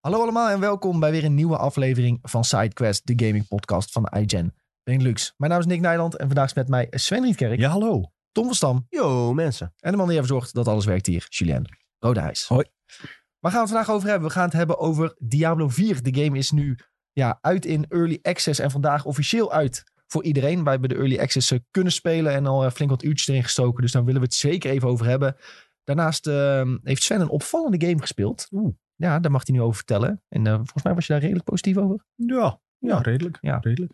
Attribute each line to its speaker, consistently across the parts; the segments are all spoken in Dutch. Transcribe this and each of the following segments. Speaker 1: Hallo allemaal en welkom bij weer een nieuwe aflevering van SideQuest, de gaming podcast van iGen Benelux. Mijn naam is Nick Nijland en vandaag is met mij Sven Rietkerk,
Speaker 2: Ja, hallo.
Speaker 1: Tom van Stam
Speaker 3: Yo, mensen.
Speaker 1: en de man die ervoor zorgt dat alles werkt hier, Julien Rodehuis.
Speaker 2: Hoi.
Speaker 1: Waar gaan we het vandaag over hebben? We gaan het hebben over Diablo 4. De game is nu ja, uit in Early Access en vandaag officieel uit voor iedereen. Wij hebben de Early Access eh, kunnen spelen en al eh, flink wat uurtjes erin gestoken, dus daar willen we het zeker even over hebben. Daarnaast eh, heeft Sven een opvallende game gespeeld.
Speaker 2: Oeh.
Speaker 1: Ja, daar mag hij nu over vertellen. En eh, volgens mij was je daar redelijk positief over.
Speaker 2: Ja, ja redelijk.
Speaker 1: Ja.
Speaker 2: Ja. redelijk.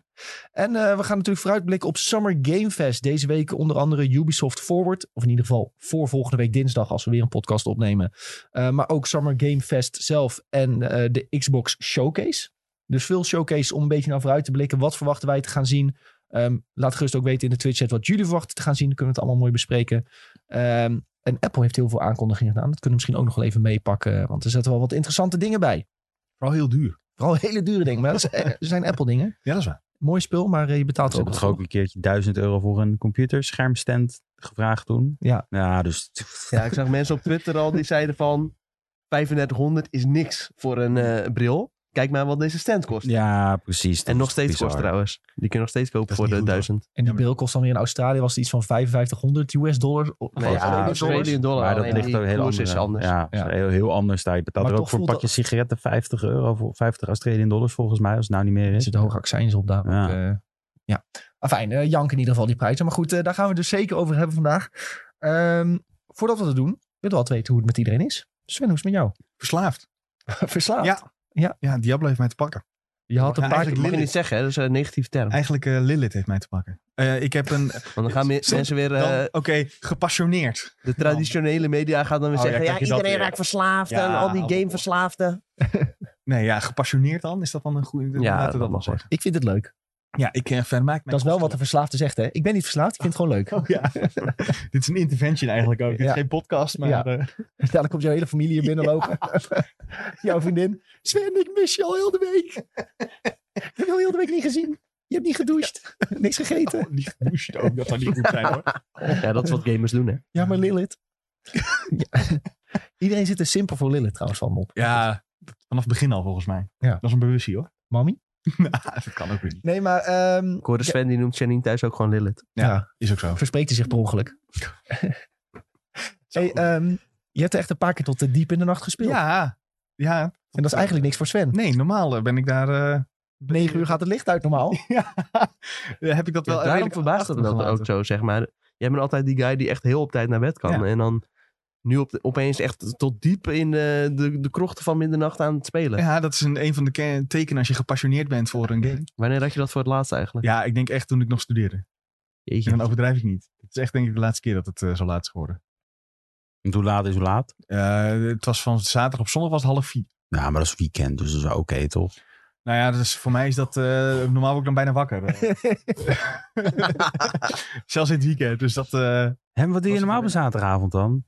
Speaker 1: En eh, we gaan natuurlijk vooruitblikken op Summer Game Fest. Deze week onder andere Ubisoft Forward. Of in ieder geval voor volgende week dinsdag als we weer een podcast opnemen. Eh, maar ook Summer Game Fest zelf en eh, de Xbox Showcase. Dus veel showcase om een beetje naar vooruit te blikken. Wat verwachten wij te gaan zien? Ehm, laat gerust ook weten in de Twitch chat wat jullie verwachten te gaan zien. Dan kunnen we het allemaal mooi bespreken. Ehm, en Apple heeft heel veel aankondigingen gedaan. Dat kunnen we misschien ook nog wel even meepakken. Want er zitten wel wat interessante dingen bij.
Speaker 2: Vooral heel duur.
Speaker 1: Vooral hele dure dingen. Maar dat zijn- zijn Apple dingen.
Speaker 2: Ja, dat is waar.
Speaker 1: Mooi spul, maar eh, je betaalt
Speaker 3: Ze
Speaker 1: er ook
Speaker 3: hebben
Speaker 1: wat
Speaker 3: toch
Speaker 1: voor.
Speaker 3: ook een keertje 1000 euro voor een computerschermstand gevraagd toen?
Speaker 1: Ja.
Speaker 3: Ja, dus
Speaker 4: Ja, ik zag mensen op Twitter al die zeiden van 3500 is niks voor een eh, bril. Kijk maar wat deze stand kost.
Speaker 3: ja precies. dat
Speaker 4: en nog
Speaker 3: is
Speaker 4: steeds
Speaker 3: bizar.
Speaker 4: kost trouwens. Die kun je nog steeds kopen
Speaker 2: Dat is
Speaker 4: voor
Speaker 2: niet
Speaker 4: de
Speaker 2: goed, hoor.
Speaker 4: 1000.
Speaker 1: En die
Speaker 2: Ja, maar-
Speaker 1: bril kost dan weer in Australië was het iets van 5500 US dollar. of-
Speaker 4: Nee,
Speaker 1: of
Speaker 3: ja,
Speaker 1: Australisch dollars.
Speaker 3: Australisch
Speaker 4: Australië dollar.
Speaker 3: Maar dat
Speaker 4: alleen
Speaker 3: ligt
Speaker 4: die
Speaker 3: ook heel
Speaker 4: koers
Speaker 3: anders.
Speaker 4: is anders.
Speaker 3: Ja,
Speaker 1: Ja.
Speaker 3: is heel, heel anders daar. Je betaalt
Speaker 1: Maar
Speaker 3: er ook
Speaker 1: toch
Speaker 3: voor een
Speaker 1: voelt
Speaker 3: pakje sigaretten 50 euro, voor 50 Australian dollars volgens mij, als het nou niet meer
Speaker 1: Er
Speaker 3: is.
Speaker 1: zitten hoge accijns op daar.
Speaker 3: Ja.
Speaker 1: Ja. ja. Afijn, eh, jank in ieder geval die prijzen. Maar goed, eh, daar gaan we het dus zeker over hebben vandaag. Ehm, voordat we dat doen, willen we altijd weten hoe het met iedereen is. Sven, hoe is het met jou?
Speaker 2: Verslaafd.
Speaker 1: Verslaafd.
Speaker 2: Ja.
Speaker 1: Ja.
Speaker 2: Ja, Diablo heeft mij te pakken.
Speaker 1: Je had een paar
Speaker 2: Ja,
Speaker 4: Dat
Speaker 1: keer...
Speaker 2: eigenlijk-
Speaker 4: mag je niet zeggen, hè? dat is een negatieve term.
Speaker 2: Eigenlijk eh, Lilith heeft mij te pakken. Eh, ik heb een...
Speaker 4: Want dan gaan me-
Speaker 2: Soms-
Speaker 4: mensen weer, eh,
Speaker 2: dan- Oké, gepassioneerd.
Speaker 4: de traditionele media gaan dan weer
Speaker 2: Oh, ja,
Speaker 4: zeggen, ja,
Speaker 2: kijk je dat
Speaker 4: iedereen
Speaker 2: weer.
Speaker 4: raakt verslaafd
Speaker 2: Ja,
Speaker 4: en al die
Speaker 2: oh.
Speaker 4: gameverslaafden.
Speaker 2: Nee, ja, gepassioneerd dan? Is dat dan een goede...
Speaker 4: Ja,
Speaker 2: laten we
Speaker 4: dat
Speaker 2: dat nog
Speaker 4: mag
Speaker 2: zeggen.
Speaker 1: Ik vind het leuk.
Speaker 2: Ja, ik eh, vermaak mij...
Speaker 1: Dat is wel wat de verslaafde zegt, hè? Ik ben niet verslaafd, ik vind het gewoon leuk.
Speaker 2: Oh, ja. Dit is een intervention eigenlijk ook. Dit
Speaker 1: Ja.
Speaker 2: is geen podcast, maar...
Speaker 1: Ja.
Speaker 2: eh,
Speaker 1: Dadelijk komt jouw hele familie hier binnenlopen. jouw vriendin. Sven, ik mis je al heel de week. ik heb je al heel de week niet gezien. Je hebt niet gedoucht. Niks gegeten.
Speaker 2: oh, niet gedoucht ook. Dat zou niet goed zijn, hoor.
Speaker 4: Ja, dat is wat gamers doen, hè.
Speaker 1: Ja, maar Lilith. Ja. Iedereen zit er simpel voor Lilith trouwens van op.
Speaker 2: Ja, vanaf het begin al volgens mij.
Speaker 1: Ja.
Speaker 2: Dat is een bewustzijn, hoor. Nou,
Speaker 1: Mami?
Speaker 2: dat kan ook weer niet.
Speaker 1: Nee, maar... ehm,
Speaker 4: Ik hoorde Sven, die noemt Janine thuis ook gewoon Lilith.
Speaker 2: Ja.
Speaker 1: ja,
Speaker 2: Is ook zo.
Speaker 1: verspreekt hij zich per ongeluk.
Speaker 2: Zo.
Speaker 1: Hey, ehm, je hebt er echt een paar keer tot eh, diep in de nacht gespeeld.
Speaker 2: ja. Ja.
Speaker 1: En dat is eigenlijk niks voor Sven.
Speaker 2: Nee, normaal eh, ben ik daar... eh,
Speaker 1: 9 uur gaat het licht uit normaal.
Speaker 2: ja, Eh, heb ik dat wel
Speaker 4: Ja, daarom
Speaker 2: redelijk
Speaker 4: verbaast het me dat
Speaker 2: achtergelaten.
Speaker 4: ook zo, zeg maar. Jij bent altijd die guy die echt heel op tijd naar bed kan.
Speaker 2: Ja.
Speaker 4: En dan nu op de- opeens echt tot diep in de, de, de krochten van middernacht aan het spelen.
Speaker 2: Ja, dat is een, een van de ke- tekenen als je gepassioneerd bent voor een game.
Speaker 4: Wanneer had je dat voor het laatst eigenlijk?
Speaker 2: Ja, ik denk echt toen ik nog studeerde.
Speaker 4: Jeetje.
Speaker 2: En dan overdrijf ik niet. Het is echt denk ik de laatste keer dat het eh, zo laat is geworden.
Speaker 3: Want Hoe laat is hoe laat?
Speaker 2: Eh, het was van zaterdag op zondag was het half vier.
Speaker 3: Ja, maar dat is weekend, dus dat is wel oké, toch?
Speaker 2: Nou ja, dus voor mij is dat... eh, normaal word ik dan bijna wakker. Eh, Zelfs in het weekend. Dus dat... eh,
Speaker 3: En wat doe je
Speaker 2: Was-
Speaker 3: normaal op een zaterdagavond dan?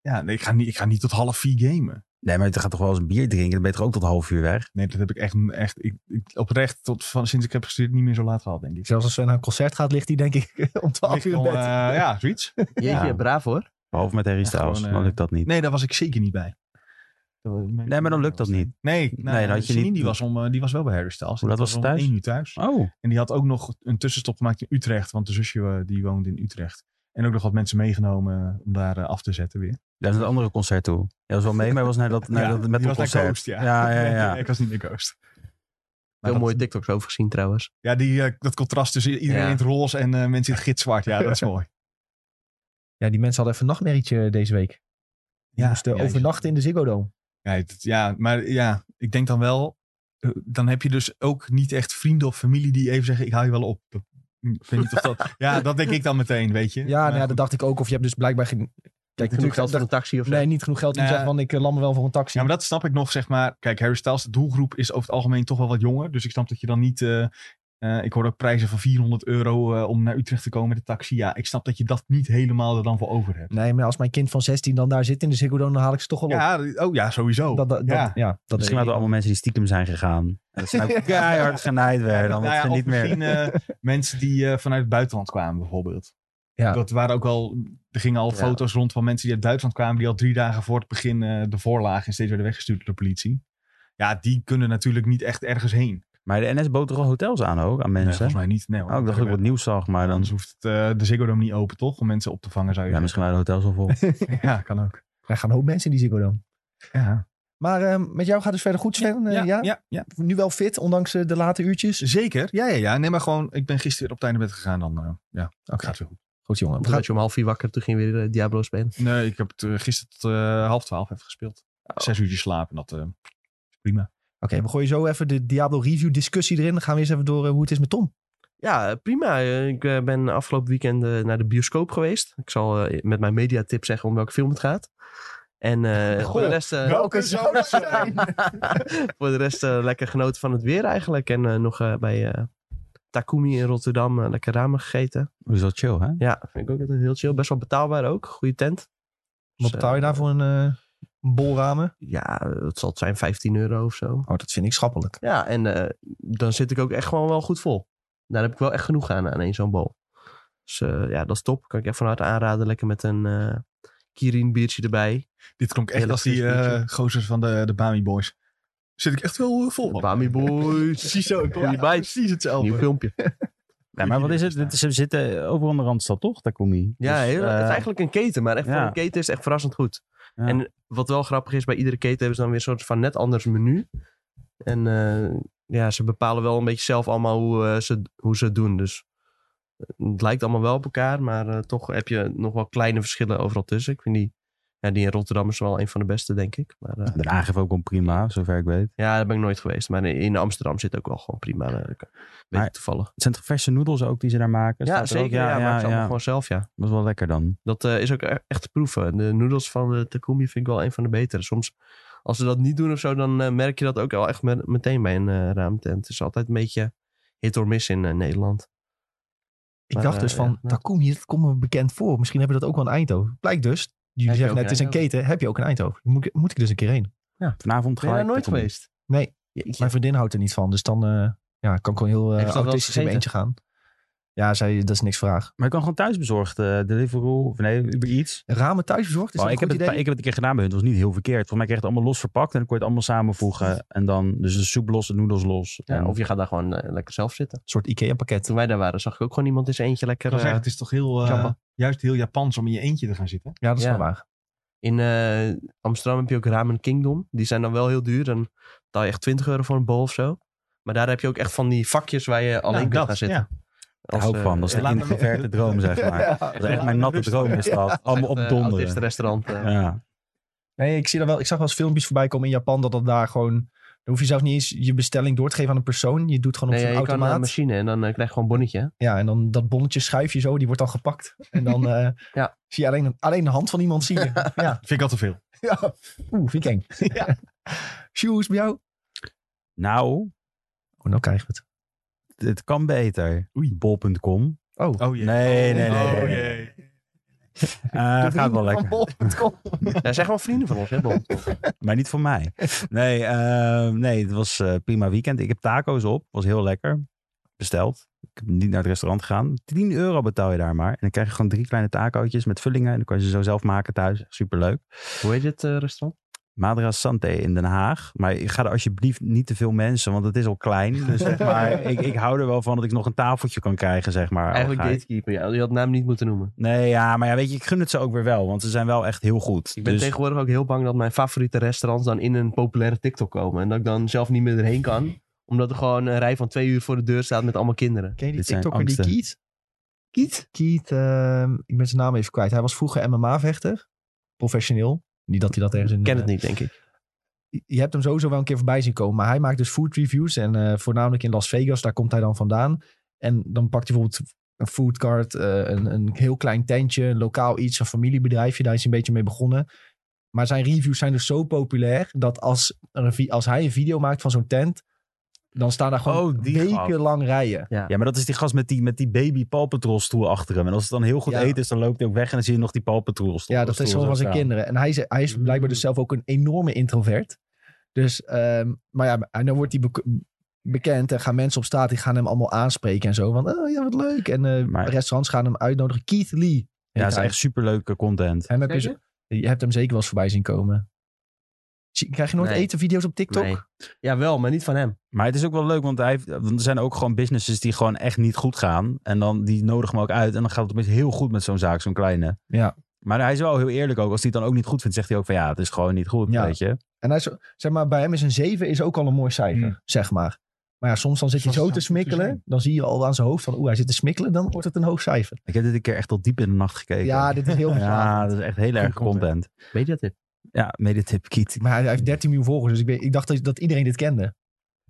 Speaker 2: ja, nee, ik ga, niet, ik ga niet tot half vier gamen.
Speaker 3: Nee, maar je gaat toch wel eens een bier drinken, dan ben je toch ook tot half uur weg?
Speaker 2: Nee, dat heb ik echt... echt ik, ik- oprecht tot van, sinds ik heb gestudeerd niet meer zo laat gehad, denk ik.
Speaker 1: Zelfs als Sven naar een concert gaat, ligt hij denk ik om 12
Speaker 2: Ligt
Speaker 1: uur in
Speaker 2: om,
Speaker 1: bed.
Speaker 2: eh, ja, zoiets.
Speaker 4: Jeetje,
Speaker 3: Ja.
Speaker 4: braaf hoor.
Speaker 3: Behalve met Harry's
Speaker 2: Ja,
Speaker 3: trouwens,
Speaker 2: gewoon,
Speaker 3: dan
Speaker 2: eh,
Speaker 3: lukt dat niet.
Speaker 2: Nee, daar was ik zeker niet bij.
Speaker 3: Nee, maar dan lukt dat niet.
Speaker 2: Nee, nou,
Speaker 3: Nee, dan had je
Speaker 2: Janine,
Speaker 3: niet-
Speaker 2: Die was, om, eh, die was wel bij Harry Styles.
Speaker 3: Hoe laat
Speaker 2: Die
Speaker 3: was ze
Speaker 2: om
Speaker 3: thuis?
Speaker 2: één uur thuis.
Speaker 3: Oh,
Speaker 2: En die had ook nog een tussenstop gemaakt in Utrecht. Want de zusje eh, die woonde in Utrecht. En ook nog wat mensen meegenomen om daar eh, af te zetten weer.
Speaker 3: daar is een andere concert toe. Hij was wel mee, maar hij was naar dat, naar
Speaker 2: Ja,
Speaker 3: Nou, dat
Speaker 2: die
Speaker 3: met een
Speaker 2: was naar
Speaker 3: concert.
Speaker 2: Ghost, ja.
Speaker 3: Ja, ja, ja.
Speaker 2: Nee, ik was niet meer Ghost. Maar
Speaker 4: Heel
Speaker 2: dat-
Speaker 4: mooie TikToks over gezien trouwens.
Speaker 2: Ja, die, eh, dat contrast tussen iedereen
Speaker 4: Ja.
Speaker 2: in het roze en eh, mensen in het gitzwart. Ja, dat is mooi.
Speaker 1: Ja, die mensen hadden even een nachtmerrietje deze week. Die
Speaker 2: Ja,
Speaker 1: moesten
Speaker 2: ja,
Speaker 1: overnachten in de Ziggo Dome.
Speaker 2: Ja, dat- ja, maar ja, ik denk dan wel... eh, Dan heb je dus ook niet echt vrienden of familie die even zeggen... ik hou je wel op. Dat, hm, ik weet niet of dat... Ja, dat denk ik dan meteen, weet je.
Speaker 1: Ja, nou
Speaker 2: Maar
Speaker 1: ja,
Speaker 2: goed.
Speaker 1: dat dacht ik ook. Of je hebt dus blijkbaar geen... Kijk, natuurlijk
Speaker 4: Natuurlijk geld
Speaker 1: dat
Speaker 4: voor een taxi of zo.
Speaker 1: Nee, niet genoeg geld om te
Speaker 2: Nou ja.
Speaker 1: zeggen, want ik eh, lam me wel voor een taxi.
Speaker 2: Ja, maar dat snap ik nog, zeg maar. Kijk, Harry Styles, de doelgroep is over het algemeen toch wel wat jonger. Dus ik snap dat je dan niet... eh, eh, ik hoor ook prijzen van 400 euro eh, om naar Utrecht te komen met de taxi. Ja, ik snap dat je dat niet helemaal er dan voor over hebt.
Speaker 1: Nee, maar als mijn kind van 16 dan daar zit in de Ziggo Dome, dan haal ik ze toch wel op.
Speaker 2: Ja, oh ja, sowieso.
Speaker 1: dat, dat, dat-
Speaker 2: ja.
Speaker 1: ja. dat
Speaker 3: Misschien waren er allemaal mensen die stiekem zijn gegaan. En Dat ze nou keihard genaaid werden. Dan
Speaker 2: Nou ja,
Speaker 3: dat ze
Speaker 2: of
Speaker 3: niet meer...
Speaker 2: misschien eh, mensen die eh, vanuit het buitenland kwamen, bijvoorbeeld.
Speaker 1: Ja.
Speaker 2: Dat waren ook al, er gingen al
Speaker 4: Ja.
Speaker 2: foto's rond van mensen die uit Duitsland kwamen, die al drie dagen voor het begin eh, de voorlagen en steeds werden weggestuurd door de politie. Ja, die kunnen natuurlijk niet echt ergens heen.
Speaker 3: Maar de NS bood toch al hotels aan ook, aan
Speaker 2: Nee,
Speaker 3: mensen?
Speaker 2: volgens mij niet. Nee, hoor.
Speaker 3: oh, ik dacht dat ik wat nieuws zag, maar dan...
Speaker 2: Anders hoeft het, eh, de Ziggo Dome niet open, toch? Om mensen op te vangen, zou je
Speaker 3: Ja, misschien waren de hotels al vol.
Speaker 2: zeggen. Ja, kan ook.
Speaker 1: Daar gaan een hoop mensen in die Ziggo Dome.
Speaker 2: Ja.
Speaker 1: Maar eh, met jou gaat het verder goed, Sven? Eh, ja,
Speaker 2: ja, ja.
Speaker 1: Nu wel fit, ondanks eh, de late uurtjes.
Speaker 2: Zeker. Ja, ja, ja. Nee, maar gewoon, ik ben gisteren op tijd naar bed gegaan. Dan eh, ja,
Speaker 1: Oké.
Speaker 2: gaat weer goed.
Speaker 1: Goed, jongen. We
Speaker 4: Toen
Speaker 1: gaan...
Speaker 4: werd je om half vier wakker, toen ging je weer eh, Diablo spelen.
Speaker 2: Nee, ik heb het, eh, gisteren tot eh, half twaalf even gespeeld.
Speaker 1: Oh.
Speaker 2: Zes uurtjes slapen, dat eh, is prima.
Speaker 1: Oké, we gooien zo even de Diablo Review discussie erin. Dan gaan we eerst even door eh, hoe het is met Tom.
Speaker 4: Ja, eh, prima. Eh, Ik eh, ben afgelopen weekend eh, naar de bioscoop geweest. Ik zal eh, met mijn mediatip zeggen om welke film het gaat. En
Speaker 2: Oh,
Speaker 4: eh, voor de rest... eh,
Speaker 1: Welke zou dat zijn?
Speaker 4: voor de rest eh, lekker genoten van het weer eigenlijk. En eh, nog eh, bij eh, Takumi in Rotterdam eh, lekker ramen gegeten.
Speaker 3: Dat is wel chill, hè?
Speaker 4: Ja, vind ik ook altijd heel chill. Best wel betaalbaar ook. Goede tent.
Speaker 1: Wat
Speaker 4: Dus,
Speaker 1: betaal
Speaker 4: eh,
Speaker 1: je daarvoor een, eh, een bolramen?
Speaker 4: Ja, het zal het zijn 15 euro of zo.
Speaker 1: Oh, dat vind ik schappelijk.
Speaker 4: Ja, en eh, dan zit ik ook echt gewoon wel goed vol. Daar heb ik wel echt genoeg aan, aan één zo'n bol. Dus eh, ja, dat is top. Kan ik echt van harte aanraden. Lekker met een eh, Kirin biertje erbij.
Speaker 2: Dit klonk echt
Speaker 4: Heerlijk
Speaker 2: als die
Speaker 4: fris
Speaker 2: eh
Speaker 4: biertje.
Speaker 2: gozers van de, de Bami Boys. Zit ik echt wel eh,
Speaker 1: Oh,
Speaker 2: vol van.
Speaker 4: Bami Boys.
Speaker 2: Precies zo. Ik kon
Speaker 4: Ja,
Speaker 2: niet bij. Precies hetzelfde.
Speaker 4: Nieuw filmpje.
Speaker 3: Ja, maar wat is het? Dit- Ze zitten overal in de Randstad, toch? Daar kom je.
Speaker 4: Ja,
Speaker 3: Dus,
Speaker 4: heel-
Speaker 3: eh,
Speaker 4: het is eigenlijk een keten, maar echt
Speaker 3: ja.
Speaker 4: voor een keten is het echt verrassend goed.
Speaker 3: Ja.
Speaker 4: En wat wel grappig is, bij iedere keten hebben ze dan weer een soort van net anders menu. En eh, ja, ze bepalen wel een beetje zelf allemaal hoe, eh, ze, hoe ze het doen. Dus eh, het lijkt allemaal wel op elkaar, maar eh, toch heb je nog wel kleine verschillen overal tussen. Ik vind die, ja, die in Rotterdam is wel een van de beste, denk ik. Maar eh,
Speaker 3: Den Haag heeft ook wel prima, zover ik weet.
Speaker 4: ja, daar ben ik nooit geweest. Maar in Amsterdam zit ook wel gewoon prima. eh, weet
Speaker 3: Maar-
Speaker 4: ik toevallig.
Speaker 3: Het zijn toch verse noedels ook die ze daar maken?
Speaker 4: Ja,
Speaker 3: Staat er
Speaker 4: zeker.
Speaker 3: ook-
Speaker 4: ja, maar
Speaker 3: ja,
Speaker 4: het is allemaal gewoon zelf, ja.
Speaker 3: Dat is wel lekker dan.
Speaker 4: Dat eh, is ook e- echt te proeven. De noedels van de Takumi vind ik wel een van de betere. Soms, als ze dat niet doen of zo, dan eh, merk je dat ook wel echt met- meteen bij een eh raamtent. Het is altijd een beetje hit or miss in eh, Nederland.
Speaker 1: Ik
Speaker 4: Maar,
Speaker 1: dacht
Speaker 4: eh,
Speaker 1: dus van,
Speaker 4: ja.
Speaker 1: Takumi, dat komt me bekend voor. Misschien hebben we dat ook wel in Eindhoven. Blijkt dus, jullie
Speaker 4: Heb je
Speaker 1: zeggen
Speaker 4: ook
Speaker 1: net, het is
Speaker 4: in
Speaker 1: een keten. Heb je ook in Eindhoven? Moet, ik- moet ik dus een keer heen.
Speaker 3: Vanavond
Speaker 4: Ben je
Speaker 3: ga
Speaker 4: daar
Speaker 3: ik
Speaker 4: nooit
Speaker 3: er om-
Speaker 4: geweest?
Speaker 1: Nee.
Speaker 4: Jeetje.
Speaker 1: Mijn vriendin houdt er niet van. Dus dan eh, ja, kan ik gewoon heel
Speaker 4: Heeft
Speaker 1: eh
Speaker 4: ze dat wel eens
Speaker 1: autistisch in mijn
Speaker 4: gegeten?
Speaker 1: eentje gaan. Ja, zei, dat is niks vraag.
Speaker 3: Maar ik kan gewoon thuisbezorgd, eh Deliveroo, of nee, Uber Eats.
Speaker 1: Ramen thuis bezorgd, is
Speaker 3: Oh,
Speaker 1: dat
Speaker 3: ik,
Speaker 1: een
Speaker 3: heb
Speaker 1: goed
Speaker 3: het,
Speaker 1: idee?
Speaker 3: ik heb het een keer gedaan bij hun. Het was niet heel verkeerd. Volgens mij kreeg je het allemaal los verpakt. En dan kon je het allemaal samenvoegen. En dan, dus de soep los, de noedels los.
Speaker 4: Ja,
Speaker 3: en,
Speaker 4: of je gaat daar gewoon eh, lekker zelf zitten.
Speaker 1: Een soort IKEA-pakket.
Speaker 4: Toen wij daar waren, zag ik ook gewoon iemand in zijn eentje lekker...
Speaker 2: Ik kan zeggen,
Speaker 4: eh,
Speaker 2: het is toch heel, eh,
Speaker 4: Jamba.
Speaker 2: juist heel Japans om in je eentje te gaan zitten.
Speaker 1: Ja, dat is
Speaker 4: Ja.
Speaker 1: wel waar.
Speaker 4: in eh, Amsterdam heb je ook Ramen Kingdom. Die zijn dan wel heel duur. Dan betaal je echt 20 euro voor een bol of zo. Maar daar heb je ook echt van die vakjes waar je alleen
Speaker 2: Nou,
Speaker 4: kunt
Speaker 2: dat,
Speaker 4: gaan zitten.
Speaker 2: ja.
Speaker 3: daar hou ik
Speaker 4: eh,
Speaker 3: van. Dat is de
Speaker 2: laat me-
Speaker 3: introverte droom, zeg maar. Dat is echt mijn natte droom is dat. Allemaal op
Speaker 4: eh, autist
Speaker 3: donderen.
Speaker 4: restaurant. eh.
Speaker 3: Ja.
Speaker 1: Nee, ik, zie daar wel, ik zag wel eens filmpjes voorbij komen in Japan dat dat daar gewoon... Dan hoef je zelfs niet eens je bestelling door te geven aan een persoon. Je doet gewoon op
Speaker 4: Nee, ja,
Speaker 1: zo'n
Speaker 4: je kan naar
Speaker 1: automaat.
Speaker 4: een machine en dan eh, krijg je gewoon een bonnetje. hè?
Speaker 1: Ja, en dan dat bonnetje schuif je zo, die wordt dan gepakt. En dan eh,
Speaker 4: Ja.
Speaker 1: zie je alleen, alleen de hand van iemand zien. ja.
Speaker 2: Vind ik al te veel.
Speaker 1: ja. Oeh, vind ik eng. Ja. Shoes bij jou?
Speaker 3: Nou,
Speaker 1: Oh, nou krijgen we het.
Speaker 3: het kan beter. Bol.com.
Speaker 1: Oh,
Speaker 2: Oh jee.
Speaker 3: Nee, nee, nee.
Speaker 2: Oh
Speaker 3: nee.
Speaker 2: jee.
Speaker 3: Eh, gaat wel lekker.
Speaker 4: Ja, zijn gewoon vrienden van ons, hè, Bon?
Speaker 3: Maar niet voor mij. Nee, eh, nee het was eh, prima weekend. Ik heb taco's op. Was heel lekker. Besteld. Ik heb niet naar het restaurant gegaan. 10 euro betaal je daar maar. En dan krijg je gewoon drie kleine tacootjes met vullingen. En dan kan je ze zo zelf maken thuis. Superleuk.
Speaker 4: Hoe heet dit eh, restaurant?
Speaker 3: Madra Sante in Den Haag. Maar ik ga er alsjeblieft niet te veel mensen, want het is al klein. Dus zeg maar, ik, ik hou er wel van dat ik nog een tafeltje kan krijgen, zeg maar. al
Speaker 4: Eigenlijk
Speaker 3: ga ik-
Speaker 4: Gatekeeper. Ja, je had naam niet moeten noemen.
Speaker 3: Nee, ja, maar ja, weet je, ik gun het ze ook weer wel, want ze zijn wel echt heel goed.
Speaker 4: Ik ben
Speaker 3: Dus-
Speaker 4: tegenwoordig ook heel bang dat mijn favoriete restaurants dan in een populaire TikTok komen. En dat ik dan zelf niet meer erheen kan. Omdat er gewoon een rij van twee uur voor de deur staat met allemaal kinderen.
Speaker 1: ken je die
Speaker 3: Dit zijn
Speaker 1: TikToker die
Speaker 3: angsten.
Speaker 1: Kiet?
Speaker 4: Kiet?
Speaker 1: Kiet, ehm, ik ben zijn naam even kwijt. Hij was vroeger MMA-vechter. Professioneel. Niet dat hij dat ergens in...
Speaker 4: Ken het niet, denk ik.
Speaker 1: Je hebt hem sowieso wel een keer voorbij zien komen. Maar hij maakt dus food reviews. En eh, voornamelijk in Las Vegas, daar komt hij dan vandaan. En dan pakt hij bijvoorbeeld een foodcart, eh een, een heel klein tentje, een lokaal iets, een familiebedrijfje. Daar is hij een beetje mee begonnen. Maar zijn reviews zijn dus zo populair dat als, er een vi- als hij een video maakt van zo'n tent, dan staan daar gewoon
Speaker 3: Oh, die
Speaker 1: wekenlang rijen.
Speaker 3: Ja, maar dat is die gast met die, met die baby Paw Patrol stoel achter hem. En als het dan heel goed
Speaker 1: Ja.
Speaker 3: eten is, dan loopt hij ook weg en dan zie je nog die Paw Patrol stoel.
Speaker 1: Ja, dat
Speaker 3: stoel
Speaker 1: is gewoon van
Speaker 3: zo
Speaker 1: zijn
Speaker 3: staan.
Speaker 1: kinderen. En hij is, hij is blijkbaar dus zelf ook een enorme introvert. Dus, ehm, maar ja, en dan wordt hij bek- bekend en gaan mensen op straat, die gaan hem allemaal aanspreken en zo. Van, oh ja, wat leuk. En eh,
Speaker 3: Maar-
Speaker 1: restaurants gaan hem uitnodigen. Keith Lee. heet
Speaker 3: Ja, dat is
Speaker 1: hij.
Speaker 3: echt superleuke content.
Speaker 1: Hem heb je, zo- je hebt hem zeker wel eens voorbij zien komen. Zie- Krijg je nooit
Speaker 4: Nee.
Speaker 1: etenvideo's op TikTok?
Speaker 4: Nee. Ja, wel, maar niet van hem.
Speaker 3: Maar het is ook wel leuk, want, hij heeft, want er zijn ook gewoon businesses die gewoon echt niet goed gaan. En dan die nodigen hem ook uit. En dan gaat het opeens heel goed met zo'n zaak, zo'n kleine.
Speaker 1: Ja.
Speaker 3: Maar hij is wel heel eerlijk ook. Als hij het dan ook niet goed vindt, zegt hij ook van ja, het is gewoon niet goed,
Speaker 1: Ja.
Speaker 3: weet je.
Speaker 1: En hij is, zeg maar, bij hem is een 7 is ook al een mooi cijfer,
Speaker 2: Hmm.
Speaker 1: zeg maar. Maar ja, soms dan zit je
Speaker 2: Soms
Speaker 1: zo
Speaker 2: gaat
Speaker 1: te
Speaker 2: het goed te
Speaker 1: smikkelen.
Speaker 2: zijn.
Speaker 1: Dan zie je al aan zijn hoofd van, oeh, hij zit te smikkelen. Dan wordt het een hoog cijfer.
Speaker 3: Ik heb dit een keer echt tot diep in de nacht gekeken.
Speaker 1: Ja, dit is heel
Speaker 3: ja
Speaker 1: verslaafd.
Speaker 3: dat is echt heel erg
Speaker 2: Goed content.
Speaker 3: content.
Speaker 4: Weet je dat dit?
Speaker 3: Ja, medetip Kiet.
Speaker 1: Maar hij, hij heeft 13 miljoen volgers. Dus ik, weet- ik dacht dat, dat iedereen dit kende.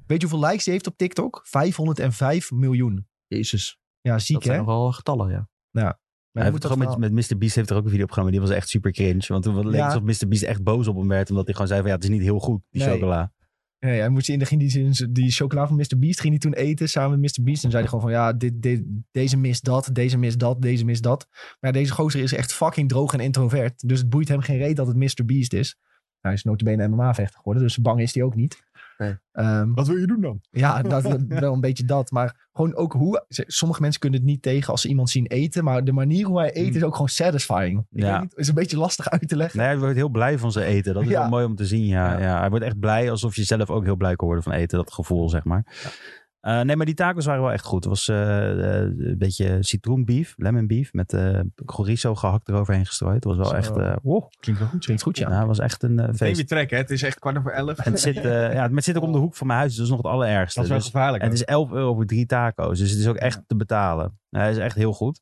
Speaker 1: Weet je hoeveel likes hij heeft op TikTok? 505 miljoen.
Speaker 4: Jezus.
Speaker 1: Ja,
Speaker 4: Dat
Speaker 1: ziek hè?
Speaker 4: zijn nogal getallen, ja.
Speaker 1: Maar
Speaker 3: Hij
Speaker 1: je
Speaker 3: heeft
Speaker 1: moet dat
Speaker 3: toch ook
Speaker 1: verhaal-
Speaker 3: met, met Mr. Beast heeft er ook een video op genomen. Die was echt super cringe. Want toen leek
Speaker 1: Ja.
Speaker 3: het alsof Mr. Beast echt boos op hem werd. Omdat hij gewoon zei van ja, het is niet heel goed, die
Speaker 1: Nee.
Speaker 3: chocola.
Speaker 1: Nee, hij moest in, dan ging die, zin- die chocola van Mr. Beast ging hij toen eten samen met Mr. Beast. En zei hij gewoon van ja, dit, dit, deze mist dat, deze mist dat, deze mist dat. Maar ja, deze gozer is echt fucking droog en introvert. Dus het boeit hem geen reet dat het Mr. Beast is. Hij is notabene MMA-vechter geworden, dus bang is hij ook niet.
Speaker 4: Nee.
Speaker 1: Ehm,
Speaker 2: Wat wil je doen dan?
Speaker 1: ja, dat, wel een beetje dat. Maar gewoon ook hoe... z- Sommige mensen kunnen het niet tegen als ze iemand zien eten. Maar de manier hoe hij eet is ook gewoon satisfying. Ik
Speaker 3: Ja.
Speaker 1: weet niet, is een beetje lastig uit te leggen.
Speaker 3: Nee, hij wordt heel blij van zijn eten. Dat is
Speaker 1: Ja.
Speaker 3: wel mooi om te zien, ja.
Speaker 1: Ja.
Speaker 3: ja. Hij wordt echt blij alsof je zelf ook heel blij kan worden van eten. Dat gevoel, zeg maar. Eh, nee, maar die tacos waren wel echt goed. Het was eh, eh, een beetje citroenbeef, lemon beef. Met eh chorizo gehakt eroverheen gestrooid. Het was wel
Speaker 1: Zo.
Speaker 3: echt... eh wow.
Speaker 2: Klinkt wel goed.
Speaker 1: Klinkt goed, ja.
Speaker 3: ja, het was echt een eh,
Speaker 2: Neem
Speaker 3: feest.
Speaker 2: je trek, hè? Het is echt kwart over elf.
Speaker 3: En het zit, eh, ja, maar het zit ook om de hoek van mijn huis. Dus dat is nog het allerergste.
Speaker 2: Dat is wel
Speaker 3: Dus-
Speaker 2: gevaarlijk.
Speaker 3: en het is 11 euro voor drie taco's. Dus het is ook echt te betalen. Hij is echt heel goed.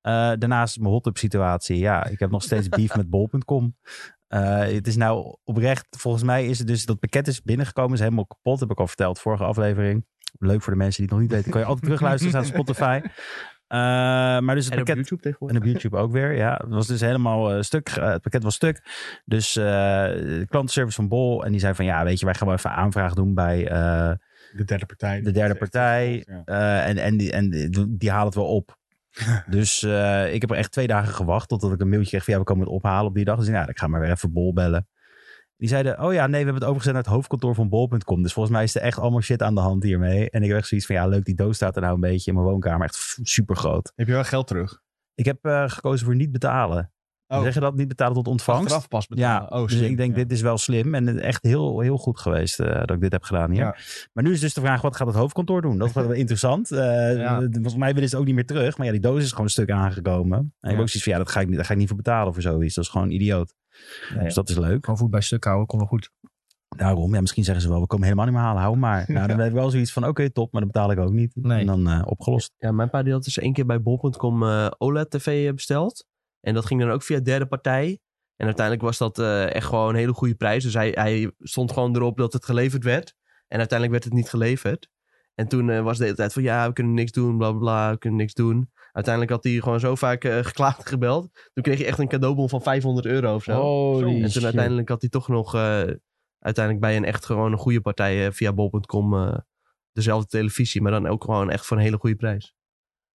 Speaker 3: Eh, daarnaast mijn hot tub situatie. Ja, ik heb nog steeds beef met bol.com. Eh, het is nou oprecht. Volgens mij is het dus dat pakket is binnengekomen. Is helemaal kapot. Heb ik al verteld. Vorige aflevering. Leuk voor de mensen die het nog niet weten. Kan je altijd terugluisteren. Staat op Spotify. Eh, maar dus het
Speaker 4: En op
Speaker 3: pakket
Speaker 4: YouTube tegenwoordig.
Speaker 3: en op YouTube ook weer. Ja, het was dus helemaal eh, stuk. Eh, het pakket was stuk. Dus eh, de klantenservice van Bol. En die zei van ja, weet je, wij gaan wel even aanvraag doen bij. eh,
Speaker 2: de derde partij.
Speaker 3: De derde partij.
Speaker 2: Ja.
Speaker 3: eh, en en, die, en die- die halen het wel op. dus eh, ik heb er echt twee dagen gewacht. Totdat ik een mailtje kreeg van ja, we komen het ophalen op die dag. Dus ik, nou, ik ga maar weer even Bol bellen. Die zeiden, oh ja, nee, we hebben het overgezet naar het hoofdkantoor van bol.com. Dus volgens mij is er echt allemaal shit aan de hand hiermee. En ik heb echt zoiets van, ja, leuk, die doos staat er nou een beetje in mijn woonkamer. Echt super groot.
Speaker 2: Heb je wel geld terug?
Speaker 3: Ik heb eh, gekozen voor niet betalen.
Speaker 2: Oh,
Speaker 3: Zeg je dat? Niet betalen tot ontvangst?
Speaker 2: achteraf pas
Speaker 3: Ja,
Speaker 2: betalen. oh,
Speaker 3: dus
Speaker 2: slim.
Speaker 3: ik denk
Speaker 2: Ja.
Speaker 3: dit is wel slim en het echt heel, heel goed geweest eh, dat ik dit heb gedaan hier.
Speaker 1: Ja.
Speaker 3: Maar nu is dus de vraag, wat gaat het hoofdkantoor doen? Dat wordt wel interessant. Eh,
Speaker 1: Ja.
Speaker 3: Volgens mij willen ze het ook niet meer terug, maar ja, die doos is gewoon een stuk aangekomen. En ik heb
Speaker 1: Ja.
Speaker 3: ook zoiets van, ja, dat ga ik, niet- daar ga ik niet voor betalen voor zoiets. Dat is gewoon idioot.
Speaker 1: Nee,
Speaker 3: Dus dat is leuk.
Speaker 1: Gewoon voet bij stuk houden, komt wel goed.
Speaker 3: Daarom, ja, misschien zeggen ze wel, we komen helemaal niet meer halen, hou hem maar. Nou, dan heb ik wel zoiets van, oké, top, maar dat betaal ik ook niet.
Speaker 1: Nee.
Speaker 3: En dan eh, opgelost.
Speaker 4: Ja, mijn pa die had dus één keer bij bol.com eh, OLED-tv besteld. En dat ging dan ook via derde partij. En uiteindelijk was dat eh, echt gewoon een hele goede prijs. Dus hij, hij stond gewoon erop dat het geleverd werd. En uiteindelijk werd het niet geleverd. En toen eh, was de hele tijd van ja, we kunnen niks doen, bla bla bla, we kunnen niks doen. Uiteindelijk had hij gewoon zo vaak eh, geklaagd en gebeld. Toen kreeg hij echt een cadeaubon van 500 euro of zo.
Speaker 3: Holy
Speaker 4: en toen uiteindelijk had hij toch nog eh, uiteindelijk bij een echt gewoon een goede partij eh, via bol.com eh, dezelfde televisie. Maar dan ook gewoon echt voor een hele goede prijs.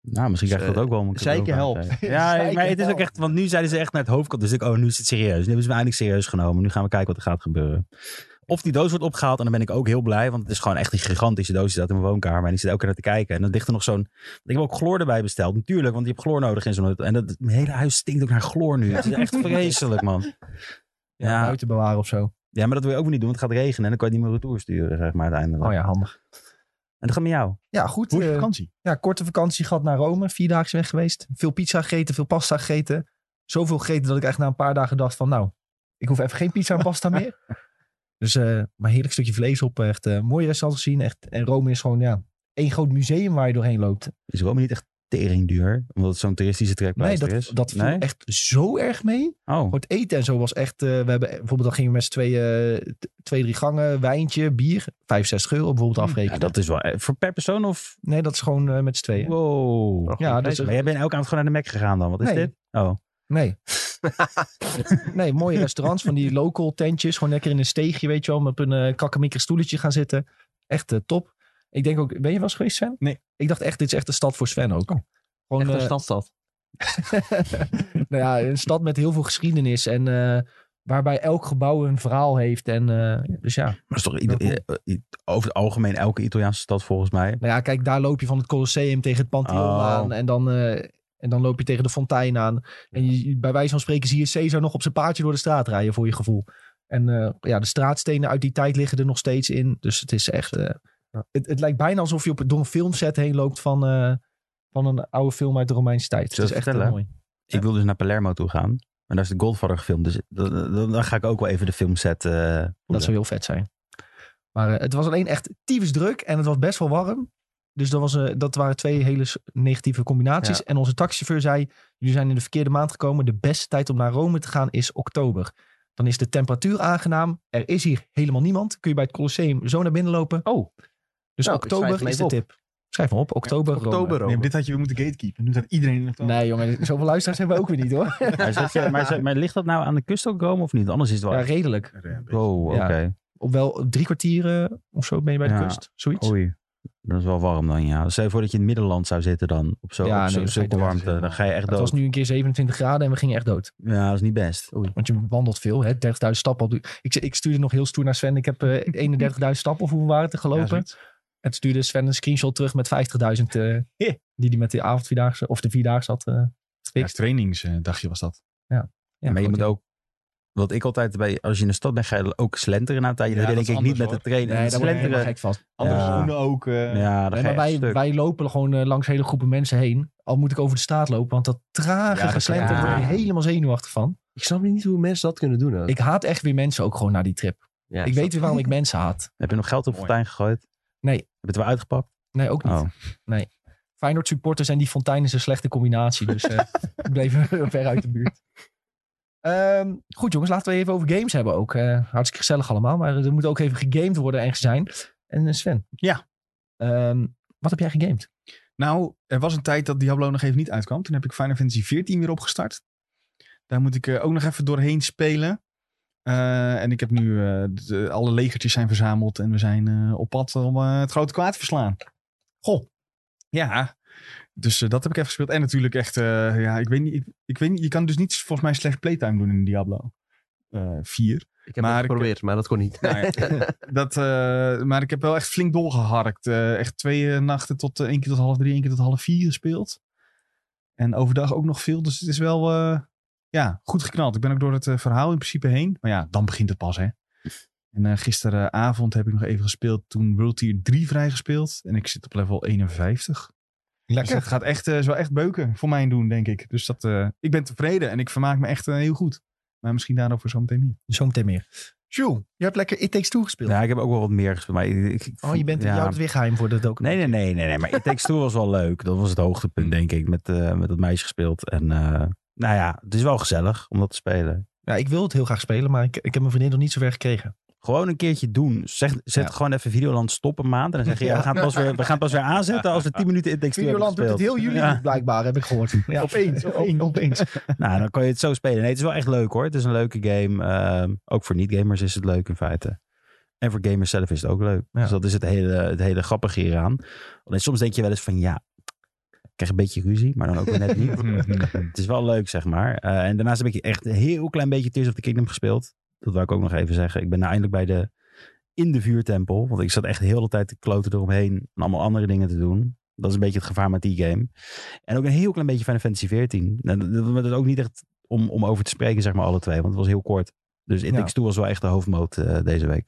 Speaker 3: Nou, misschien krijg ik dat ook wel. om een
Speaker 4: Zeikje
Speaker 3: cadeau aan
Speaker 4: helpt.
Speaker 3: te geven. Ja,
Speaker 1: Zeikje
Speaker 3: maar het is ook
Speaker 1: helpt.
Speaker 3: echt, want nu zeiden ze echt naar het hoofdkant. Dus ik, oh, nu is het serieus. Nu hebben ze me eindelijk serieus genomen. Nu gaan we kijken wat er gaat gebeuren. Of die doos wordt opgehaald en dan ben ik ook heel blij. Want het is gewoon echt een gigantische doos die staat in mijn woonkamer. En ik zit elke keer naar te kijken. En dan ligt er nog zo'n... Ik heb ook chloor erbij besteld. Natuurlijk, want je hebt chloor nodig in zo'n... En dat, mijn hele huis stinkt ook naar chloor nu. Het is echt vreselijk, man.
Speaker 1: Ja, nou-
Speaker 3: Ja.
Speaker 1: buiten bewaren of zo.
Speaker 3: Ja, maar dat wil je ook niet doen, want het gaat regenen. En dan kan je het niet meer retour sturen, zeg maar, uiteindelijk.
Speaker 1: Oh ja, handig.
Speaker 3: En dat gaat met jou.
Speaker 1: Ja, goed.
Speaker 2: Hoe is je
Speaker 1: eh,
Speaker 2: vakantie?
Speaker 1: ja, korte vakantie gehad naar Rome. Vierdaags weg geweest. Veel pizza gegeten, veel pasta gegeten. Zoveel gegeten dat ik echt na een paar dagen dacht van nou, ik hoef even geen pizza en pasta meer. Dus eh, maar heerlijk stukje vlees op. Echt eh mooi restaurant gezien. Echt, en Rome is gewoon ja, één groot museum waar je doorheen loopt.
Speaker 3: Is Rome niet echt tering duur? Omdat het zo'n toeristische
Speaker 1: Nee,
Speaker 3: trekpleister is?
Speaker 1: dat, dat viel
Speaker 3: Nee?
Speaker 1: echt zo erg mee.
Speaker 3: Oh.
Speaker 1: Voor het eten en zo was echt, eh, we hebben bijvoorbeeld dan gingen we met z'n tweeën, eh, t- twee, drie gangen, wijntje, bier, 65 euro bijvoorbeeld afrekenen.
Speaker 3: Ja, dat is wel. eh, Voor per persoon of.
Speaker 1: Nee, dat is gewoon eh, met z'n tweeën.
Speaker 3: Wow.
Speaker 1: Ja, dus-
Speaker 3: Oh, Maar jij bent elke avond gewoon naar de Mac gegaan dan. Wat is
Speaker 1: Nee.
Speaker 3: dit? Oh.
Speaker 1: Nee. nee, mooie restaurants van die local tentjes. Gewoon lekker in een steegje, weet je wel. Met een uh, stoeltje gaan zitten. Echt eh, top. Ik denk ook, ben je wel eens geweest, Sven?
Speaker 2: Nee.
Speaker 1: Ik dacht echt, dit is echt een stad voor Sven ook. Gewoon
Speaker 4: Echt een
Speaker 1: eh,
Speaker 4: stadstad.
Speaker 1: nou ja, een stad met heel veel geschiedenis. En eh, waarbij elk gebouw een verhaal heeft. En, eh, dus ja.
Speaker 3: Maar is toch
Speaker 1: ieder-
Speaker 3: eh, over het algemeen elke Italiaanse stad volgens mij.
Speaker 1: Nou ja, kijk, daar loop je van het Colosseum tegen het Pantheon
Speaker 3: Oh.
Speaker 1: aan. En dan, eh, en dan loop je tegen de fontein aan. En je, je- bij wijze van spreken zie je Caesar nog op zijn paardje door de straat rijden, voor je gevoel. En eh, ja, de straatstenen uit die tijd liggen er nog steeds in. Dus het is echt... eh, het, het lijkt bijna alsof je op, door een filmset heen loopt van, eh, van een oude film uit de Romeinse tijd.
Speaker 3: Zal
Speaker 1: Het
Speaker 3: ik
Speaker 1: is echt
Speaker 3: vertellen?
Speaker 1: heel mooi.
Speaker 3: Ik wil dus naar Palermo toe gaan. En daar is de Godfather gefilmd. Dus dan, dan- dan ga ik ook wel even de filmset... eh
Speaker 1: Dat zou heel vet zijn. Maar eh, het was alleen echt tyfus druk en het was best wel warm. Dus dat, was, eh, dat waren twee hele s- negatieve combinaties. En onze taxichauffeur zei, jullie zijn in de verkeerde maand gekomen. De beste tijd om naar Rome te gaan is oktober. Dan is de temperatuur aangenaam. Er is hier helemaal niemand. Kun je bij het Colosseum zo naar binnen lopen. Oh, dus
Speaker 4: Nou, ik schrijf
Speaker 1: oktober
Speaker 4: hem
Speaker 1: is de
Speaker 4: even
Speaker 1: tip. Schrijf hem op, oktober. Rome.
Speaker 4: oktober
Speaker 2: Nee, maar dit had je weer moeten gatekeepen. Nu staat iedereen in het
Speaker 1: Nee jongen, zoveel luisteraars hebben we ook weer niet hoor.
Speaker 3: Maar, is dat- maar, is dat- maar ligt dat nou aan de kust ook Rome of niet? Anders is het
Speaker 1: Ja,
Speaker 3: wel...
Speaker 1: redelijk.
Speaker 3: oh, oké.
Speaker 1: Ja. Op wel drie kwartieren of zo ben je bij de
Speaker 3: Ja.
Speaker 1: kust. Zoiets.
Speaker 3: Oei. Dat is wel warm dan, ja. Stel je voor dat je in het middenland zou zitten dan. Op zo'n
Speaker 1: Ja,
Speaker 3: ja,
Speaker 1: nee, dan ga je
Speaker 3: zulke
Speaker 1: dood.
Speaker 3: warmte. Dan ga je echt
Speaker 1: Het was
Speaker 3: dood.
Speaker 1: nu een keer 27 graden en we gingen echt dood.
Speaker 3: Ja, dat is niet best.
Speaker 1: Want je wandelt veel, hè? 30.000 stappen. al. Ik, ik stuurde nog heel stoer naar Sven. Ik heb eh 31.000 stappen of hoeveel waren het er gelopen? en toen stuurde Sven een screenshot terug met 50.000 eh, die hij met de avondvierdaagse of de vierdaagse had. eh
Speaker 2: Ja,
Speaker 1: gefixt.
Speaker 2: trainingsdagje was dat.
Speaker 1: Ja,
Speaker 3: maar je
Speaker 1: goed,
Speaker 3: moet
Speaker 1: ja.
Speaker 3: ook... Wat ik altijd bij... Als je in de stad bent, ga je ook slenteren na een tijdje.
Speaker 2: Ja,
Speaker 3: dat
Speaker 2: dat
Speaker 3: denk
Speaker 2: is
Speaker 3: ik niet
Speaker 2: anders,
Speaker 3: met de trainen.
Speaker 1: Nee,
Speaker 3: Het
Speaker 1: daar word ik helemaal
Speaker 3: slenteren...
Speaker 1: gek van.
Speaker 2: Andere
Speaker 3: Ja.
Speaker 2: schoenen ook. eh.
Speaker 3: Ja, dan
Speaker 1: Nee, maar
Speaker 3: ga je
Speaker 1: wij,
Speaker 3: echt stuk.
Speaker 1: wij lopen gewoon eh, langs hele groepen mensen heen. Al moet ik over de straat lopen, want dat trage
Speaker 2: Ja, dat-
Speaker 1: geslenter
Speaker 3: ja.
Speaker 1: word ik helemaal zenuwachtig van.
Speaker 4: Ik snap niet hoe mensen dat kunnen doen. hè.
Speaker 1: Ik haat echt weer mensen ook gewoon naar die trip.
Speaker 4: ja,
Speaker 1: ik weet weer waarom ik mensen haat.
Speaker 3: Heb je nog geld op de
Speaker 2: Mooi.
Speaker 3: fontein gegooid?
Speaker 1: Nee.
Speaker 3: Heb je het wel uitgepakt?
Speaker 1: Nee, ook niet.
Speaker 3: Oh.
Speaker 1: Feyenoord supporters en die fontein is een slechte combinatie. Dus eh ik bleef ver uit de buurt. Ehm, goed jongens, laten we even over games hebben ook. Eh, hartstikke gezellig allemaal, maar er moet ook even gegamed worden en zijn. En eh, Sven.
Speaker 2: Ja.
Speaker 1: Ehm, wat heb jij gegamed?
Speaker 2: Nou, er was een tijd dat Diablo nog even niet uitkwam. Toen heb ik Final Fantasy XIV weer opgestart. Daar moet ik eh, ook nog even doorheen spelen. Eh, en ik heb nu eh, de- alle legertjes zijn verzameld en we zijn eh, op pad om eh, het grote kwaad te verslaan. Goh. Ja. Dus eh, dat heb ik even gespeeld. En natuurlijk echt, eh, ja, ik weet niet, ik, ik weet niet, je kan dus niet volgens mij slecht playtime doen in Diablo eh 4.
Speaker 4: ik heb
Speaker 2: maar
Speaker 4: het
Speaker 2: ik-
Speaker 4: geprobeerd, maar dat kon niet.
Speaker 2: Nou ja, dat, eh, maar ik heb wel echt flink doorgeharkt. Eh, echt twee eh, nachten tot eh, één keer tot half drie, één keer tot half vier gespeeld. En overdag ook nog veel. Dus het is wel eh, ja, goed geknald. Ik ben ook door het eh, verhaal in principe heen. Maar ja, dan begint het pas hè. En eh, gisteravond heb ik nog even gespeeld. Toen World Tier 3 vrijgespeeld. En ik zit op level 51. Dus dat gaat echt, eh, is wel echt beuken voor mij doen, denk ik. Dus dat, eh, ik ben tevreden en ik vermaak me echt eh, heel goed. Maar misschien daarover zometeen meer.
Speaker 1: Zometeen meer. Jules, je hebt lekker It Takes Two gespeeld.
Speaker 3: Ja, Nou, ik heb ook wel wat meer gespeeld. Maar ik, ik-
Speaker 1: Oh, je bent
Speaker 3: ja.
Speaker 1: jou het weer geheim voor dat ook.
Speaker 3: Nee, nee, nee, nee, nee. Maar It Takes Two was wel leuk. Dat was het hoogtepunt, denk ik. Met, eh, met dat meisje gespeeld. En eh, nou ja, het is wel gezellig om dat te spelen.
Speaker 1: Ja, ik wil het heel graag spelen, maar ik, ik heb mijn vriendin nog niet zo ver gekregen.
Speaker 3: Gewoon een keertje doen. Zeg, zet
Speaker 1: Ja.
Speaker 3: gewoon even Videoland stop een maand. En dan zeg je, ja,
Speaker 1: Ja.
Speaker 3: we, gaan pas weer, we gaan pas weer aanzetten als we 10 minuten It Takes Two hebben gespeeld. Ja.
Speaker 1: blijkbaar, heb ik gehoord. Ja.
Speaker 2: Opeens, opeens.
Speaker 1: opeens.
Speaker 3: Nou, dan kan je het zo spelen. Nee, het is wel echt leuk hoor. Het is een leuke game. Ehm, ook voor niet-gamers is het leuk in feite. En voor gamers zelf is het ook leuk.
Speaker 1: Ja.
Speaker 3: Dus dat is het hele, het hele grappige hieraan. Alleen soms denk je wel eens van ja, ik krijg een beetje ruzie, maar dan ook weer net niet. het is wel leuk, zeg maar. Eh, en daarnaast heb ik echt een heel klein beetje Tears of the Kingdom gespeeld. Dat wil ik ook nog even zeggen. Ik ben nou eindelijk bij de in de vuurtempel. Want ik zat echt de hele tijd te kloten eromheen en allemaal andere dingen te doen. Dat is een beetje het gevaar met die game. En ook een heel klein beetje Final Fantasy 14. Nou, dat- dat, dat is ook niet echt om, om over te spreken, zeg maar, alle twee. Want het was heel kort. Dus It
Speaker 1: Ja.
Speaker 3: Takes Two was wel echt de hoofdmoot eh, deze week.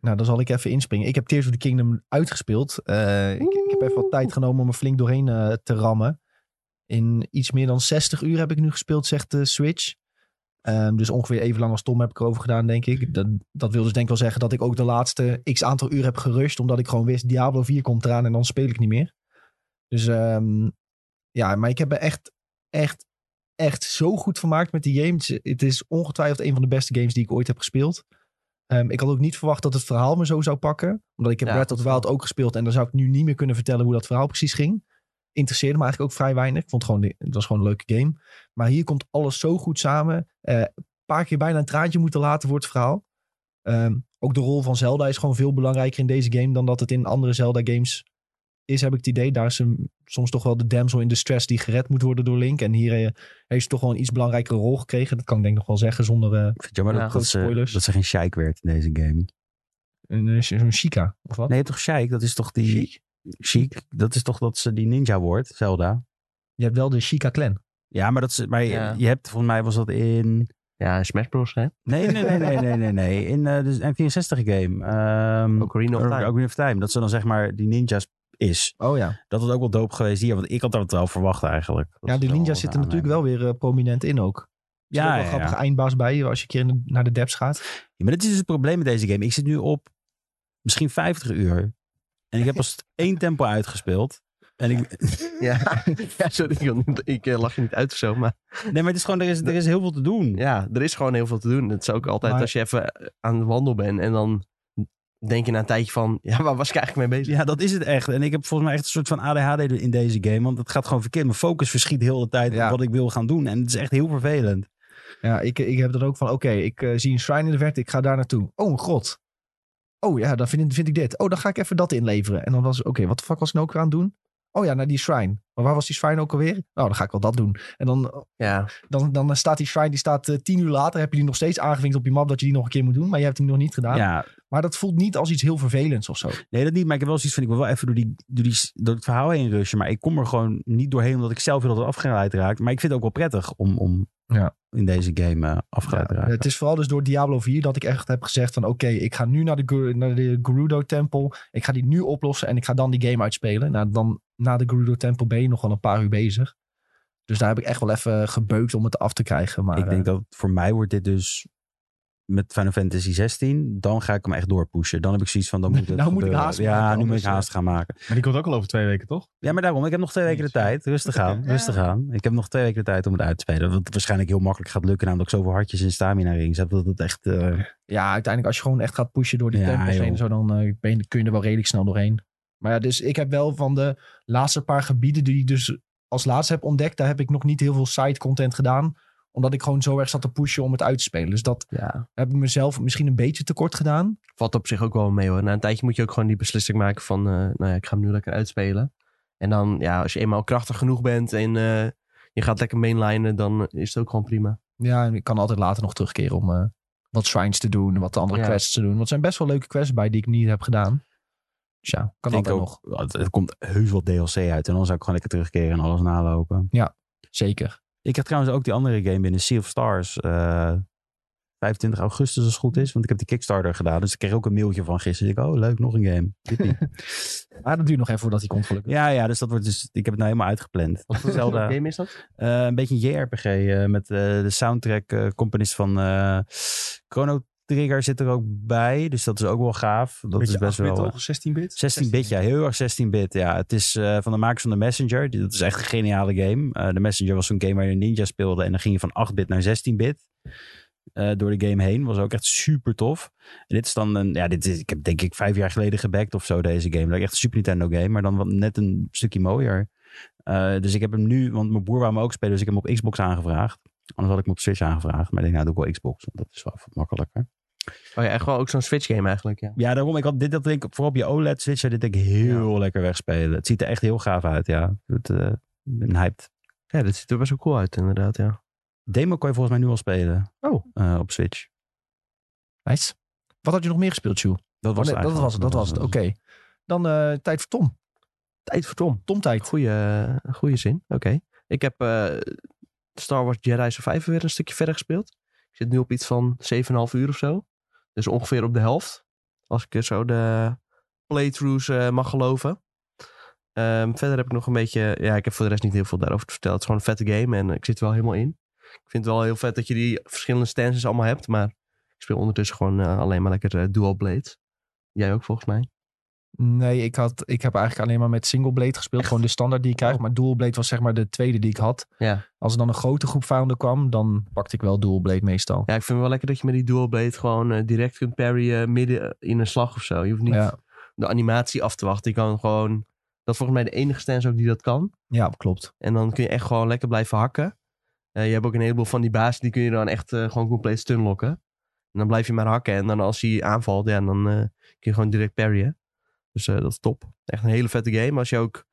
Speaker 1: Nou, dan zal ik even inspringen. Ik heb Tears of the Kingdom uitgespeeld. Eh, ik, ik heb even wat tijd genomen om er flink doorheen eh, te rammen. In iets meer dan 60 uur heb ik nu gespeeld, zegt de Switch. Ehm, dus ongeveer even lang als Tom heb ik erover gedaan, denk ik. Dat, dat wil dus denk ik wel zeggen dat ik ook de laatste x aantal uur heb gerust. Omdat ik gewoon wist, Diablo 4 komt eraan en dan speel ik niet meer. Dus ehm, ja, maar ik heb me echt, echt, echt zo goed vermaakt met die games. Het is ongetwijfeld een van de beste games die ik ooit heb gespeeld. Ehm, ik had ook niet verwacht dat het verhaal me zo zou pakken. Omdat ik heb
Speaker 4: Ja,
Speaker 1: Breath of the Wild ook gespeeld. En dan zou ik nu niet meer kunnen vertellen hoe dat verhaal precies ging. Interesseerde me eigenlijk ook vrij weinig. Ik vond het gewoon, het was gewoon een leuke game. Maar hier komt alles zo goed samen. Eh, Een paar keer bijna een traantje moeten laten voor het verhaal. Ehm, ook de rol van Zelda is gewoon veel belangrijker in deze game dan dat het in andere Zelda-games is, heb ik het idee. Daar is hem soms toch wel de damsel in distress die gered moet worden door Link. En hier eh, heeft ze toch wel een iets belangrijkere rol gekregen. Dat kan ik denk ik nog wel zeggen zonder eh,
Speaker 3: Ik vind het jammer
Speaker 4: Ja,
Speaker 3: dat, dat,
Speaker 1: grote
Speaker 3: ze,
Speaker 1: spoilers.
Speaker 3: dat ze geen Sheik werd in deze game.
Speaker 1: een, eh, zo'n Chica of wat.
Speaker 3: Nee, toch Sheik? Dat is toch die... Sheik? Dat is toch dat ze die ninja wordt, Zelda?
Speaker 1: Je hebt wel de Chica Clan.
Speaker 3: Ja, maar, dat ze, maar je-
Speaker 4: Ja.
Speaker 3: je hebt, volgens mij was dat in...
Speaker 4: Ja, Smash Bros. Hè?
Speaker 3: Nee, nee, nee, nee, nee, nee. nee. In eh, de N64 game. ehm,
Speaker 4: Ocarina of Time.
Speaker 3: Ocarina of Time. Dat ze dan zeg maar die ninjas is.
Speaker 1: Oh ja.
Speaker 3: Dat was ook wel dope geweest hier. Want ik had dat wel verwacht eigenlijk. Dat
Speaker 1: Ja,
Speaker 3: ze
Speaker 1: die
Speaker 3: wel wat
Speaker 1: ninjas zitten natuurlijk
Speaker 3: aanleiding.
Speaker 1: wel weer eh, prominent in ook. Er zit
Speaker 3: Ja,
Speaker 1: ook wel
Speaker 3: ja,
Speaker 1: een grappige
Speaker 3: ja.
Speaker 1: eindbaas bij eh, als je een keer in de- naar de depths gaat.
Speaker 3: Ja, maar dit is dus het probleem met deze game. Ik zit nu op misschien 50 uur. En ik heb pas één tempo uitgespeeld. En ik,
Speaker 4: Ja. ja, sorry. Ik, wil niet- ik eh, lach je niet uit of zo, maar
Speaker 3: nee, maar het is gewoon, er is, er is heel veel te doen.
Speaker 4: ja, er is gewoon heel veel te doen. Dat is ook altijd
Speaker 1: Maar-
Speaker 4: als je even eh, aan de wandel bent en dan denk je na een tijdje van, ja, waar was ik eigenlijk mee bezig?
Speaker 3: Ja, dat is het echt. En ik heb volgens mij echt een soort van ADHD in deze game. Want het gaat gewoon verkeerd. Mijn focus verschiet heel de tijd
Speaker 1: Ja.
Speaker 3: op wat ik wil gaan doen. En het is echt heel vervelend.
Speaker 1: Ja, ik, ik heb dat ook van, oké, ik eh, zie een shrine in de verte, ik ga daar naartoe. Oh, een grot. Oh ja, dan vind, ik- vind ik dit. Oh, dan ga ik even dat inleveren. En dan was het, oké, wat de fuck was ik nou ook aan het doen? Oh ja, naar die shrine. Maar waar was die shrine ook alweer? Nou, dan ga ik wel dat doen. En dan, eh,
Speaker 4: Ja,
Speaker 1: dan, dan staat die shrine, die staat eh, tien uur later. Heb je die nog steeds aangevinkt op je map dat je die nog een keer moet doen. Maar je hebt hem nog niet gedaan.
Speaker 3: Ja,
Speaker 1: Maar dat voelt niet als iets heel vervelends of zo.
Speaker 3: nee, dat niet. Maar ik heb wel zoiets van, ik wil wel even door, die, door, die, door het verhaal heen rushen. Maar ik kom er gewoon niet doorheen omdat ik zelf heel erg afgeleid raak. Maar ik vind het ook wel prettig om, om
Speaker 1: Ja.
Speaker 3: in deze game eh, afgeleid te
Speaker 1: Ja,
Speaker 3: raken.
Speaker 1: het is vooral dus door Diablo 4 dat ik echt heb gezegd van... oké, ik ga nu naar de, Gur- naar de Gerudo-tempel. Ik ga die nu oplossen en ik ga dan die game uitspelen. Nou, dan, na de Gerudo-tempel ben je nog wel een paar uur bezig. Dus daar heb ik echt wel even gebeukt om het af te krijgen. Maar
Speaker 3: ik denk dat voor mij wordt dit dus met Final Fantasy 16. Dan ga ik hem echt doorpushen. Dan heb ik zoiets van, dan moet het
Speaker 1: Nou moet ik
Speaker 3: gebeuren.
Speaker 1: haast maken,
Speaker 3: Ja, nu moet
Speaker 1: anders, eh.
Speaker 3: ik haast gaan maken.
Speaker 2: Maar die komt ook al over twee weken, toch?
Speaker 3: Ja, maar daarom, ik heb nog twee weken de
Speaker 2: Jeetje.
Speaker 3: tijd. Rustig aan,
Speaker 2: Ja.
Speaker 3: rustig aan. Ik heb nog twee weken de tijd om het uit te spelen. Wat waarschijnlijk heel makkelijk gaat lukken, namelijk zoveel hartjes en stamina rings heb. Dat het echt... eh,
Speaker 1: Ja, uiteindelijk als je gewoon echt gaat pushen door die
Speaker 3: Ja,
Speaker 1: tempels
Speaker 3: joh.
Speaker 1: heen... en Zo, dan eh, ben je- kun je er wel redelijk snel doorheen. Maar ja, dus ik heb wel van de laatste paar gebieden... die ik dus als laatste heb ontdekt... daar heb ik nog niet heel veel side-content gedaan... omdat ik gewoon zo erg zat te pushen om het uit te spelen. Dus dat
Speaker 4: ja.
Speaker 1: heb ik mezelf misschien een beetje tekort gedaan.
Speaker 4: Valt op zich ook wel mee hoor. Na een tijdje moet je ook gewoon die beslissing maken van, eh, nou ja, ik ga hem nu lekker uitspelen. En dan, ja, als je eenmaal krachtig genoeg bent en eh, je gaat lekker mainlinen, dan eh, is het ook gewoon prima.
Speaker 1: Ja, en ik kan altijd later nog terugkeren om eh, wat shrines te doen, wat de andere
Speaker 4: Ja.
Speaker 1: quests te doen. Want er zijn best wel leuke quests bij die ik niet heb gedaan. Dus ja, kan
Speaker 3: denk
Speaker 1: altijd
Speaker 3: ook,
Speaker 1: nog.
Speaker 3: Het, het komt heus wel DLC uit. En dan zou ik gewoon lekker terugkeren en alles nalopen.
Speaker 1: Zeker.
Speaker 3: Ik heb trouwens ook die andere game binnen, Sea of Stars. eh, 25 augustus als het goed is. Want ik heb die Kickstarter gedaan. Dus ik kreeg ook een mailtje van gisteren. Ik denk, oh leuk, nog een game. Yippie.
Speaker 1: Maar Ah, dat duurt nog even voordat hij komt gelukkig.
Speaker 3: ja, ja, dus dat wordt dus... Ik heb het nou helemaal uitgepland.
Speaker 4: Wat voor
Speaker 3: Zelda.
Speaker 4: game is dat?
Speaker 3: Eh, een beetje een JRPG eh, met eh, de soundtrack eh, componist van eh, Chrono Trigger zit er ook bij. Dus dat is ook wel gaaf. Dat is best wel... eh,
Speaker 2: 16-bit?
Speaker 3: 16-bit, ja. Heel erg 16-bit, ja. Het is eh, van de makers van The Messenger. Die- Dat is echt een geniale game. Eh, The Messenger was zo'n game waar je een ninja speelde. En dan ging je van 8-bit naar 16-bit. eh, door de game heen. Was ook echt super tof. En dit is dan een... Ja, dit is, ik heb denk ik vijf jaar geleden gebackt of zo deze game. Dat is echt een Super Nintendo game. Maar dan wat, net een stukje mooier. Eh, dus ik heb hem nu... Want mijn broer wou hem ook spelen. Dus ik heb hem op Xbox aangevraagd. Anders had ik hem op Switch aangevraagd. Maar ik denk, nou doe ik wel Xbox. Want dat is wel wat makkelijker.
Speaker 4: Oh ja, echt wel ook zo'n Switch game eigenlijk, ja.
Speaker 3: Ja, daarom. Ik had dit, dat denk ik, vooral op je OLED Switch, zou dit denk ik heel lekker wegspelen. Het ziet er echt heel gaaf uit, ja. Het, eh, ik ben hyped.
Speaker 4: Ja, dat ziet er best wel cool uit inderdaad, ja.
Speaker 3: Demo kan je volgens mij nu al spelen.
Speaker 1: Oh.
Speaker 3: Eh, op Switch.
Speaker 1: Nice. Wat had je nog meer gespeeld, Sjoe?
Speaker 3: Dat
Speaker 1: Oh,
Speaker 3: was,
Speaker 1: nee,
Speaker 3: het
Speaker 1: dat was het,
Speaker 3: eigenlijk.
Speaker 1: dat was het. Oké. Dan eh, tijd voor Tom.
Speaker 4: Tijd voor Tom.
Speaker 1: Tom-tijd.
Speaker 4: Goeie, eh, goeie zin, oké. Ik heb eh, Star Wars Jedi Survivor weer een stukje verder gespeeld. Ik zit nu op iets van 7,5 uur of zo. Dus ongeveer op de helft. Als ik eh, zo de playthroughs eh, mag geloven. Ehm, verder heb ik nog een beetje... Ja, ik heb voor de rest niet heel veel daarover te vertellen. Het is gewoon een vette game en ik zit er wel helemaal in. Ik vind het wel heel vet dat je die verschillende stances allemaal hebt. Maar ik speel ondertussen gewoon eh, alleen maar lekker eh, dual blades. Jij ook volgens mij.
Speaker 1: Nee, ik, had, ik heb eigenlijk alleen maar met single blade gespeeld. Gewoon de standaard die ik krijg.
Speaker 4: Oh.
Speaker 1: Maar dual blade was zeg maar de tweede die ik had.
Speaker 4: Ja.
Speaker 1: Als er dan een grote groep vijanden kwam, dan pakte ik wel dual blade meestal.
Speaker 4: Ja, ik vind het wel lekker dat je met die dual blade gewoon eh, direct kunt parryen midden eh, in een slag of zo. Je hoeft niet
Speaker 1: Ja,
Speaker 4: de animatie af te wachten. Je kan gewoon... Dat is volgens mij de enige stance ook die dat kan.
Speaker 1: ja klopt.
Speaker 4: En dan kun je echt gewoon lekker blijven hakken. Eh, je hebt ook een heleboel van die bazen, die kun je dan echt eh, gewoon compleet stunlocken. En dan blijf je maar hakken. En dan als hij aanvalt, ja, dan eh, kun je gewoon direct parryen. Dus eh, dat is top. Echt een hele vette game. Als je ook...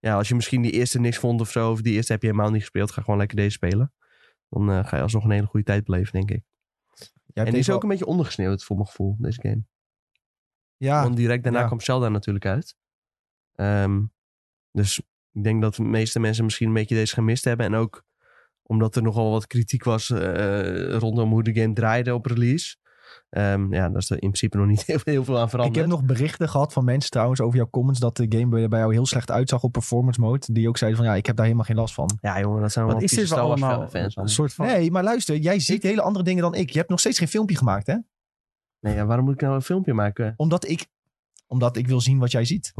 Speaker 4: Ja, als je misschien die eerste niks vond of zo, of die eerste heb je helemaal niet gespeeld, ga gewoon lekker deze spelen. Dan eh, ga je alsnog een hele goede tijd beleven, denk ik.
Speaker 1: Jij hebt
Speaker 4: En die is
Speaker 1: deze
Speaker 4: ook een beetje ondergesneeuwd voor mijn gevoel, deze game.
Speaker 1: al- Ja,
Speaker 4: Want direct daarna
Speaker 1: ja.
Speaker 4: kwam Zelda natuurlijk uit. Ehm, dus ik denk dat de meeste mensen misschien een beetje deze gemist hebben. En ook Omdat er nogal wat kritiek was eh, rondom hoe de game draaide op release. Ehm, ja, daar is er in principe nog niet heel, heel veel aan veranderd.
Speaker 1: Ik heb nog berichten gehad van mensen trouwens over jouw comments dat de game bij- bij jou heel slecht uitzag op performance mode. Die ook zeiden van ja, ik heb daar helemaal geen last van.
Speaker 4: Ja, jongen, dat zijn wel
Speaker 3: Wat is dit
Speaker 4: vieze
Speaker 3: wel
Speaker 4: Star Wars
Speaker 3: allemaal?
Speaker 4: fans. man.
Speaker 3: Een soort van...
Speaker 1: Nee, maar luister, jij ziet hele andere dingen dan ik. Je hebt nog steeds geen filmpje gemaakt, hè?
Speaker 4: Nee, ja, waarom moet ik nou een filmpje maken? Oké.
Speaker 1: Omdat ik, omdat ik wil zien wat jij ziet.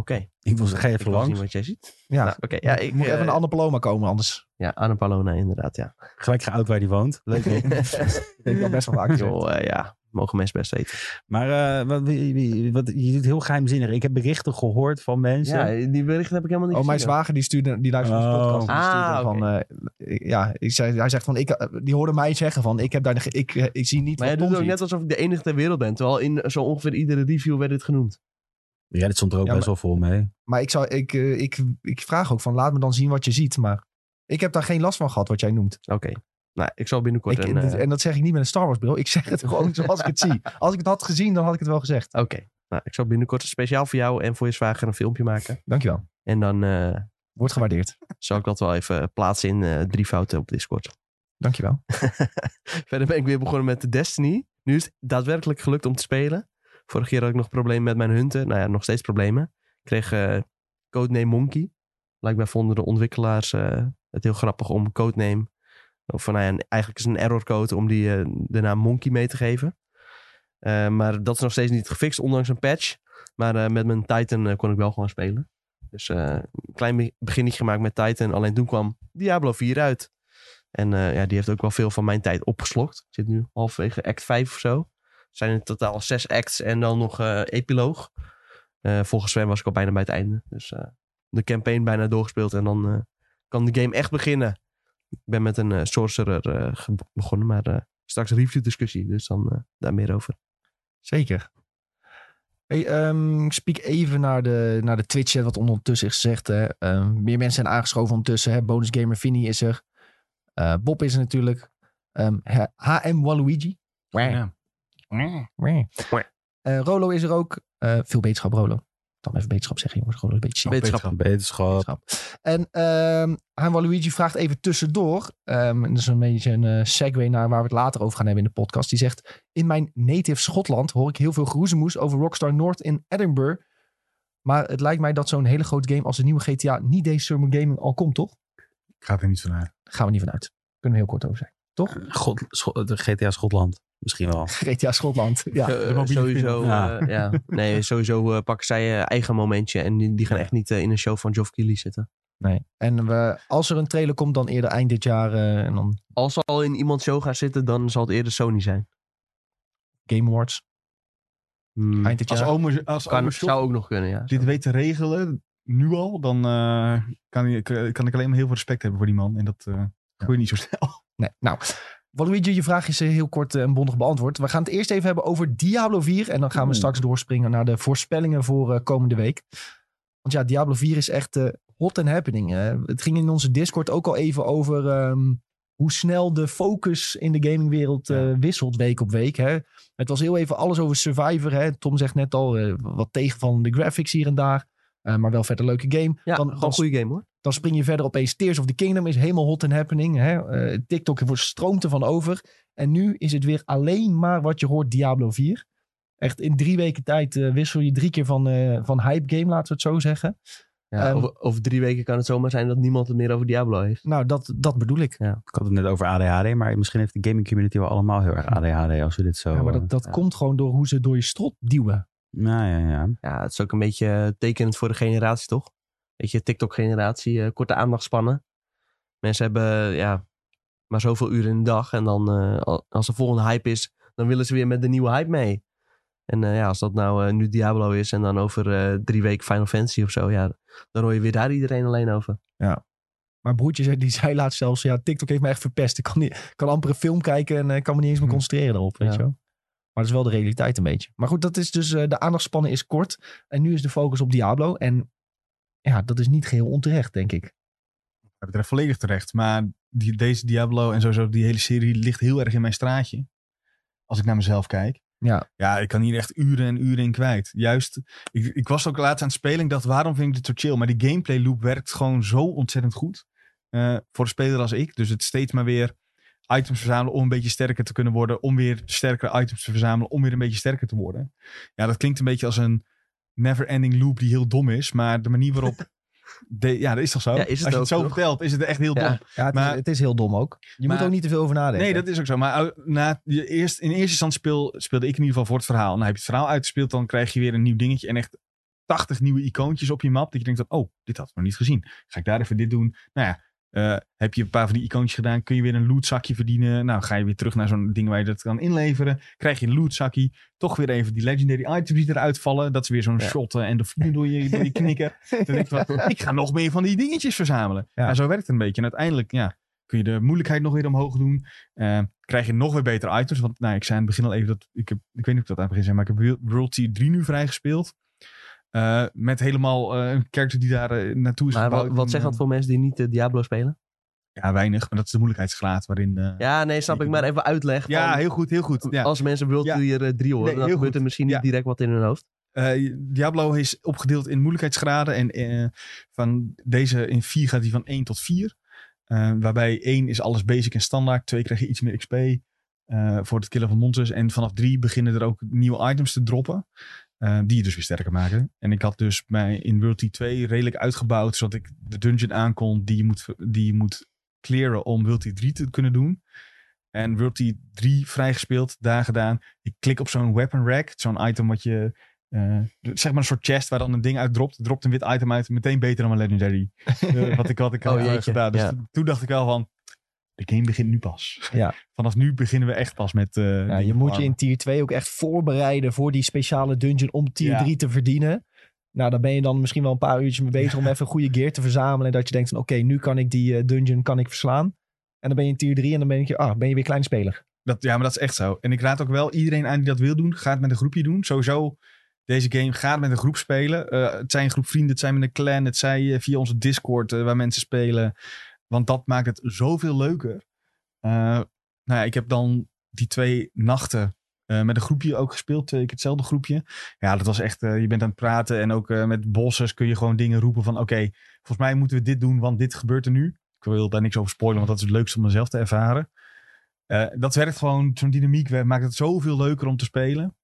Speaker 3: Ik wil ze ga je even
Speaker 4: Ik wil zien
Speaker 3: langs.
Speaker 4: wat jij ziet.
Speaker 1: Ja,
Speaker 4: Nou, oké. Ja, ik
Speaker 1: moet even
Speaker 4: eh,
Speaker 1: naar Anne Paloma komen, anders
Speaker 4: Ja, Anna Palona, inderdaad, ja.
Speaker 3: Gelijk geout waar die woont. Leuk. hè?
Speaker 1: ben ik al best wel vaak gezegd.
Speaker 4: Joh, eh, ja, mogen mensen best weten.
Speaker 3: maar eh, wat, wie- wie- wat, je doet heel geheimzinnig. Ik heb berichten gehoord van mensen.
Speaker 4: Ja, die berichten heb ik helemaal niet
Speaker 1: Oh, mijn
Speaker 4: gezien, hoor.
Speaker 1: zwager die stuurde, die luisterde onze
Speaker 3: Oh.
Speaker 1: podcast. en die stuurde
Speaker 4: Ah,
Speaker 1: van, eh, ja, ik zei, hij zegt van, ik, eh, die hoorde mij zeggen van, ik heb daar, ge- ik, eh, ik zie niet
Speaker 4: Maar jij
Speaker 1: wat
Speaker 4: doet
Speaker 1: Tom
Speaker 4: ook
Speaker 1: ziet.
Speaker 4: net alsof ik de enige ter wereld ben. Terwijl in zo ongeveer iedere review werd dit genoemd.
Speaker 3: Ja, dit stond er ook
Speaker 1: Ja,
Speaker 3: best wel vol mee.
Speaker 1: Maar ik, zou, ik, eh, ik, ik vraag ook van, laat me dan zien wat je ziet. Maar ik heb daar geen last van gehad, wat jij noemt.
Speaker 4: Oké. Nou, ik zal binnenkort
Speaker 1: Ik-
Speaker 4: een... eh,
Speaker 1: dit- en dat zeg ik niet met een Star Wars bril. Ik zeg het gewoon zoals ik het zie. Als ik het had gezien, dan had ik het wel gezegd.
Speaker 4: Oké. Nou, ik zal binnenkort speciaal voor jou en voor je zwager een filmpje maken.
Speaker 1: Dankjewel.
Speaker 4: En dan eh,
Speaker 1: Wordt gewaardeerd.
Speaker 4: zal ik dat wel even plaatsen in eh drievouten op Discord.
Speaker 1: Dankjewel.
Speaker 4: Verder ben ik weer begonnen met Destiny. Nu is het daadwerkelijk gelukt om te spelen. Vorige keer had ik nog problemen met mijn hunten. Nou ja, nog steeds problemen. Ik kreeg eh, codename Monkey. Blijkbaar vonden de ontwikkelaars eh, het heel grappig om codename... Of nou ja, een- eigenlijk is het een errorcode om die, eh, de naam Monkey mee te geven. Eh, maar dat is nog steeds niet gefixt, ondanks een patch. Maar eh, met mijn Titan eh, kon ik wel gewoon spelen. Dus eh, een klein be- beginnetje gemaakt met Titan. Alleen toen kwam Diablo 4 uit. En eh, ja, die heeft ook wel veel van mijn tijd opgeslokt. Ik zit nu halverwege act 5 of zo. Er zijn in totaal zes acts en dan nog eh, epiloog. Eh, volgens Sven was ik al bijna bij het einde. Dus eh, de campaign bijna doorgespeeld. En dan eh, kan de game echt beginnen. Ik ben met een eh, sorcerer eh, ge- begonnen. Maar eh, straks review discussie. Dus dan eh, daar meer over.
Speaker 1: Zeker. Hey, ehm, ik speak even naar de, naar de Twitch, hè, wat ondertussen is gezegd. Hè. Ehm, meer mensen zijn aangeschoven ondertussen. Hè. Bonus Gamer Vinny is er. Eh, Bob is er natuurlijk. Ehm, H- HM Waluigi.
Speaker 2: Ja.
Speaker 1: Wah. Eh, Rolo is er ook. Eh, veel beterschap, Rolo. Dan even beterschap zeggen, jongens. Rolo is een beetje ziek.
Speaker 4: Wetenschap.
Speaker 3: Beterschap.
Speaker 1: En ehm Han Waluigi vraagt even tussendoor. ehm, en dat is een beetje een eh, segue naar waar we het later over gaan hebben in de podcast. Die zegt: In mijn native Schotland hoor ik heel veel geroezemoes over Rockstar North in Edinburgh. Maar het lijkt mij dat zo'n hele grote game als de nieuwe GTA niet deze summer gaming al komt, toch?
Speaker 2: Ik ga er niet van uit.
Speaker 1: Daar gaan we niet vanuit. Kunnen we heel kort over zijn.
Speaker 3: God, Scho- de GTA Schotland. Misschien wel.
Speaker 1: GTA Schotland. Ja.
Speaker 4: Eh,
Speaker 2: de mobiele
Speaker 4: sowieso,
Speaker 3: spin-off.
Speaker 4: eh, ja. Nee, sowieso eh, pakken zij eh, eigen momentje. En die, die gaan echt niet eh, in een show van Geoff Keighley zitten.
Speaker 1: Nee. En we, als er een trailer komt, dan eerder eind dit jaar. eh, en dan
Speaker 4: Als ze al in iemands show gaan zitten, dan zal het eerder Sony zijn.
Speaker 1: Game Awards.
Speaker 4: Hmm.
Speaker 1: Eind dit
Speaker 2: Als
Speaker 1: jaar.
Speaker 2: Omer, als
Speaker 4: Kan,
Speaker 2: Omer Shop
Speaker 4: zou ook nog kunnen, ja.
Speaker 2: dit weet te regelen, nu al, dan eh, kan, ik, kan ik alleen maar heel veel respect hebben voor die man. En dat eh gebeurt niet zo snel.
Speaker 1: Nee, nou. Waluigi, je vraag is eh, heel kort eh, en bondig beantwoord. We gaan het eerst even hebben over Diablo 4. En dan gaan we
Speaker 3: Oeh.
Speaker 1: straks doorspringen naar de voorspellingen voor eh, komende week. Want ja, Diablo 4 is echt eh, hot and happening. hè. Het ging in onze Discord ook al even over ehm, hoe snel de focus in de gamingwereld eh, wisselt week op week. Hè. Het was heel even alles over Survivor. Hè. Tom zegt net al eh, wat tegenvallende graphics hier en daar. Eh, maar wel verder leuke game. dan,
Speaker 4: Ja, gewoon een
Speaker 1: dan
Speaker 4: goede game hoor.
Speaker 1: dan spring je verder opeens. Tears of the Kingdom is helemaal hot and happening. Hè? Eh, TikTok wordt stroomt ervan over. En nu is het weer alleen maar wat je hoort Diablo 4. Echt in drie weken tijd eh, wissel je drie keer van, eh, van hype game, laten we het zo zeggen.
Speaker 4: Ja,
Speaker 1: Ehm,
Speaker 4: over, over drie weken kan het zomaar zijn dat niemand het meer over Diablo heeft.
Speaker 1: Nou, dat, dat bedoel ik.
Speaker 3: Ik had het net over ADHD, maar misschien heeft de gaming community wel allemaal heel erg ADHD als we dit zo...
Speaker 1: Ja, maar dat, dat
Speaker 4: ja.
Speaker 1: komt gewoon door hoe ze door je strot duwen.
Speaker 3: eh, nou ja, ja.
Speaker 4: Ja, het is ook een beetje eh, tekenend voor de generatie, toch? Weet je, TikTok-generatie, eh, korte aandachtspannen. Mensen hebben eh, ja, maar zoveel uren in de dag. En dan, eh, al- als de volgende hype is, dan willen ze weer met de nieuwe hype mee. En eh, ja, als dat nou eh, nu Diablo is en dan over eh, drie weken Final Fantasy of zo, ja, dan hoor je weer daar iedereen alleen over.
Speaker 1: Maar broertje zei, die zei laatst zelfs, ja, TikTok heeft me echt verpest. Ik kan, niet, ik kan amper een film kijken en eh, ik kan me niet eens meer
Speaker 2: Hm.
Speaker 1: concentreren erop, weet
Speaker 4: Ja.
Speaker 1: je wel. Maar dat is wel de realiteit een beetje. Maar goed, dat is dus, eh, de aandachtspannen is kort. En nu is de focus op Diablo. En ja, dat is niet geheel onterecht, denk ik.
Speaker 2: Dat betreft volledig terecht. Maar die, deze Diablo en sowieso die hele serie ligt heel erg in mijn straatje. Als ik naar mezelf kijk.
Speaker 1: Ja.
Speaker 2: Ja, ik kan hier echt uren en uren in kwijt. Juist, ik, ik was ook laatst aan het spelen. Ik dacht, waarom vind ik dit zo chill? Maar die gameplay loop werkt gewoon zo ontzettend goed. eh, voor een speler als ik. Dus het steeds maar weer items verzamelen om een beetje sterker te kunnen worden. Om weer sterkere items te verzamelen. Om weer een beetje sterker te worden. Ja, dat klinkt een beetje als een never ending loop die heel dom is. Maar de manier waarop... de- ja, dat is toch zo?
Speaker 4: Ja, is het
Speaker 2: als je het
Speaker 4: ook,
Speaker 2: zo
Speaker 4: toch?
Speaker 2: vertelt, is het echt heel
Speaker 4: Ja.
Speaker 2: dom.
Speaker 1: Ja, het, is,
Speaker 2: Maar-
Speaker 1: het is heel dom ook. Je moet
Speaker 2: maar-
Speaker 1: er ook niet te veel over nadenken.
Speaker 2: Nee, dat is ook zo. Maar au- na, je eerst, in eerste instantie speel, speelde ik in ieder geval voor het verhaal. Nou, heb je het verhaal uitgespeeld, dan krijg je weer een nieuw dingetje. En echt 80 nieuwe icoontjes op je map. Dat je denkt van, oh, dit had ik nog niet gezien. Ga ik daar even dit doen? Nou ja, eh, heb je een paar van die icoontjes gedaan, kun je weer een lootzakje verdienen. Nou, ga je weer terug naar zo'n ding waar je dat kan inleveren. Krijg je een lootzakje. Toch weer even die legendary items die eruit vallen. Dat is weer zo'n
Speaker 4: Ja.
Speaker 2: shotten en de voeten door je, door je knikker. Dan denk je van, ik ga nog meer van die dingetjes verzamelen.
Speaker 1: Ja.
Speaker 2: Ja. zo werkt het een beetje. En uiteindelijk, ja, kun je de moeilijkheid nog weer omhoog doen. Eh, krijg je nog weer betere items. Want nou, ik zei aan het begin al even dat... Ik, heb, ik weet niet of ik dat aan het begin zei, maar ik heb World- World Tier 3 nu vrijgespeeld. Eh met helemaal eh, een character die daar eh, naartoe is
Speaker 4: Maar wat,
Speaker 2: gebouwd.
Speaker 4: wat zegt dat voor mensen die niet eh, Diablo spelen?
Speaker 2: Ja, weinig. Maar dat is de moeilijkheidsgraad waarin... eh,
Speaker 4: Ja, nee, snap ik. Maar even uitleg. van-
Speaker 2: ja, heel goed, heel goed. Ja.
Speaker 4: Als mensen World
Speaker 2: Ja.
Speaker 4: Tier eh, 3 horen,
Speaker 2: Nee,
Speaker 4: dan
Speaker 2: heel
Speaker 4: gebeurt
Speaker 2: goed.
Speaker 4: er misschien
Speaker 2: Ja.
Speaker 4: niet direct wat in hun hoofd.
Speaker 2: Eh, Diablo is opgedeeld in moeilijkheidsgraden. En eh, van deze in 4 gaat die van 1 tot 4. Eh, waarbij 1 is alles basic en standaard. 2 krijg je iets meer XP eh, voor het killen van monsters. En vanaf 3 beginnen er ook nieuwe items te droppen. eh, die je dus weer sterker maken. En ik had dus mij in World Tier 2 redelijk uitgebouwd. Zodat ik de dungeon aankon die je moet, die je moet clearen om World Tier 3 te kunnen doen. En World Tier 3 vrijgespeeld, daar gedaan. Ik klik op zo'n weapon rack. Zo'n item wat je eh, zeg maar een soort chest waar dan een ding uit dropt. Dropt een wit item uit. Meteen beter dan mijn legendary. Eh, wat ik, wat ik
Speaker 4: Oh,
Speaker 2: had eh,
Speaker 4: jeetje,
Speaker 2: gedaan. Dus
Speaker 4: ja.
Speaker 2: toen- toen dacht ik wel van. De game begint nu pas.
Speaker 1: Ja.
Speaker 2: Vanaf nu beginnen we echt pas met. eh,
Speaker 1: Ja,
Speaker 2: dingen
Speaker 1: je moet je
Speaker 2: farmen.
Speaker 1: in tier 2 ook echt voorbereiden voor die speciale dungeon om tier
Speaker 2: Ja.
Speaker 1: 3 te verdienen. Nou, daar ben je dan misschien wel een paar uurtjes mee bezig om even goede gear te verzamelen. En dat je denkt van oké, nu kan ik die eh, dungeon kan ik verslaan. En dan ben je in tier 3 en dan ben je, ah, ben je weer kleinspeler.
Speaker 2: Dat, ja, maar dat is echt zo. En ik raad ook wel iedereen aan die dat wil doen. Ga het met een groepje doen. Sowieso, deze game gaat met een groep spelen. Eh, het zijn een groep vrienden, het zijn met een clan. Het zijn eh, via onze Discord eh, waar mensen spelen. Want dat maakt het zoveel leuker. Eh, nou ja, ik heb dan die twee nachten eh, met een groepje ook gespeeld. Twee keer hetzelfde groepje. Ja, dat was echt, eh, je bent aan het praten. En ook eh, met bossers kun je gewoon dingen roepen van... Oké, volgens mij moeten we dit doen, want dit gebeurt er nu. Ik wil daar niks over spoilen, want dat is het leukste om mezelf te ervaren. Eh, dat werkt gewoon, zo'n dynamiek wer- maakt het zoveel leuker om te spelen.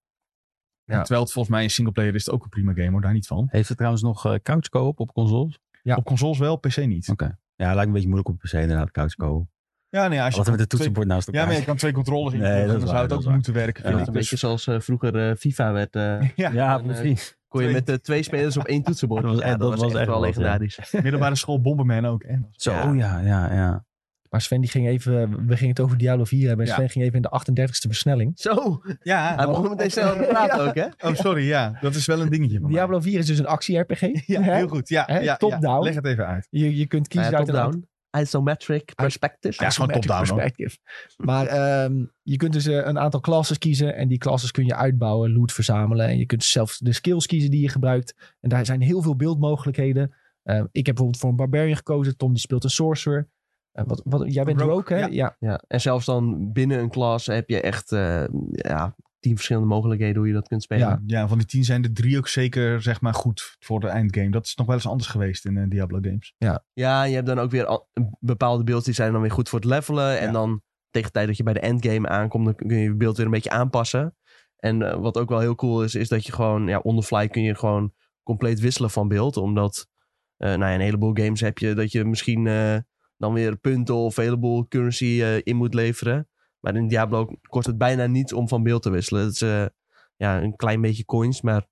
Speaker 1: Ja.
Speaker 2: Terwijl het volgens mij in singleplayer is het ook een prima game, hoor, daar niet van.
Speaker 3: Heeft het trouwens nog eh, couch co-op op consoles?
Speaker 1: Ja.
Speaker 2: Op consoles wel, PC niet.
Speaker 3: Oké. Ja, lijkt me een beetje moeilijk op PC inderdaad, couch co-op.
Speaker 2: Ja, nee, als je
Speaker 3: Wat we met
Speaker 2: twee-
Speaker 3: de toetsenbord naast elkaar.
Speaker 2: Ja, maar je kan twee controllers in.
Speaker 3: Nee, dat is
Speaker 2: dan
Speaker 3: waar,
Speaker 2: zou het
Speaker 3: dat
Speaker 2: ook
Speaker 3: is waar.
Speaker 2: moeten werken,
Speaker 3: Ja.
Speaker 2: vind
Speaker 4: Dat is
Speaker 2: ik.
Speaker 4: een
Speaker 2: Dus,
Speaker 4: beetje zoals eh, vroeger eh, FIFA werd. eh,
Speaker 2: ja,
Speaker 3: Ja,
Speaker 4: En, eh,
Speaker 3: precies.
Speaker 4: kon je
Speaker 2: Twee-
Speaker 4: met eh, twee spelers op één toetsenbord.
Speaker 3: Dat was echt- dat was echt wel
Speaker 4: wel
Speaker 3: wat, ja.
Speaker 4: legendarisch.
Speaker 2: middelbare school Bomberman ook. Hè?
Speaker 3: Zo,
Speaker 4: Ja.
Speaker 3: ja, ja, ja.
Speaker 1: Maar Sven die ging even, eh, we gingen het over Diablo 4 hebben. En
Speaker 2: Ja.
Speaker 1: Sven ging even in de 38ste versnelling.
Speaker 4: Zo,
Speaker 2: Ja,
Speaker 4: hij begon meteen snel te praten ook, hè?
Speaker 2: oh sorry, ja. Dat is wel een dingetje. van mij.
Speaker 1: Diablo 4 is dus een actie-RPG.
Speaker 2: Ja,
Speaker 1: Hè?
Speaker 2: heel goed. Nou Ja,
Speaker 1: Hè?
Speaker 2: ja, ja.
Speaker 1: Top-down.
Speaker 2: Leg het even uit.
Speaker 1: je, je kunt kiezen
Speaker 4: Ja,
Speaker 1: uit een aantal-
Speaker 4: top-down. Isometric perspective.
Speaker 2: Ja, gewoon
Speaker 1: isometric
Speaker 2: top-down, hoor.
Speaker 1: perspective. Maar ehm, je kunt dus eh, een aantal classes kiezen. En die classes kun je uitbouwen, loot verzamelen. En je kunt zelf de skills kiezen die je gebruikt. En daar zijn heel veel beeldmogelijkheden. Ehm, ik heb bijvoorbeeld voor een barbarian gekozen. Tom die speelt een sorcerer. Eh, wat, wat, jij bent
Speaker 2: Rogue,
Speaker 1: rogue, hè?
Speaker 2: ja.
Speaker 1: Ja.
Speaker 4: Ja, en zelfs dan binnen een klas heb je echt eh, ja, tien verschillende mogelijkheden hoe je dat kunt spelen.
Speaker 1: Ja.
Speaker 2: Ja, van die tien zijn de drie ook zeker zeg maar, goed voor de eindgame. Dat is nog wel eens anders geweest in eh, Diablo games.
Speaker 4: Ja, je hebt dan ook weer al- bepaalde beelds die zijn dan weer goed voor het levelen. En
Speaker 2: Ja.
Speaker 4: dan tegen de tijd dat je bij de endgame aankomt, dan kun je je beeld weer een beetje aanpassen. En eh, wat ook wel heel cool is, is dat je gewoon, ja, on the fly kun je gewoon compleet wisselen van beeld. Omdat, eh nou ja, in een heleboel games heb je dat je misschien eh, dan weer punten of een heleboel currency eh, in moet leveren. Maar in Diablo kost het bijna niet om van beeld te wisselen. Het is eh, ja, een klein beetje coins, maar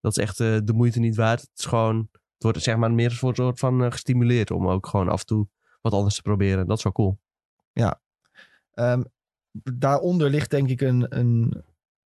Speaker 4: dat is echt eh, de moeite niet waard. Het is gewoon het wordt zeg maar meer voor een soort van eh, gestimuleerd om ook gewoon af en toe wat anders te proberen. Dat is wel cool.
Speaker 1: Ehm, daaronder ligt denk ik een, een,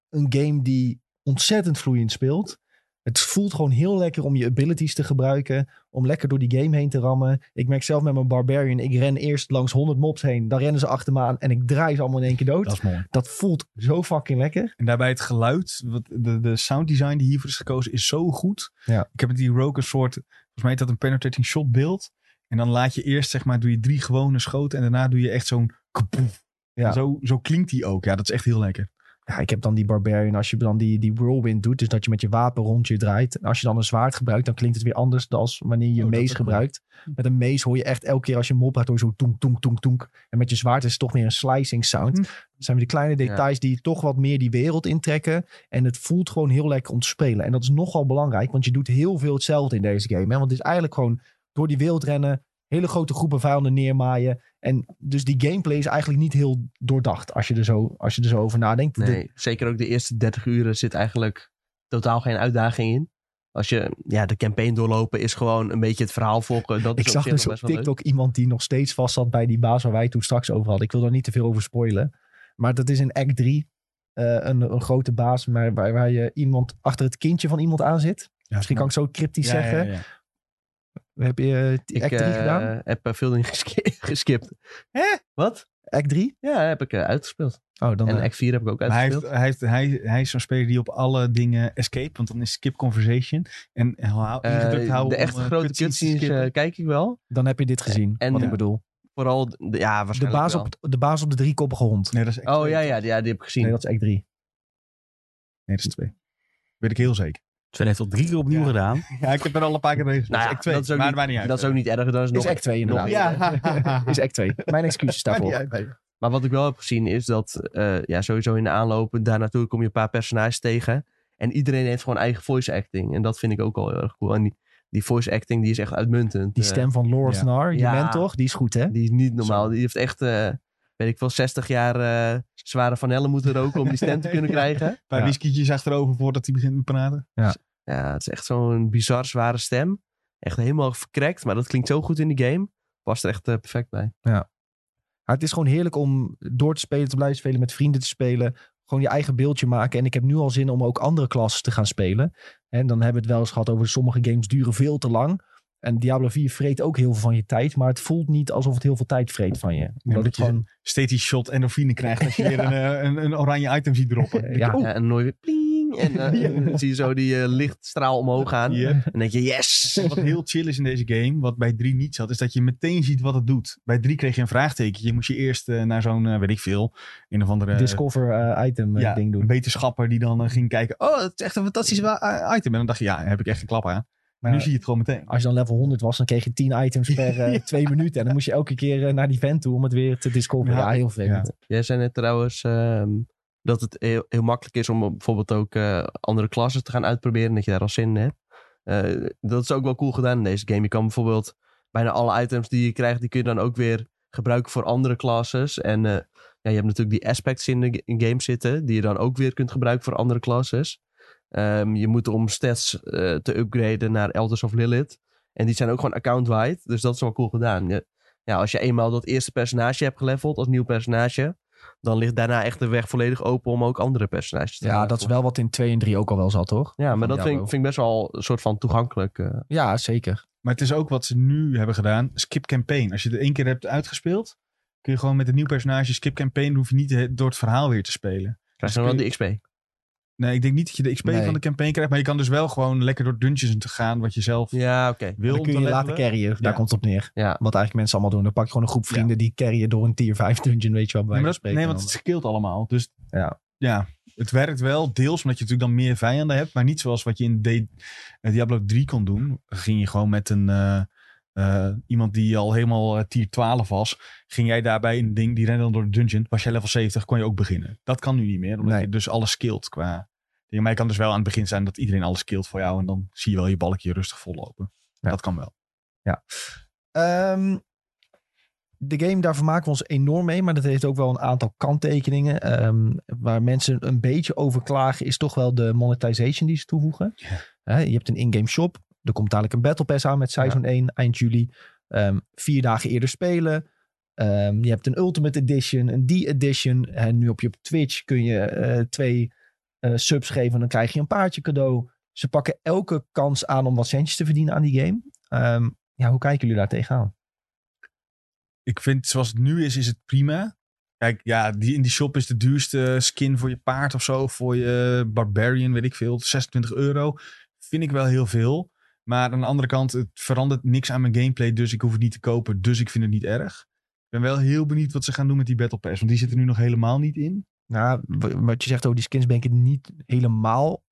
Speaker 1: een game die ontzettend vloeiend speelt. Het voelt gewoon heel lekker om je abilities te gebruiken. Om lekker door die game heen te rammen. Ik merk zelf met mijn Barbarian. Ik ren eerst langs 100 mobs heen. Dan rennen ze achter me aan. En ik draai ze allemaal in één keer dood.
Speaker 2: Dat
Speaker 1: Dat,
Speaker 2: is mooi.
Speaker 1: voelt zo fucking lekker.
Speaker 2: En daarbij het geluid, wat de, de sound design die hiervoor is gekozen, is zo goed.
Speaker 1: Ja.
Speaker 2: Ik heb met die Rogue een soort, volgens mij heet dat een penetrating shot beeld. En dan laat je eerst, zeg maar, doe je drie gewone schoten en daarna doe je echt zo'n kapoef.
Speaker 1: Ja.
Speaker 2: Zo, zo klinkt die ook. Ja, dat is echt heel lekker.
Speaker 1: Ja, ik heb dan die Barbarian. Als je dan die, die whirlwind doet, dus dat je met je wapen rond je draait. En als je dan een zwaard gebruikt, dan klinkt het weer anders dan als wanneer je
Speaker 2: Oh,
Speaker 1: een
Speaker 2: dat
Speaker 1: mace
Speaker 2: is cool.
Speaker 1: gebruikt. Met een mace hoor je echt elke keer als je een mol praat, hoor je zo toenk, toenk, toenk, toenk. En met je zwaard is het toch meer een slicing sound.
Speaker 2: Hm.
Speaker 1: Dat zijn weer die kleine details die toch wat meer die wereld intrekken. En het voelt gewoon heel lekker om te spelen. En dat is nogal belangrijk, want je doet heel veel hetzelfde in deze game. Hè? Want het is eigenlijk gewoon door die wereld rennen, hele grote groepen vijanden neermaaien. En dus die gameplay is eigenlijk niet heel doordacht als je er zo, als je er zo over nadenkt. De-
Speaker 4: Nee, zeker ook de eerste 30 uren zit eigenlijk totaal geen uitdaging in. Als je ja, de campaign doorlopen is gewoon een beetje het verhaal volgen. Dat is
Speaker 1: ik zag
Speaker 4: zich
Speaker 1: dus
Speaker 4: nog
Speaker 1: op
Speaker 4: best wel leuk.
Speaker 1: TikTok iemand die nog steeds vast zat bij die baas waar wij het toen straks over hadden. Ik wil daar niet te veel over spoilen. Maar dat is in Act 3 eh, een, een grote baas maar waar, waar je iemand achter het kindje van iemand aan zit. Misschien kan ik zo cryptisch zeggen. Heb je eh,
Speaker 4: Ik
Speaker 1: Act 3
Speaker 4: eh,
Speaker 1: gedaan?
Speaker 4: heb eh, veel dingen geski- geskipt. Hè? Wat?
Speaker 1: Act 3?
Speaker 4: Ja, heb ik eh, uitgespeeld.
Speaker 1: Oh, dan
Speaker 4: en
Speaker 1: eh,
Speaker 4: Act 4 heb ik ook
Speaker 2: Maar hij, heeft,
Speaker 4: uitgespeeld.
Speaker 2: hij, heeft, hij, hij is zo'n speler die op alle dingen escape, want dan is skip conversation. En hou,
Speaker 4: Eh,
Speaker 2: ingedrukt houden
Speaker 4: de
Speaker 2: om,
Speaker 4: echt
Speaker 2: eh,
Speaker 4: grote
Speaker 2: cutscenes te
Speaker 4: cutscenes
Speaker 2: skippen.
Speaker 4: eh, kijk ik wel.
Speaker 1: dan heb je dit gezien,
Speaker 4: en-
Speaker 1: wat
Speaker 2: ja.
Speaker 1: ik bedoel.
Speaker 4: Vooral, de- ja,
Speaker 1: De
Speaker 4: waarschijnlijk
Speaker 1: baas,
Speaker 4: wel.
Speaker 1: op, het- de baas op de driekoppige hond.
Speaker 2: Nee, dat is Act
Speaker 4: Oh
Speaker 2: twee.
Speaker 4: ja, ja, ja, die heb ik gezien.
Speaker 1: Nee, dat is Act 3.
Speaker 2: Nee, dat is twee. Weet ik heel zeker.
Speaker 3: Sven heeft al drie keer opnieuw
Speaker 2: Ja.
Speaker 3: gedaan.
Speaker 2: Ja, ik heb er al een paar keer tegen
Speaker 4: Nou ja,
Speaker 2: gespeeld. Act twee,
Speaker 4: dat is ook
Speaker 2: maar
Speaker 4: niet-
Speaker 2: maakt niet uit.
Speaker 4: dat is ook niet erg. Dat is
Speaker 1: Is
Speaker 4: nog
Speaker 1: Act 2
Speaker 4: nog-
Speaker 1: inderdaad.
Speaker 2: Ja.
Speaker 1: Is Act 2. Mijn excuses
Speaker 2: Maakt
Speaker 1: daarvoor.
Speaker 2: niet uit, nee.
Speaker 4: Maar wat ik wel heb gezien is dat, eh, ja, sowieso in de aanlopen daar naartoe kom je een paar personages tegen. En iedereen heeft gewoon eigen voice acting. En dat vind ik ook al heel erg cool. En die, die voice acting die is echt uitmuntend.
Speaker 1: Die
Speaker 4: Eh,
Speaker 1: stem van Lord
Speaker 2: Ja.
Speaker 1: Snar, je
Speaker 4: Ja.
Speaker 1: bent toch? Die is goed, hè?
Speaker 4: die is niet normaal. Die heeft echt, eh, weet ik veel, 60 jaar eh, zware vanellen moeten roken om die stem te kunnen
Speaker 2: Ja.
Speaker 4: krijgen.
Speaker 2: Een paar
Speaker 1: Ja.
Speaker 2: whiskytjes achterover voordat hij begint met praten.
Speaker 4: Ja, het is echt zo'n bizar zware stem. Echt helemaal verkrekt, maar dat klinkt zo goed in die game. Past er echt eh, perfect bij.
Speaker 1: Maar het is gewoon heerlijk om door te spelen, te blijven spelen, met vrienden te spelen. Gewoon je eigen beeldje maken. En ik heb nu al zin om ook andere klassen te gaan spelen. En dan hebben we het wel eens gehad over sommige games duren veel te lang. En Diablo 4 vreet ook heel veel van je tijd. Maar het voelt niet alsof het heel veel tijd vreet van je. Omdat
Speaker 2: omdat
Speaker 1: het
Speaker 2: je-
Speaker 1: gewoon...
Speaker 2: Steeds die shot endorfine krijgt als je weer een, eh, een, een Oh. oranje item ziet droppen.
Speaker 1: eh, Ja.
Speaker 4: Ja, en nooit weer pling. En eh, dan zie je zo die eh, lichtstraal omhoog gaan.
Speaker 2: Yep.
Speaker 4: En dan denk je, yes!
Speaker 2: eh, Wat heel chill is in deze game, wat bij 3 niet zat, is dat je meteen ziet wat het doet. Bij 3 kreeg je een vraagteken. Je moest je eerst eh, naar zo'n, eh, weet ik veel, een of andere
Speaker 1: Discover eh, item eh,
Speaker 2: ja,
Speaker 1: ding doen.
Speaker 2: wetenschapper die dan eh, ging kijken. Oh, het is echt een fantastisch wa- eh, item. En dan dacht je, ja, daar heb ik echt een klap aan. Maar nu
Speaker 1: Ja.
Speaker 2: zie je het gewoon meteen.
Speaker 1: Als je dan level 100 was, dan kreeg je 10 items per eh, twee minuten. En dan moest je elke keer eh, naar die vent toe om het weer te discoveren.
Speaker 2: Ja.
Speaker 1: Ja, heel vervelend.
Speaker 4: Jij zei net trouwens ehm, dat het heel, heel makkelijk is om bijvoorbeeld ook eh, andere klassen te gaan uitproberen. Dat je daar al zin in hebt. Eh, dat is ook wel cool gedaan in deze game. Je kan bijvoorbeeld bijna alle items die je krijgt, die kun je dan ook weer gebruiken voor andere classes. En eh, ja, je hebt natuurlijk die aspects in de g- in game zitten, die je dan ook weer kunt gebruiken voor andere classes. Ehm, je moet om stats eh, te upgraden naar Elders of Lilith. En die zijn ook gewoon account-wide, dus dat is wel cool gedaan. Je- ja, als je eenmaal dat eerste personage hebt geleveld als nieuw personage, dan ligt daarna echt de weg volledig open om ook andere personages te
Speaker 1: Ja, dat is
Speaker 4: levelen.
Speaker 1: wel wat in 2 en 3 ook al wel zat, toch?
Speaker 4: Ja,
Speaker 1: Van
Speaker 4: maar dat vind,
Speaker 1: Diablo.
Speaker 4: ik- vind ik best wel een soort van toegankelijk. eh.
Speaker 1: Ja, zeker.
Speaker 2: Maar het is ook wat ze nu hebben gedaan. Skip campaign. Als je het één keer hebt uitgespeeld, kun je gewoon met een nieuw personage skip campaign. Dan hoef je niet eh, door het verhaal weer te spelen.
Speaker 4: krijg je dan wel die XP.
Speaker 2: Nee, ik denk niet dat je de XP
Speaker 1: Nee.
Speaker 2: van de campaign krijgt. Maar je kan dus wel gewoon lekker door dungeons te gaan. Wat je zelf
Speaker 4: Ja, oké.
Speaker 2: wil.
Speaker 1: Dan
Speaker 2: om
Speaker 1: kun
Speaker 2: te
Speaker 1: je laten
Speaker 2: levelen.
Speaker 1: carryen. Daar
Speaker 2: Ja.
Speaker 1: komt het op neer.
Speaker 4: Ja.
Speaker 1: Wat eigenlijk mensen allemaal doen. Dan pak je gewoon een groep vrienden die carryen door een tier 5 dungeon, weet je wel. bij
Speaker 2: Nee, maar
Speaker 1: wijze
Speaker 2: dat,
Speaker 1: van
Speaker 2: nee,
Speaker 1: spreken.
Speaker 2: want het scheelt allemaal. Dus
Speaker 1: Ja.
Speaker 2: ja, het werkt wel deels omdat je natuurlijk dan meer vijanden hebt. Maar niet zoals wat je in D- eh, Diablo 3 kon doen. Ging je gewoon met een... eh, eh, iemand die al helemaal eh, tier 12 was. Ging jij daarbij een ding, die rende dan door de dungeon. Was jij level 70, kon je ook beginnen. Dat kan nu niet meer, omdat
Speaker 1: Nee.
Speaker 2: je dus alles skillt qua... dingen. Maar je kan dus wel aan het begin zijn dat iedereen alles skillt voor jou. En dan zie je wel je balkje rustig vollopen.
Speaker 1: Ja.
Speaker 2: Dat kan wel.
Speaker 1: Ehm, de game, daar vermaken we ons enorm mee. Maar dat heeft ook wel een aantal kanttekeningen. Ehm, waar mensen een beetje over klagen, is toch wel de monetization die ze toevoegen. Hè, je hebt een in-game shop. Er komt dadelijk een Battle Pass aan met Seizoen 1 eind juli. Ehm, vier dagen eerder spelen. Ehm, je hebt een Ultimate Edition, een D-Edition. En nu op je op Twitch kun je eh, twee eh, subs geven. Dan krijg je een paardje cadeau. Ze pakken elke kans aan om wat centjes te verdienen aan die game. Ehm, ja, hoe kijken jullie daar tegenaan?
Speaker 2: ik vind zoals het nu is, is het prima. Kijk, ja, die, in die shop is de duurste skin voor je paard of zo. Voor je barbarian, weet ik veel. 26 euro. Vind ik wel heel veel. Maar aan de andere kant, het verandert niks aan mijn gameplay. Dus ik hoef het niet te kopen. Dus ik vind het niet erg. Ik ben wel heel benieuwd wat ze gaan doen met die Battle Pass. Want die zit er nu nog helemaal niet in.
Speaker 1: nou, w- wat je zegt over die skins ben ik het niet helemaal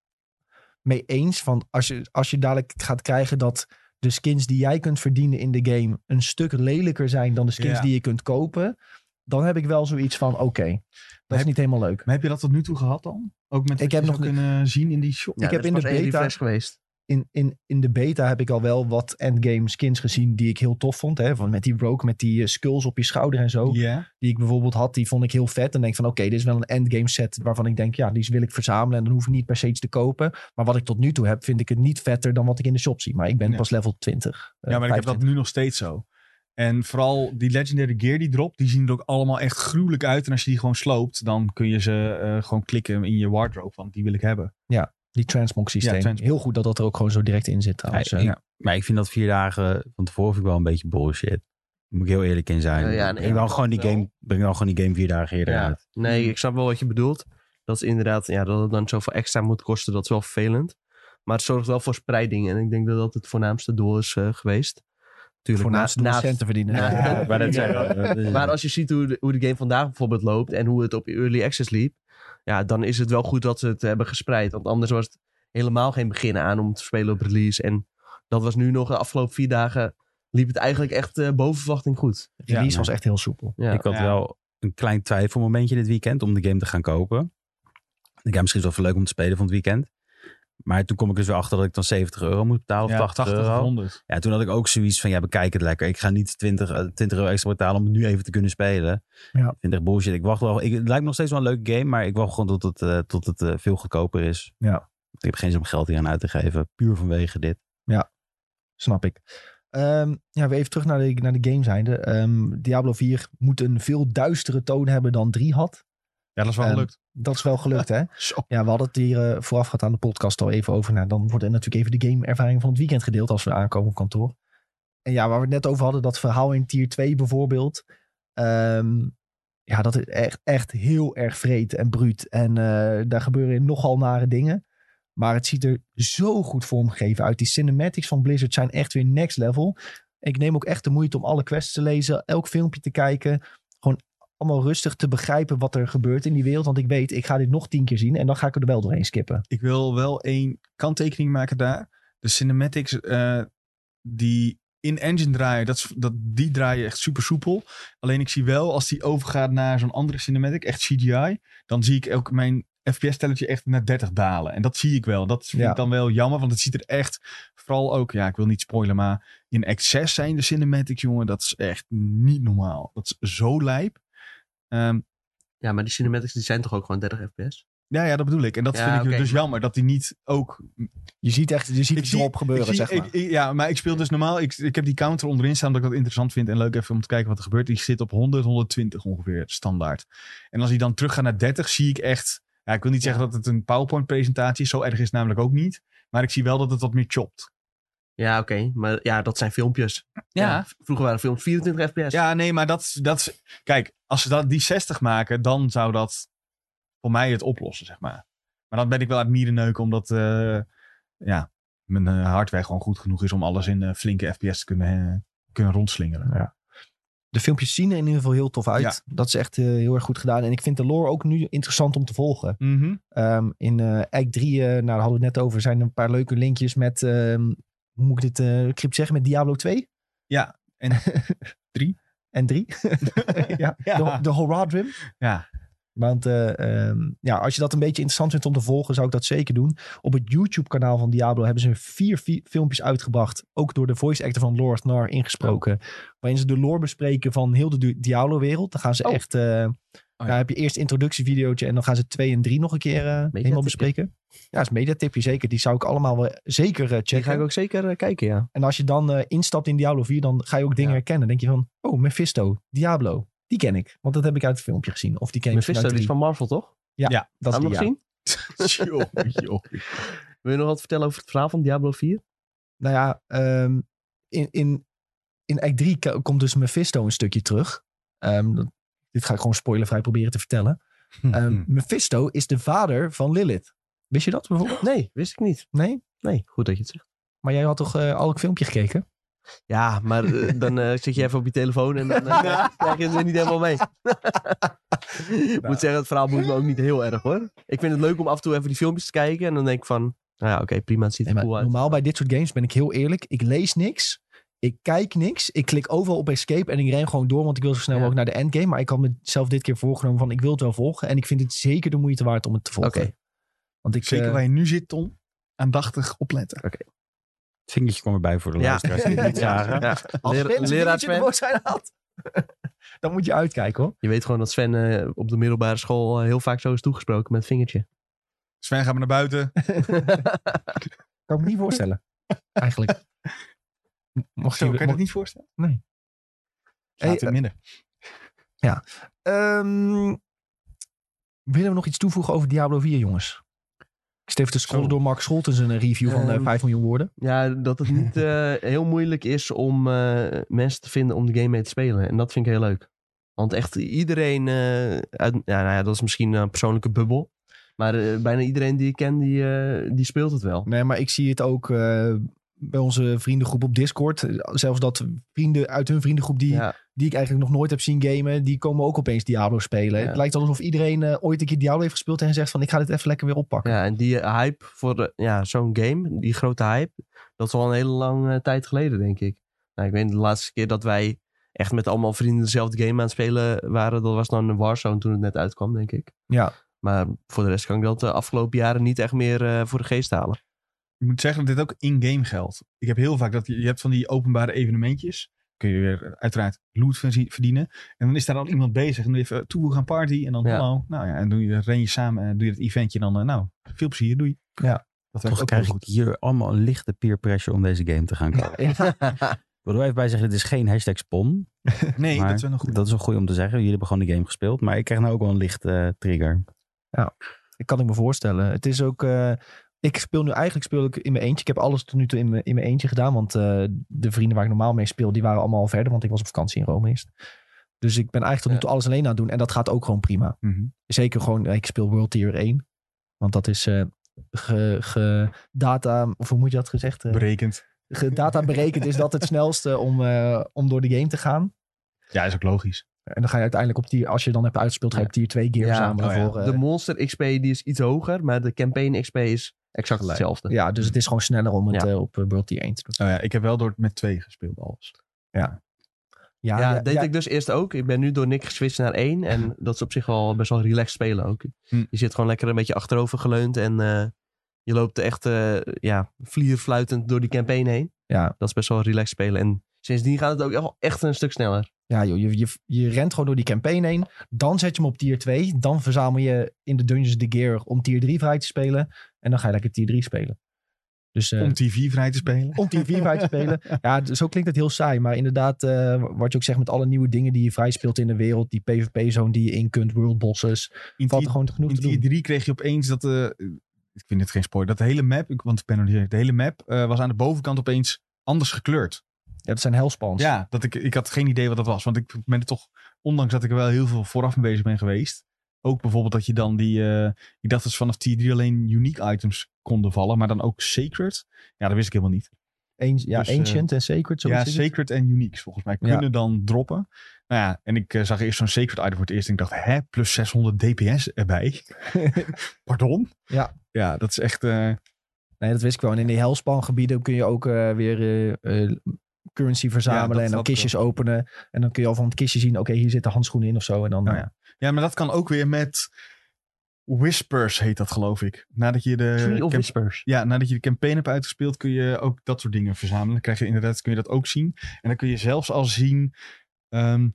Speaker 1: mee eens. Want als je, als je dadelijk gaat krijgen dat de skins die jij kunt verdienen in de game een stuk lelijker zijn dan de skins
Speaker 2: Ja.
Speaker 1: die je kunt kopen, dan heb ik wel zoiets van oké, dat is
Speaker 2: heb-
Speaker 1: niet helemaal leuk.
Speaker 2: Maar heb je dat tot nu toe gehad dan? Ook met wat
Speaker 1: Ik heb
Speaker 2: je
Speaker 1: nog
Speaker 2: zou kunnen zien in die shop?
Speaker 1: Ja. Ik heb in de beta-
Speaker 4: fles geweest.
Speaker 1: in, in, in de beta heb ik al wel wat endgame skins gezien die ik heel tof vond. Hè? Van met die rogue, met die eh, skulls op je schouder en zo.
Speaker 2: Ja.
Speaker 1: Die ik bijvoorbeeld had, die vond ik heel vet. En denk van oké, dit is wel een endgame set waarvan ik denk, ja, die wil ik verzamelen. En dan hoef ik niet per se iets te kopen. Maar wat ik tot nu toe heb, vind ik het niet vetter dan wat ik in de shop zie. Maar ik ben
Speaker 2: Nee.
Speaker 1: pas level 20. eh,
Speaker 2: ja, maar ik heb
Speaker 1: 25.
Speaker 2: dat nu nog steeds zo. En vooral die legendary gear die dropt, die zien er ook allemaal echt gruwelijk uit. En als je die gewoon sloopt, dan kun je ze eh, gewoon klikken in je wardrobe, want die wil ik hebben.
Speaker 1: Die transmog systeem.
Speaker 2: Ja, transmog.
Speaker 1: Heel goed dat dat er ook gewoon zo direct in zit trouwens.
Speaker 3: Oh, Ja,
Speaker 1: Eh,
Speaker 3: ik- Maar ik vind dat vier dagen van tevoren vind ik wel een beetje bullshit. Moet ik heel eerlijk in zijn.
Speaker 4: Nou ja, nee,
Speaker 3: breng, dan gewoon die
Speaker 4: wel.
Speaker 3: game, breng dan gewoon die game vier dagen eerder
Speaker 4: Ja.
Speaker 3: uit.
Speaker 4: Nee, ik snap wel wat je bedoelt. Dat is inderdaad, ja, dat het dan zoveel extra moet kosten, dat is wel vervelend. Maar het zorgt wel voor spreiding. En ik denk dat dat het voornaamste doel is eh, geweest. Tuurlijk,
Speaker 1: voornaamst
Speaker 4: na-
Speaker 1: om
Speaker 4: na-
Speaker 1: centen verdienen.
Speaker 4: na-
Speaker 1: Ja.
Speaker 3: maar dat zijn
Speaker 4: Maar als je ziet hoe de, hoe de game vandaag bijvoorbeeld loopt en hoe het op Early Access liep, ja, dan is het wel goed dat ze het hebben gespreid. Want anders was het helemaal geen begin aan om te spelen op release. En dat was nu nog de afgelopen vier dagen liep het eigenlijk echt eh, boven verwachting goed.
Speaker 1: Release
Speaker 3: Ja.
Speaker 1: was echt heel soepel.
Speaker 4: Ja.
Speaker 3: Ik had
Speaker 2: Ja.
Speaker 3: wel een klein twijfelmomentje dit weekend om de game te gaan kopen. De game misschien wel even leuk om te spelen van het weekend. Maar toen kom ik dus weer achter dat ik dan 70 euro moet betalen of
Speaker 2: Ja,
Speaker 3: 80,
Speaker 2: 80
Speaker 3: euro.
Speaker 2: 100.
Speaker 3: Ja, toen had ik ook zoiets van, ja, bekijk het lekker. Ik ga niet 20, eh, 20 euro extra betalen om het nu even te kunnen spelen.
Speaker 1: Ja.
Speaker 3: Ik vind het echt bullshit. Ik wacht wel, ik, het lijkt me nog steeds wel een leuke game, maar ik wacht gewoon tot het, eh, tot het eh, veel goedkoper is.
Speaker 1: Ja.
Speaker 3: Ik heb geen zin om geld hier aan uit te geven, puur vanwege dit.
Speaker 1: Snap ik. Ehm, ja, weer even terug naar de, naar de game zijnde. Ehm, Diablo 4 moet een veel duistere toon hebben dan 3 had.
Speaker 2: Ja, dat is wel
Speaker 1: Ehm,
Speaker 2: gelukt.
Speaker 1: Dat is wel gelukt, hè?
Speaker 2: Zo.
Speaker 1: Ja, we hadden het hier eh, vooraf gehad aan de podcast al even over. Nou, dan wordt er natuurlijk even de gameervaring van het weekend gedeeld als we aankomen op kantoor. En ja, waar we het net over hadden, dat verhaal in tier 2 bijvoorbeeld. Ehm, ja, dat is echt, echt heel erg vreed en bruut. En eh, daar gebeuren nogal nare dingen. Maar het ziet er zo goed vormgegeven uit. Die cinematics van Blizzard zijn echt weer next level. Ik neem ook echt de moeite om alle quests te lezen, elk filmpje te kijken. Gewoon allemaal rustig te begrijpen wat er gebeurt in die wereld. Want ik weet, ik ga dit nog tien keer zien en dan ga ik er wel doorheen skippen.
Speaker 2: ik wil wel één kanttekening maken daar. De cinematics eh, die in-engine draaien, dat, is- dat, die draaien echt super soepel. Alleen ik zie wel, als die overgaat naar zo'n andere cinematic, echt CGI, dan zie ik ook mijn FPS-telletje echt naar 30 dalen. En dat zie ik wel. Dat vind
Speaker 1: Ja.
Speaker 2: ik dan wel jammer, want het ziet er echt, vooral ook, ja, ik wil niet spoilen, maar in excess zijn de cinematics, jongen, dat is echt niet normaal. Dat is zo lijp. Ehm,
Speaker 4: Ja, maar die cinematics die zijn toch ook gewoon 30 fps?
Speaker 2: ja, ja, dat bedoel ik. En dat
Speaker 4: Ja,
Speaker 2: vind ik
Speaker 4: oké,
Speaker 2: dus
Speaker 4: maar-
Speaker 2: jammer, dat die niet ook
Speaker 1: Je ziet echt, je ziet
Speaker 2: Ik
Speaker 1: het
Speaker 2: zie-
Speaker 1: erop gebeuren,
Speaker 2: Ik zie-
Speaker 1: zeg maar.
Speaker 2: ik- ik- ja, maar ik speel dus normaal. Ik, ik heb die counter onderin staan, omdat ik dat interessant vind en leuk even om te kijken wat er gebeurt. Die zit op 100, 120 ongeveer standaard. En als die dan teruggaat naar 30, zie ik echt. Ja, ik wil niet zeggen dat het een PowerPoint-presentatie is. Zo erg is het namelijk ook niet. Maar ik zie wel dat het wat meer chopt.
Speaker 4: Ja, oké. Maar ja, dat zijn filmpjes. v- Vroeger waren films 24 fps.
Speaker 2: Ja, nee, maar dat, dat is. Kijk, als ze dat, die 60 maken, dan zou dat voor mij het oplossen, zeg maar. Maar dan ben ik wel aan het mierenneuken, omdat. eh, ja, mijn eh, hardware gewoon goed genoeg is om alles in eh, flinke FPS te kunnen, eh, kunnen rondslingeren.
Speaker 1: De filmpjes zien er in ieder geval heel tof uit. Dat is echt eh, heel erg goed gedaan. En ik vind de lore ook nu interessant om te volgen.
Speaker 2: Mhm.
Speaker 1: Ehm, in eh Act 3, eh, nou, daar hadden we het net over, zijn er een paar leuke linkjes met, ehm, hoe moet ik dit eh crypt zeggen, met Diablo 2
Speaker 2: Ja, en drie.
Speaker 1: en 3. ja, de, de Horadrim.
Speaker 2: Ja.
Speaker 1: Want eh, ehm, ja, als je dat een beetje interessant vindt om te volgen, zou ik dat zeker doen. Op het YouTube-kanaal van Diablo hebben ze vier, vi- filmpjes uitgebracht. Ook door de voice actor van Lord Nar ingesproken. Waarin ze de lore bespreken van heel de du- Diablo-wereld. Dan gaan ze
Speaker 4: Oh.
Speaker 1: echt... eh nou, heb je eerst introductievideootje en dan gaan ze twee en drie nog een keer eh, helemaal bespreken. Ja, is een mediatipje zeker. Die zou ik allemaal wel zeker eh,
Speaker 4: Die
Speaker 1: checken.
Speaker 4: ga ik ook zeker eh, kijken, ja.
Speaker 1: En als je dan eh, instapt in Diablo 4, dan ga je ook dingen
Speaker 4: Ja.
Speaker 1: herkennen. Dan denk je van, oh, Mephisto, Diablo. Die ken ik, want dat heb ik uit het filmpje gezien. Of die ken ik
Speaker 4: Mephisto,
Speaker 1: vanuit
Speaker 4: die is
Speaker 1: drie.
Speaker 4: van Marvel, toch?
Speaker 1: Dat is
Speaker 4: Gaan we
Speaker 1: die,
Speaker 4: nog
Speaker 1: ja.
Speaker 4: zien?
Speaker 2: Tjoh, joh.
Speaker 4: Wil je nog wat vertellen over het verhaal van Diablo 4?
Speaker 1: Nou ja, ehm, in, in, in Act 3 ko- komt dus Mephisto een stukje terug. Ehm, dat- dit ga ik gewoon spoilervrij proberen te vertellen. Ehm,
Speaker 2: Hmm.
Speaker 4: Mhm.
Speaker 1: Mephisto is de vader van Lilith. Wist je dat bijvoorbeeld?
Speaker 4: Nee, wist ik niet.
Speaker 1: Nee?
Speaker 4: Nee, goed dat je het zegt.
Speaker 1: Maar jij had toch eh, al een filmpje gekeken?
Speaker 4: Ja, maar eh, dan eh, zit je even op je telefoon en dan eh, krijg je het weer niet helemaal mee. Ik moet zeggen, het verhaal moet me ook niet heel erg hoor. Ik vind het leuk om af en toe even die filmpjes te kijken. En dan denk ik van, nou ja, oké, prima, het ziet
Speaker 1: Nee,
Speaker 4: er
Speaker 1: maar
Speaker 4: cool uit.
Speaker 1: normaal bij dit soort games ben ik heel eerlijk. Ik lees niks. Ik kijk niks. Ik klik overal op escape en ik ren gewoon door, want ik wil zo snel
Speaker 4: Ja.
Speaker 1: mogelijk naar de endgame. Maar ik had mezelf dit keer voorgenomen van ik wil het wel volgen. En ik vind het zeker de moeite waard om het te volgen.
Speaker 4: Oké.
Speaker 1: Want ik,
Speaker 2: Zeker
Speaker 1: eh,
Speaker 2: waar je nu zit, Tom. Aandachtig opletten.
Speaker 3: Het vingertje kwam erbij voor de
Speaker 4: Ja.
Speaker 3: luisteraars die het niet
Speaker 4: Ja,
Speaker 3: zagen.
Speaker 4: ja.
Speaker 1: als
Speaker 4: Lera-
Speaker 1: Sven
Speaker 4: leraar
Speaker 1: leraar
Speaker 4: Sven.
Speaker 1: ervoor zijn had, dan moet je uitkijken hoor.
Speaker 4: Je weet gewoon dat Sven eh, op de middelbare school eh, heel vaak zo is toegesproken met vingertje.
Speaker 2: Sven, ga maar naar buiten.
Speaker 1: Kan ik me niet voorstellen. Eigenlijk. M- Mocht
Speaker 2: Zo, kan je
Speaker 1: mocht-
Speaker 2: dat niet voorstellen?
Speaker 1: Nee.
Speaker 2: Laat
Speaker 1: Hey,
Speaker 2: het minder.
Speaker 1: Ehm, willen we nog iets toevoegen over Diablo 4, jongens? Ik steef te scrollen
Speaker 2: Zo.
Speaker 1: door Mark Scholten zijn review van eh,
Speaker 4: Ehm,
Speaker 1: 5 miljoen woorden.
Speaker 4: Ja, dat het niet eh, heel moeilijk is om eh, mensen te vinden om de game mee te spelen. En dat vind ik heel leuk. Want echt iedereen, eh, uit, ja, nou ja, dat is misschien een persoonlijke bubbel. Maar eh, bijna iedereen die ik ken, die, eh, die speelt het wel.
Speaker 1: Nee, maar ik zie het ook eh, bij onze vriendengroep op Discord. Zelfs dat vrienden uit hun vriendengroep die,
Speaker 4: Ja,
Speaker 1: die ik eigenlijk nog nooit heb zien gamen, die komen ook opeens Diablo spelen.
Speaker 4: Ja.
Speaker 1: Het lijkt alsof iedereen eh, ooit een keer Diablo heeft gespeeld en zegt van ik ga dit even lekker weer oppakken.
Speaker 4: ja, en die eh, hype voor de- ja, zo'n game, die grote hype, dat is al een hele lange eh, tijd geleden, denk ik. Nou, ik weet de laatste keer dat wij echt met allemaal vrienden dezelfde game aan het spelen waren, dat was dan een Warzone toen het net uitkwam, denk ik.
Speaker 1: Ja.
Speaker 4: Maar voor de rest kan ik dat de afgelopen jaren niet echt meer eh, voor de geest halen.
Speaker 2: Ik moet zeggen dat dit ook in-game geldt. Ik heb heel vaak dat je, je hebt van die openbare evenementjes. Kun je weer eh, uiteraard loot verzi- verdienen. En dan is daar al iemand bezig. En dan even eh, toe, we gaan party. En dan
Speaker 4: Ja.
Speaker 2: hallo. Nou ja, en doe je, dan ren je samen en doe je het eventje. En dan eh, nou, veel plezier, doei.
Speaker 1: Ja.
Speaker 2: Dat werkt
Speaker 3: Toch
Speaker 2: ook heel
Speaker 3: krijg
Speaker 2: goed.
Speaker 3: ik hier allemaal een lichte peer pressure om deze game te gaan kopen. Ik wil er wel even bij zeggen, dit is geen hashtag spon.
Speaker 2: Nee,
Speaker 3: maar
Speaker 2: dat is wel een goed.
Speaker 3: Dat is wel goed om te zeggen. Jullie hebben gewoon de game gespeeld. Maar ik krijg nou ook wel een lichte trigger.
Speaker 1: Dat kan ik me voorstellen. Het is ook. eh, ik speel nu eigenlijk speel ik in mijn eentje. Ik heb alles tot nu toe in mijn, in mijn eentje gedaan. Want eh, de vrienden waar ik normaal mee speel, die waren allemaal al verder. Want ik was op vakantie in Rome eerst. Dus ik ben eigenlijk tot nu
Speaker 4: Ja.
Speaker 1: toe alles alleen aan het doen. En dat gaat ook gewoon prima.
Speaker 2: Mhm.
Speaker 1: Zeker gewoon, eh, ik speel World Tier 1. Want dat is eh ge, ge- data, of hoe moet je dat gezegd? eh,
Speaker 2: Berekend.
Speaker 1: ge- data berekend is dat het snelste om, eh, om door de game te gaan.
Speaker 2: Ja, is ook logisch.
Speaker 1: En dan ga je uiteindelijk op tier, als je dan hebt uitgespeeld, ga je op tier 2 gear
Speaker 4: Ja,
Speaker 1: verzamelen.
Speaker 2: oh ja.
Speaker 1: voor, eh,
Speaker 4: de Monster XP die is iets hoger, maar de Campaign XP is exact
Speaker 1: Gelijk.
Speaker 4: hetzelfde.
Speaker 1: ja, dus het is gewoon sneller om het
Speaker 4: Ja.
Speaker 1: eh, op eh, World Tier 1 te doen.
Speaker 2: Nou ja, ik heb wel door met twee gespeeld alles.
Speaker 1: Ja,
Speaker 4: Ja,
Speaker 1: ja,
Speaker 4: dat deed ik dus eerst ook. Ik ben nu door Nick geswitcht naar één. En dat is op zich wel best wel relaxed spelen ook.
Speaker 2: Hm.
Speaker 4: Je zit gewoon lekker een beetje achterover geleund. En eh, je loopt echt eh ja, vlierfluitend door die campaign heen.
Speaker 1: Ja.
Speaker 4: Dat is best wel relaxed spelen. En sindsdien gaat het ook wel echt een stuk sneller.
Speaker 1: Ja, joh, je, je, je rent gewoon door die campaign heen. Dan zet je hem op tier 2. Dan verzamel je in de dungeons de gear om tier 3 vrij te spelen. En dan ga je lekker tier 3 spelen. Dus eh,
Speaker 2: Om TV vrij te spelen.
Speaker 1: om tier 4 vrij te spelen. Ja, d- zo klinkt het heel saai. Maar inderdaad, eh, wat je ook zegt met alle nieuwe dingen die je vrij speelt in de wereld. Die PvP-zone die je in kunt, world bosses.
Speaker 2: In
Speaker 1: Valt
Speaker 2: die-
Speaker 1: er gewoon genoeg
Speaker 2: in
Speaker 1: te doen.
Speaker 2: tier 3 kreeg je opeens dat... eh, ik vind het geen spoor. Dat de hele map, ik, want ik ben nog niet... De hele map eh, was aan de bovenkant opeens anders gekleurd.
Speaker 1: Ja, dat zijn hellspawns.
Speaker 2: Ja, dat ik, ik had geen idee wat dat was. Want ik ben er toch, ondanks dat ik er wel heel veel vooraf mee bezig ben geweest. Ook bijvoorbeeld dat je dan die. eh, ik dacht dat ze vanaf tier 3 alleen unique items konden vallen, maar dan ook sacred. Ja, dat wist ik helemaal niet.
Speaker 1: Een- ja,
Speaker 2: Dus, eh,
Speaker 1: ancient en sacred.
Speaker 2: ja,
Speaker 1: zoiets is het.
Speaker 2: sacred en uniques volgens mij kunnen
Speaker 1: Ja.
Speaker 2: dan droppen. Nou ja, en ik eh, zag eerst zo'n sacred item voor het eerst en ik dacht, hè, plus 600 DPS erbij. Pardon?
Speaker 1: Ja.
Speaker 2: Ja, dat is echt. eh,
Speaker 1: Nee, dat wist ik wel. En in die hellspangebieden kun je ook eh, weer eh, eh, currency
Speaker 2: Ja,
Speaker 1: verzamelen
Speaker 2: dat
Speaker 1: en dan
Speaker 2: had ik
Speaker 1: kistjes openen. En dan kun je al van het kistje zien, oké, hier zitten handschoenen in of zo. En dan,
Speaker 2: Nou
Speaker 1: eh,
Speaker 2: ja, maar dat kan ook weer met. Whispers heet dat, geloof Eh, ik. Nadat je de.
Speaker 4: Tree of
Speaker 2: camp-
Speaker 4: Whispers.
Speaker 2: Ja, nadat je de campaign hebt uitgespeeld, kun je ook dat soort dingen verzamelen. Dan krijg je inderdaad, kun je dat ook zien. En dan kun je zelfs al zien. ehm,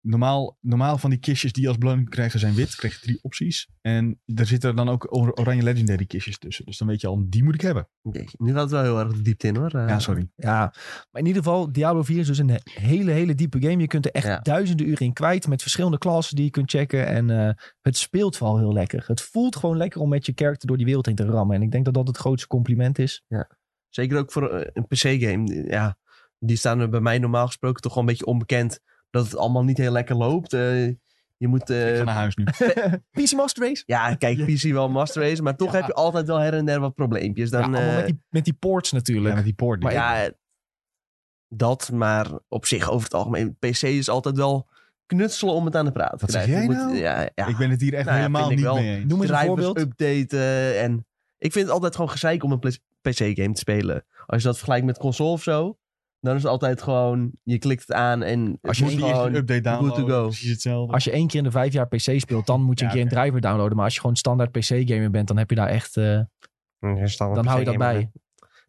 Speaker 2: normaal, normaal van die kistjes die je als beloning krijgen zijn wit. Krijg je drie opties. En er zitten dan ook or- oranje legendary kistjes tussen. Dus dan weet je al, die moet ik hebben.
Speaker 4: Jeetje, Nu gaat het wel heel erg de diepte in hoor. Eh,
Speaker 2: Ja, sorry.
Speaker 1: ja, maar in ieder geval, Diablo 4 is dus een hele, hele diepe game. Je kunt er echt
Speaker 4: Ja.
Speaker 1: duizenden uren in kwijt met verschillende klassen die je kunt checken. En eh, het speelt vooral heel lekker. Het voelt gewoon lekker om met je karakter door die wereld heen te rammen. En ik denk dat dat het grootste compliment is.
Speaker 4: Zeker ook voor eh, een PC-game. Ja, die staan er bij mij normaal gesproken toch wel een beetje onbekend. Dat het allemaal niet heel lekker loopt. Eh, je moet eh,
Speaker 2: Ik ga naar huis nu.
Speaker 1: PC Master Race.
Speaker 4: Ja, kijk, PC wel master race, maar toch
Speaker 1: Ja.
Speaker 4: heb je altijd wel her en der wat probleempjes.
Speaker 1: Ja,
Speaker 4: Dan,
Speaker 1: allemaal
Speaker 4: eh,
Speaker 1: met, die, met die ports
Speaker 2: Ja,
Speaker 1: natuurlijk.
Speaker 2: met die poort.
Speaker 1: Maar
Speaker 2: ja,
Speaker 4: ja, dat, maar op zich over het algemeen, PC is altijd wel knutselen om het aan de praat te
Speaker 2: Wat zeg
Speaker 4: krijgen.
Speaker 2: jij
Speaker 4: Je
Speaker 2: nou?
Speaker 4: ja, ja.
Speaker 2: Ik ben het hier echt
Speaker 4: Nou ja,
Speaker 2: helemaal
Speaker 4: vind ik
Speaker 2: niet
Speaker 4: wel.
Speaker 2: mee eens.
Speaker 1: Noem eens een
Speaker 4: drivers
Speaker 1: voorbeeld.
Speaker 4: updaten. En ik vind het altijd gewoon gezeik om een PC-game te spelen. Als je dat vergelijkt met console of zo, dan is het altijd gewoon, je klikt het aan en het
Speaker 2: Als je
Speaker 4: moet
Speaker 2: moet eerst een update
Speaker 4: to
Speaker 2: downloaden,
Speaker 4: go.
Speaker 2: precies hetzelfde.
Speaker 1: Als je één keer in de vijf jaar PC speelt, dan moet je een
Speaker 2: Ja,
Speaker 1: keer een driver downloaden. Maar als je gewoon standaard PC-gamer bent, dan heb je daar echt... eh, dan hou je dat bij.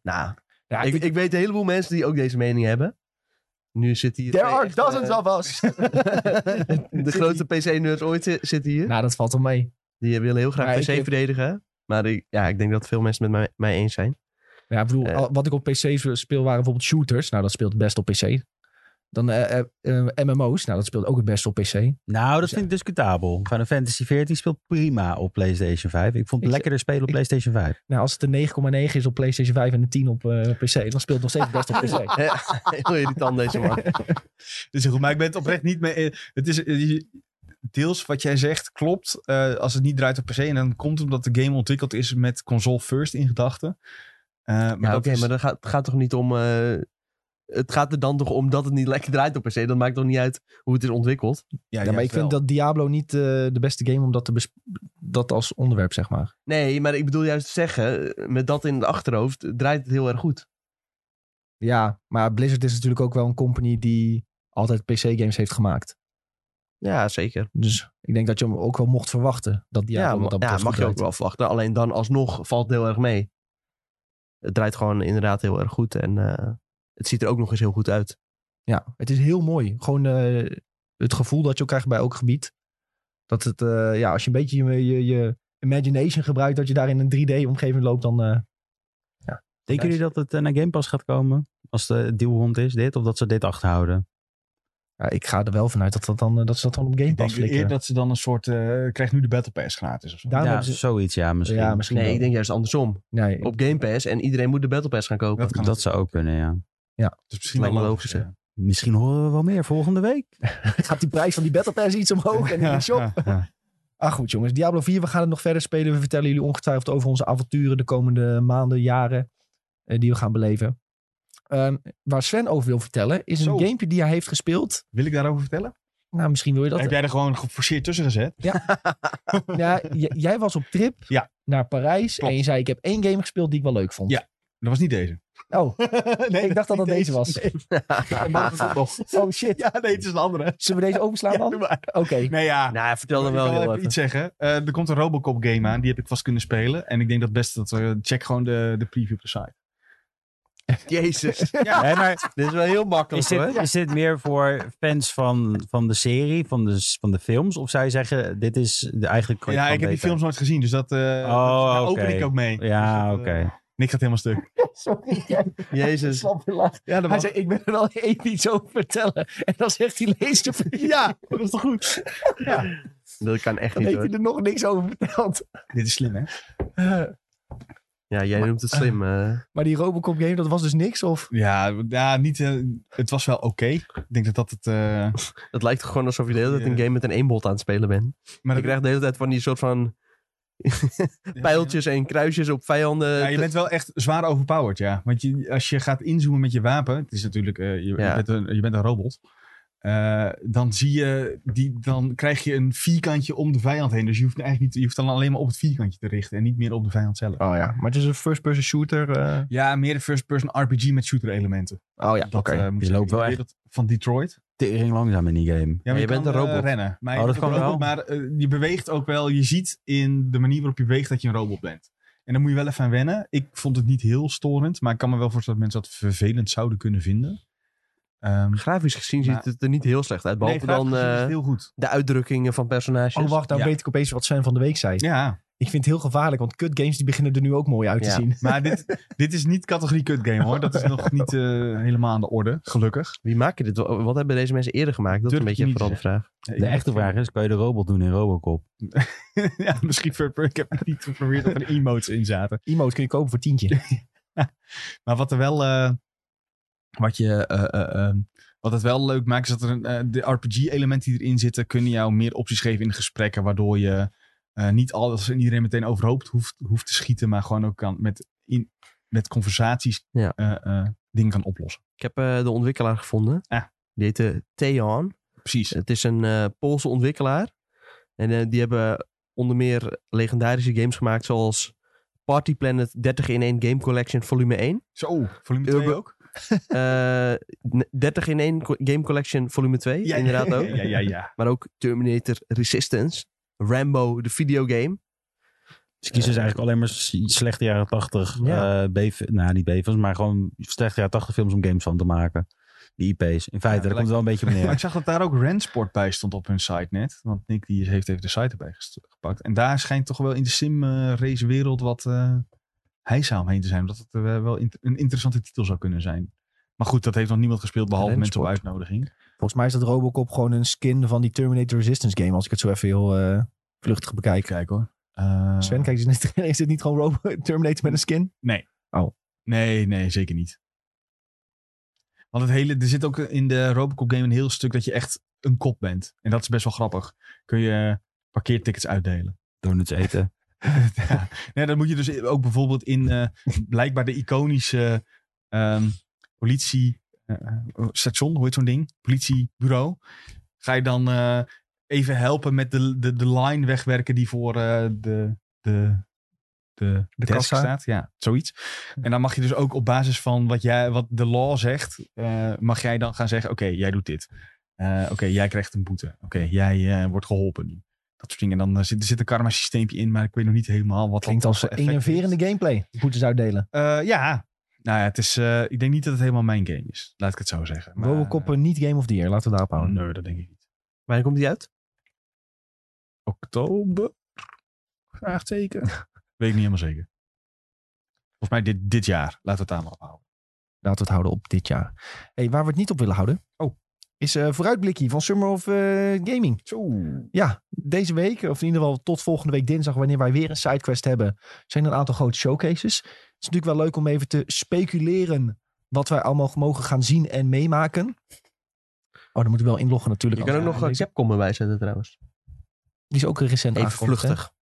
Speaker 4: Nou,
Speaker 1: Ja,
Speaker 4: ik, ik weet een heleboel mensen die ook deze mening hebben. Nu zit hier...
Speaker 1: There
Speaker 4: twee
Speaker 1: are
Speaker 4: echt,
Speaker 1: dozens
Speaker 4: eh,
Speaker 1: of us.
Speaker 4: de grootste PC-nerds ooit zi- zitten hier.
Speaker 1: nou, dat valt wel mee.
Speaker 4: Die willen heel
Speaker 1: Maar
Speaker 4: graag
Speaker 1: ik
Speaker 4: PC
Speaker 1: heb-
Speaker 4: verdedigen. Maar ik, ja, ik denk dat veel mensen het met mij, mij eens zijn.
Speaker 1: Ja, ik bedoel,
Speaker 4: Eh.
Speaker 1: al- wat ik op PC speel waren bijvoorbeeld shooters. Nou, dat speelt het best op PC. Dan eh, eh, eh, MMO's. Nou, dat speelt ook het best op PC.
Speaker 3: Nou, dat vind ik discutabel. Final Fantasy 14 speelt prima op PlayStation 5. Ik vond
Speaker 1: Ik-
Speaker 3: het lekkerder spelen op
Speaker 1: ik-
Speaker 3: PlayStation 5.
Speaker 1: Nou, als het een 9,9 is op PlayStation 5 en een 10 op eh, PC, dan speelt het nog steeds het best op PC.
Speaker 4: Heel irritant deze man.
Speaker 2: Dus goed, maar ik ben het oprecht niet mee. Het is eh, je- deels wat jij zegt klopt. eh, als het niet draait op PC. En dan komt het omdat de game ontwikkeld is met console first in gedachten. Eh, maar
Speaker 4: Ja,
Speaker 2: dat
Speaker 4: oké,
Speaker 2: is-
Speaker 4: maar dat gaat, het gaat toch niet om. eh, het gaat er dan toch om dat het niet lekker draait op PC. Dat maakt toch niet uit hoe het is ontwikkeld.
Speaker 1: Ja, maar
Speaker 2: juist
Speaker 1: ik vind
Speaker 2: wel.
Speaker 1: dat Diablo niet eh, de beste game om dat, te besp- dat als onderwerp, zeg maar.
Speaker 4: Nee, maar ik bedoel juist te zeggen, eh, met dat in het achterhoofd eh, draait het heel erg goed.
Speaker 1: Ja, maar Blizzard is natuurlijk ook wel een company die altijd PC-games heeft gemaakt.
Speaker 4: Ja, zeker.
Speaker 1: Dus ik denk dat je hem ook wel mocht verwachten. Dat
Speaker 4: Ja,
Speaker 1: Diablo
Speaker 4: ma-
Speaker 1: wat dat
Speaker 4: ja,
Speaker 1: betreft
Speaker 4: mag
Speaker 1: goed
Speaker 4: je ook
Speaker 1: draait.
Speaker 4: wel verwachten. Alleen dan alsnog valt het heel erg mee. Het draait gewoon inderdaad heel erg goed. En eh, het ziet er ook nog eens heel goed uit.
Speaker 1: Ja, het is heel mooi. Gewoon eh, het gevoel dat je ook krijgt bij elk gebied. Dat het, eh, ja, als je een beetje je, je, je imagination gebruikt, dat je daar in een 3D-omgeving loopt, dan... eh,
Speaker 3: Denken jullie dat het eh, naar Game Pass gaat komen? Als de dealhond is, dit? Of dat ze dit achterhouden?
Speaker 1: ja, ik ga er wel vanuit dat, dat, dan, eh, dat ze dat dan op Game
Speaker 2: Ik denk
Speaker 1: Pass flikkeren.
Speaker 2: eerder dat ze dan een soort. eh krijgt nu de Battle Pass gratis of zo.
Speaker 1: Daarom
Speaker 3: ja,
Speaker 1: hebben ze-
Speaker 3: zoiets, ja, misschien.
Speaker 1: Ja, misschien
Speaker 4: Nee,
Speaker 1: wel.
Speaker 4: ik denk juist andersom.
Speaker 1: Nee,
Speaker 4: Op Game Pass en iedereen moet de Battle Pass gaan kopen.
Speaker 2: kan
Speaker 3: Dat zou ook kunnen, ja.
Speaker 2: Dus misschien
Speaker 4: lijkt
Speaker 2: wel
Speaker 4: me
Speaker 2: logisch.
Speaker 4: logisch,
Speaker 2: ja.
Speaker 3: Misschien horen we wel meer volgende week.
Speaker 1: gaat die prijs van die Battle Pass iets omhoog en in de shop.
Speaker 2: Ja, ja.
Speaker 1: Ah goed jongens, Diablo 4, we gaan het nog verder spelen. We vertellen jullie ongetwijfeld over onze avonturen de komende maanden, jaren eh, die we gaan beleven. Ehm, waar Sven over wil vertellen is een
Speaker 2: Zo.
Speaker 1: gamepje die hij heeft gespeeld.
Speaker 2: Wil ik daarover vertellen?
Speaker 1: Nou, misschien wil je dat.
Speaker 2: Heb jij er gewoon geforceerd tussen gezet?
Speaker 1: Ja, j- jij was op trip
Speaker 2: Ja.
Speaker 1: naar Parijs
Speaker 2: Klopt.
Speaker 1: en je zei ik heb één game gespeeld die ik wel leuk vond.
Speaker 2: Ja. Dat was niet deze.
Speaker 1: Oh,
Speaker 2: nee,
Speaker 1: ik dacht dat dat
Speaker 2: niet
Speaker 1: deze was.
Speaker 2: Nee. Maar dat is het nog.
Speaker 1: Oh shit.
Speaker 2: Ja, nee, het is een andere.
Speaker 1: Zullen we deze overslaan
Speaker 2: Ja,
Speaker 1: dan?
Speaker 2: doe
Speaker 1: Oké.
Speaker 2: maar. Nee, ja.
Speaker 4: Nou, vertel dan
Speaker 2: Ik
Speaker 4: wel
Speaker 2: kan
Speaker 4: heel
Speaker 2: even
Speaker 4: even.
Speaker 2: iets zeggen. Eh, er komt een Robocop game aan. Die heb ik vast kunnen spelen. En ik denk dat het beste dat we... Check gewoon de, de preview op de site.
Speaker 4: Jezus,
Speaker 3: Nee, maar
Speaker 4: dit is wel heel makkelijk
Speaker 3: is
Speaker 4: hoor.
Speaker 3: dit, is dit meer voor fans van, van de serie, van de, s- van de films? Of zou je zeggen, dit is de, eigenlijk... kan je
Speaker 2: ja,
Speaker 3: het
Speaker 2: ik heb
Speaker 3: gewoon
Speaker 2: die films nooit gezien. Dus dat, eh
Speaker 3: Oh,
Speaker 2: daar
Speaker 3: oké.
Speaker 2: open ik ook mee.
Speaker 3: beter- Ja,
Speaker 2: Dus
Speaker 3: oké.
Speaker 2: dat, eh, Nick gaat helemaal stuk.
Speaker 1: Sorry, jij
Speaker 4: Jezus.
Speaker 1: slap weer laag.
Speaker 2: Ja, dat
Speaker 1: Hij
Speaker 2: was...
Speaker 1: zei ik ben er wel één iets over vertellen. En dan zegt hij lees de
Speaker 2: ja, dat is toch goed?
Speaker 4: Dat kan echt
Speaker 1: Dan
Speaker 4: niet
Speaker 1: heeft
Speaker 4: hoor.
Speaker 1: hij er nog niks over verteld.
Speaker 2: Dit is slim, hè?
Speaker 4: Ja, jij noemt het slim. eh.
Speaker 1: Maar die Robocop game, dat was dus niks? Of?
Speaker 2: Ja, ja niet, eh, het was wel oké. Ik denk dat dat het... eh,
Speaker 4: het lijkt toch gewoon alsof je de hele tijd
Speaker 2: Ja.
Speaker 4: een game met een eenbot aan het spelen bent.
Speaker 2: maar
Speaker 4: Je
Speaker 2: dat-
Speaker 4: krijgt de hele tijd van die soort van pijltjes en kruisjes op vijanden.
Speaker 2: Ja, je bent wel echt zwaar overpowered, ja. Want je, als je gaat inzoomen met je wapen, het is natuurlijk, eh, je, je
Speaker 4: Ja.
Speaker 2: bent een, je bent een robot. eh, dan zie je, die, dan krijg je een vierkantje om de vijand heen. Dus je hoeft, eigenlijk niet, je hoeft dan alleen maar op het vierkantje te richten en niet meer op de vijand zelf.
Speaker 3: Ah.
Speaker 1: Oh ja, maar het is een first-person shooter. eh.
Speaker 2: Ja, meer een first-person RPG met shooter-elementen.
Speaker 1: Oh ja, oké.
Speaker 2: Dat eh, moet
Speaker 3: Je
Speaker 2: ik zeggen.
Speaker 3: loopt wel
Speaker 2: Ik weet dat Van Detroit.
Speaker 3: Tering langzaam in die game.
Speaker 2: Ja, maar
Speaker 4: Ja, je
Speaker 2: kan,
Speaker 4: bent een
Speaker 2: eh,
Speaker 4: robot.
Speaker 2: rennen. Maar je
Speaker 3: Oh, dat
Speaker 2: bent ook
Speaker 3: kan
Speaker 2: een robot,
Speaker 3: wel.
Speaker 2: Maar eh, je beweegt ook wel. Je ziet in de manier waarop je beweegt dat je een robot bent. En dan moet je wel even aan wennen. Ik vond het niet heel storend. Maar ik kan me wel voorstellen dat mensen dat vervelend zouden kunnen vinden. Ehm
Speaker 4: Grafisch gezien
Speaker 2: Maar-
Speaker 4: ziet het er niet heel slecht uit. Behalve
Speaker 2: grafisch
Speaker 4: dan
Speaker 2: gezien is
Speaker 4: eh,
Speaker 2: het heel goed.
Speaker 4: de uitdrukkingen van personages.
Speaker 1: Oh wacht, nou
Speaker 2: Ja.
Speaker 1: weet ik opeens wat Sven van de Week zei.
Speaker 2: Ja,
Speaker 1: Ik vind het heel gevaarlijk, want cut games die beginnen er nu ook mooi uit te
Speaker 4: Ja.
Speaker 1: zien.
Speaker 2: maar dit, dit is niet categorie cut game hoor. Dat is nog niet eh, helemaal aan de orde, gelukkig.
Speaker 4: Wie maken dit? Wa- Wat hebben deze mensen eerder gemaakt? Dat is
Speaker 2: Durf
Speaker 4: een
Speaker 2: ik
Speaker 4: beetje
Speaker 2: niet
Speaker 4: vooral de
Speaker 2: te
Speaker 4: vraag.
Speaker 3: De echte vraag is, kan je de robot doen in Robocop?
Speaker 2: ja, misschien ver, ver- ik heb het niet geprobeerd dat er emotes in zaten.
Speaker 1: Emote kun je kopen voor tientje.
Speaker 2: Maar wat er wel. eh, wat, je, eh, eh, eh, wat het wel leuk maakt, is dat er een, eh, de RPG-elementen die erin zitten, kunnen jou meer opties geven in de gesprekken. Waardoor je eh, niet alles en iedereen meteen overhoop hoeft, hoeft te schieten, maar gewoon ook kan met, in, met conversaties
Speaker 4: Ja.
Speaker 2: eh, eh, dingen kan oplossen.
Speaker 4: Ik heb eh, de ontwikkelaar gevonden.
Speaker 2: Ah.
Speaker 4: Die heette Theon.
Speaker 2: precies.
Speaker 4: Het is een eh, Poolse ontwikkelaar. En eh, die hebben onder meer legendarische games gemaakt zoals Party Planet 30 in 1 Game Collection volume 1.
Speaker 2: Zo, volume 2
Speaker 4: Urban-
Speaker 2: ook?
Speaker 4: Eh, n- 30 in 1 co- Game Collection volume 2, inderdaad ook.
Speaker 2: Ja, ja, ja.
Speaker 4: Maar ook Terminator Resistance, Rambo, de videogame.
Speaker 3: Ze kiezen
Speaker 2: Eh,
Speaker 3: dus eigenlijk alleen maar s- slechte jaren 80
Speaker 4: Ja.
Speaker 3: eh, B, nou niet B-films, maar gewoon slechte jaren 80 films om games van te maken. Die IP's. In feite, daar
Speaker 2: lijkt-
Speaker 3: komt het wel een beetje op
Speaker 2: Maar ik
Speaker 3: neer.
Speaker 2: zag dat daar ook Rensport bij stond op hun site net. Want Nick die heeft even de site erbij gest- gepakt. En daar schijnt toch wel in de sim-race wereld wat eh hijzaam heen te zijn. Omdat het eh, wel int- een interessante titel zou kunnen zijn. Maar goed, dat heeft nog niemand gespeeld behalve mensen op uitnodiging.
Speaker 1: Volgens mij is dat Robocop gewoon een skin van die Terminator Resistance game. Als ik het zo even heel eh, vluchtig bekijk.
Speaker 2: Kijk hoor. Eh,
Speaker 1: Sven, kijk, is dit, is dit niet gewoon Robo Terminator met een skin?
Speaker 2: Nee, nee, zeker niet. Want het hele, er zit ook in de Robocop game een heel stuk dat je echt een kop bent. En dat is best wel grappig. Kun je parkeertickets uitdelen.
Speaker 3: Donuts eten.
Speaker 2: ja. nee, dat moet je dus ook bijvoorbeeld in eh, blijkbaar de iconische ehm, politie eh, politiestation, hoe heet zo'n ding? Politiebureau. Ga je dan eh, even helpen met de, de, de line wegwerken die voor eh, de, de, de,
Speaker 1: De
Speaker 2: desk
Speaker 1: kassa?
Speaker 2: staat. Ja, zoiets.
Speaker 1: Hm.
Speaker 2: En dan mag je dus ook op basis van wat, jij, wat de law zegt, eh, mag jij dan gaan zeggen, oké, jij doet dit. Eh, oké, jij krijgt een boete. Oké, jij eh, wordt geholpen nu. Dat soort dingen. En dan eh, zit, er zit een karma systeempje in, maar ik weet nog niet helemaal wat
Speaker 1: Klinkt
Speaker 2: dat
Speaker 1: als
Speaker 2: voor
Speaker 1: een
Speaker 2: effect heeft.
Speaker 1: enerverende gameplay. Boetes uitdelen.
Speaker 2: Eh, ja. Nou ja, het is, eh, ik denk niet dat het helemaal mijn game is. Laat ik het zo zeggen. Maar,
Speaker 1: Robocop eh, niet Game of the Year. Laten we daarop
Speaker 2: Oh,
Speaker 1: houden.
Speaker 2: nee, dat denk ik niet.
Speaker 4: Wanneer komt die uit?
Speaker 2: Oktober? Vraagteken? Weet ik niet helemaal zeker. Volgens mij dit, dit jaar. Laten we het daar maar op houden.
Speaker 1: Laten we het houden op dit jaar. Hey, waar we het niet op willen houden.
Speaker 2: Oh.
Speaker 1: Is eh vooruitblikje van Summer of eh, Gaming. Ja, deze week, of in ieder geval tot volgende week dinsdag, wanneer wij weer een sidequest hebben, zijn er een aantal grote showcases. Het is natuurlijk wel leuk om even te speculeren wat wij allemaal mogen gaan zien en meemaken. Oh, dan moeten we wel inloggen natuurlijk.
Speaker 4: Je kan ook
Speaker 1: anders-
Speaker 4: nog eh,
Speaker 1: deze-
Speaker 4: Capcom erbij zetten trouwens.
Speaker 1: Die is ook recent
Speaker 4: Even
Speaker 1: aangekondigd, hè?
Speaker 4: vluchtig.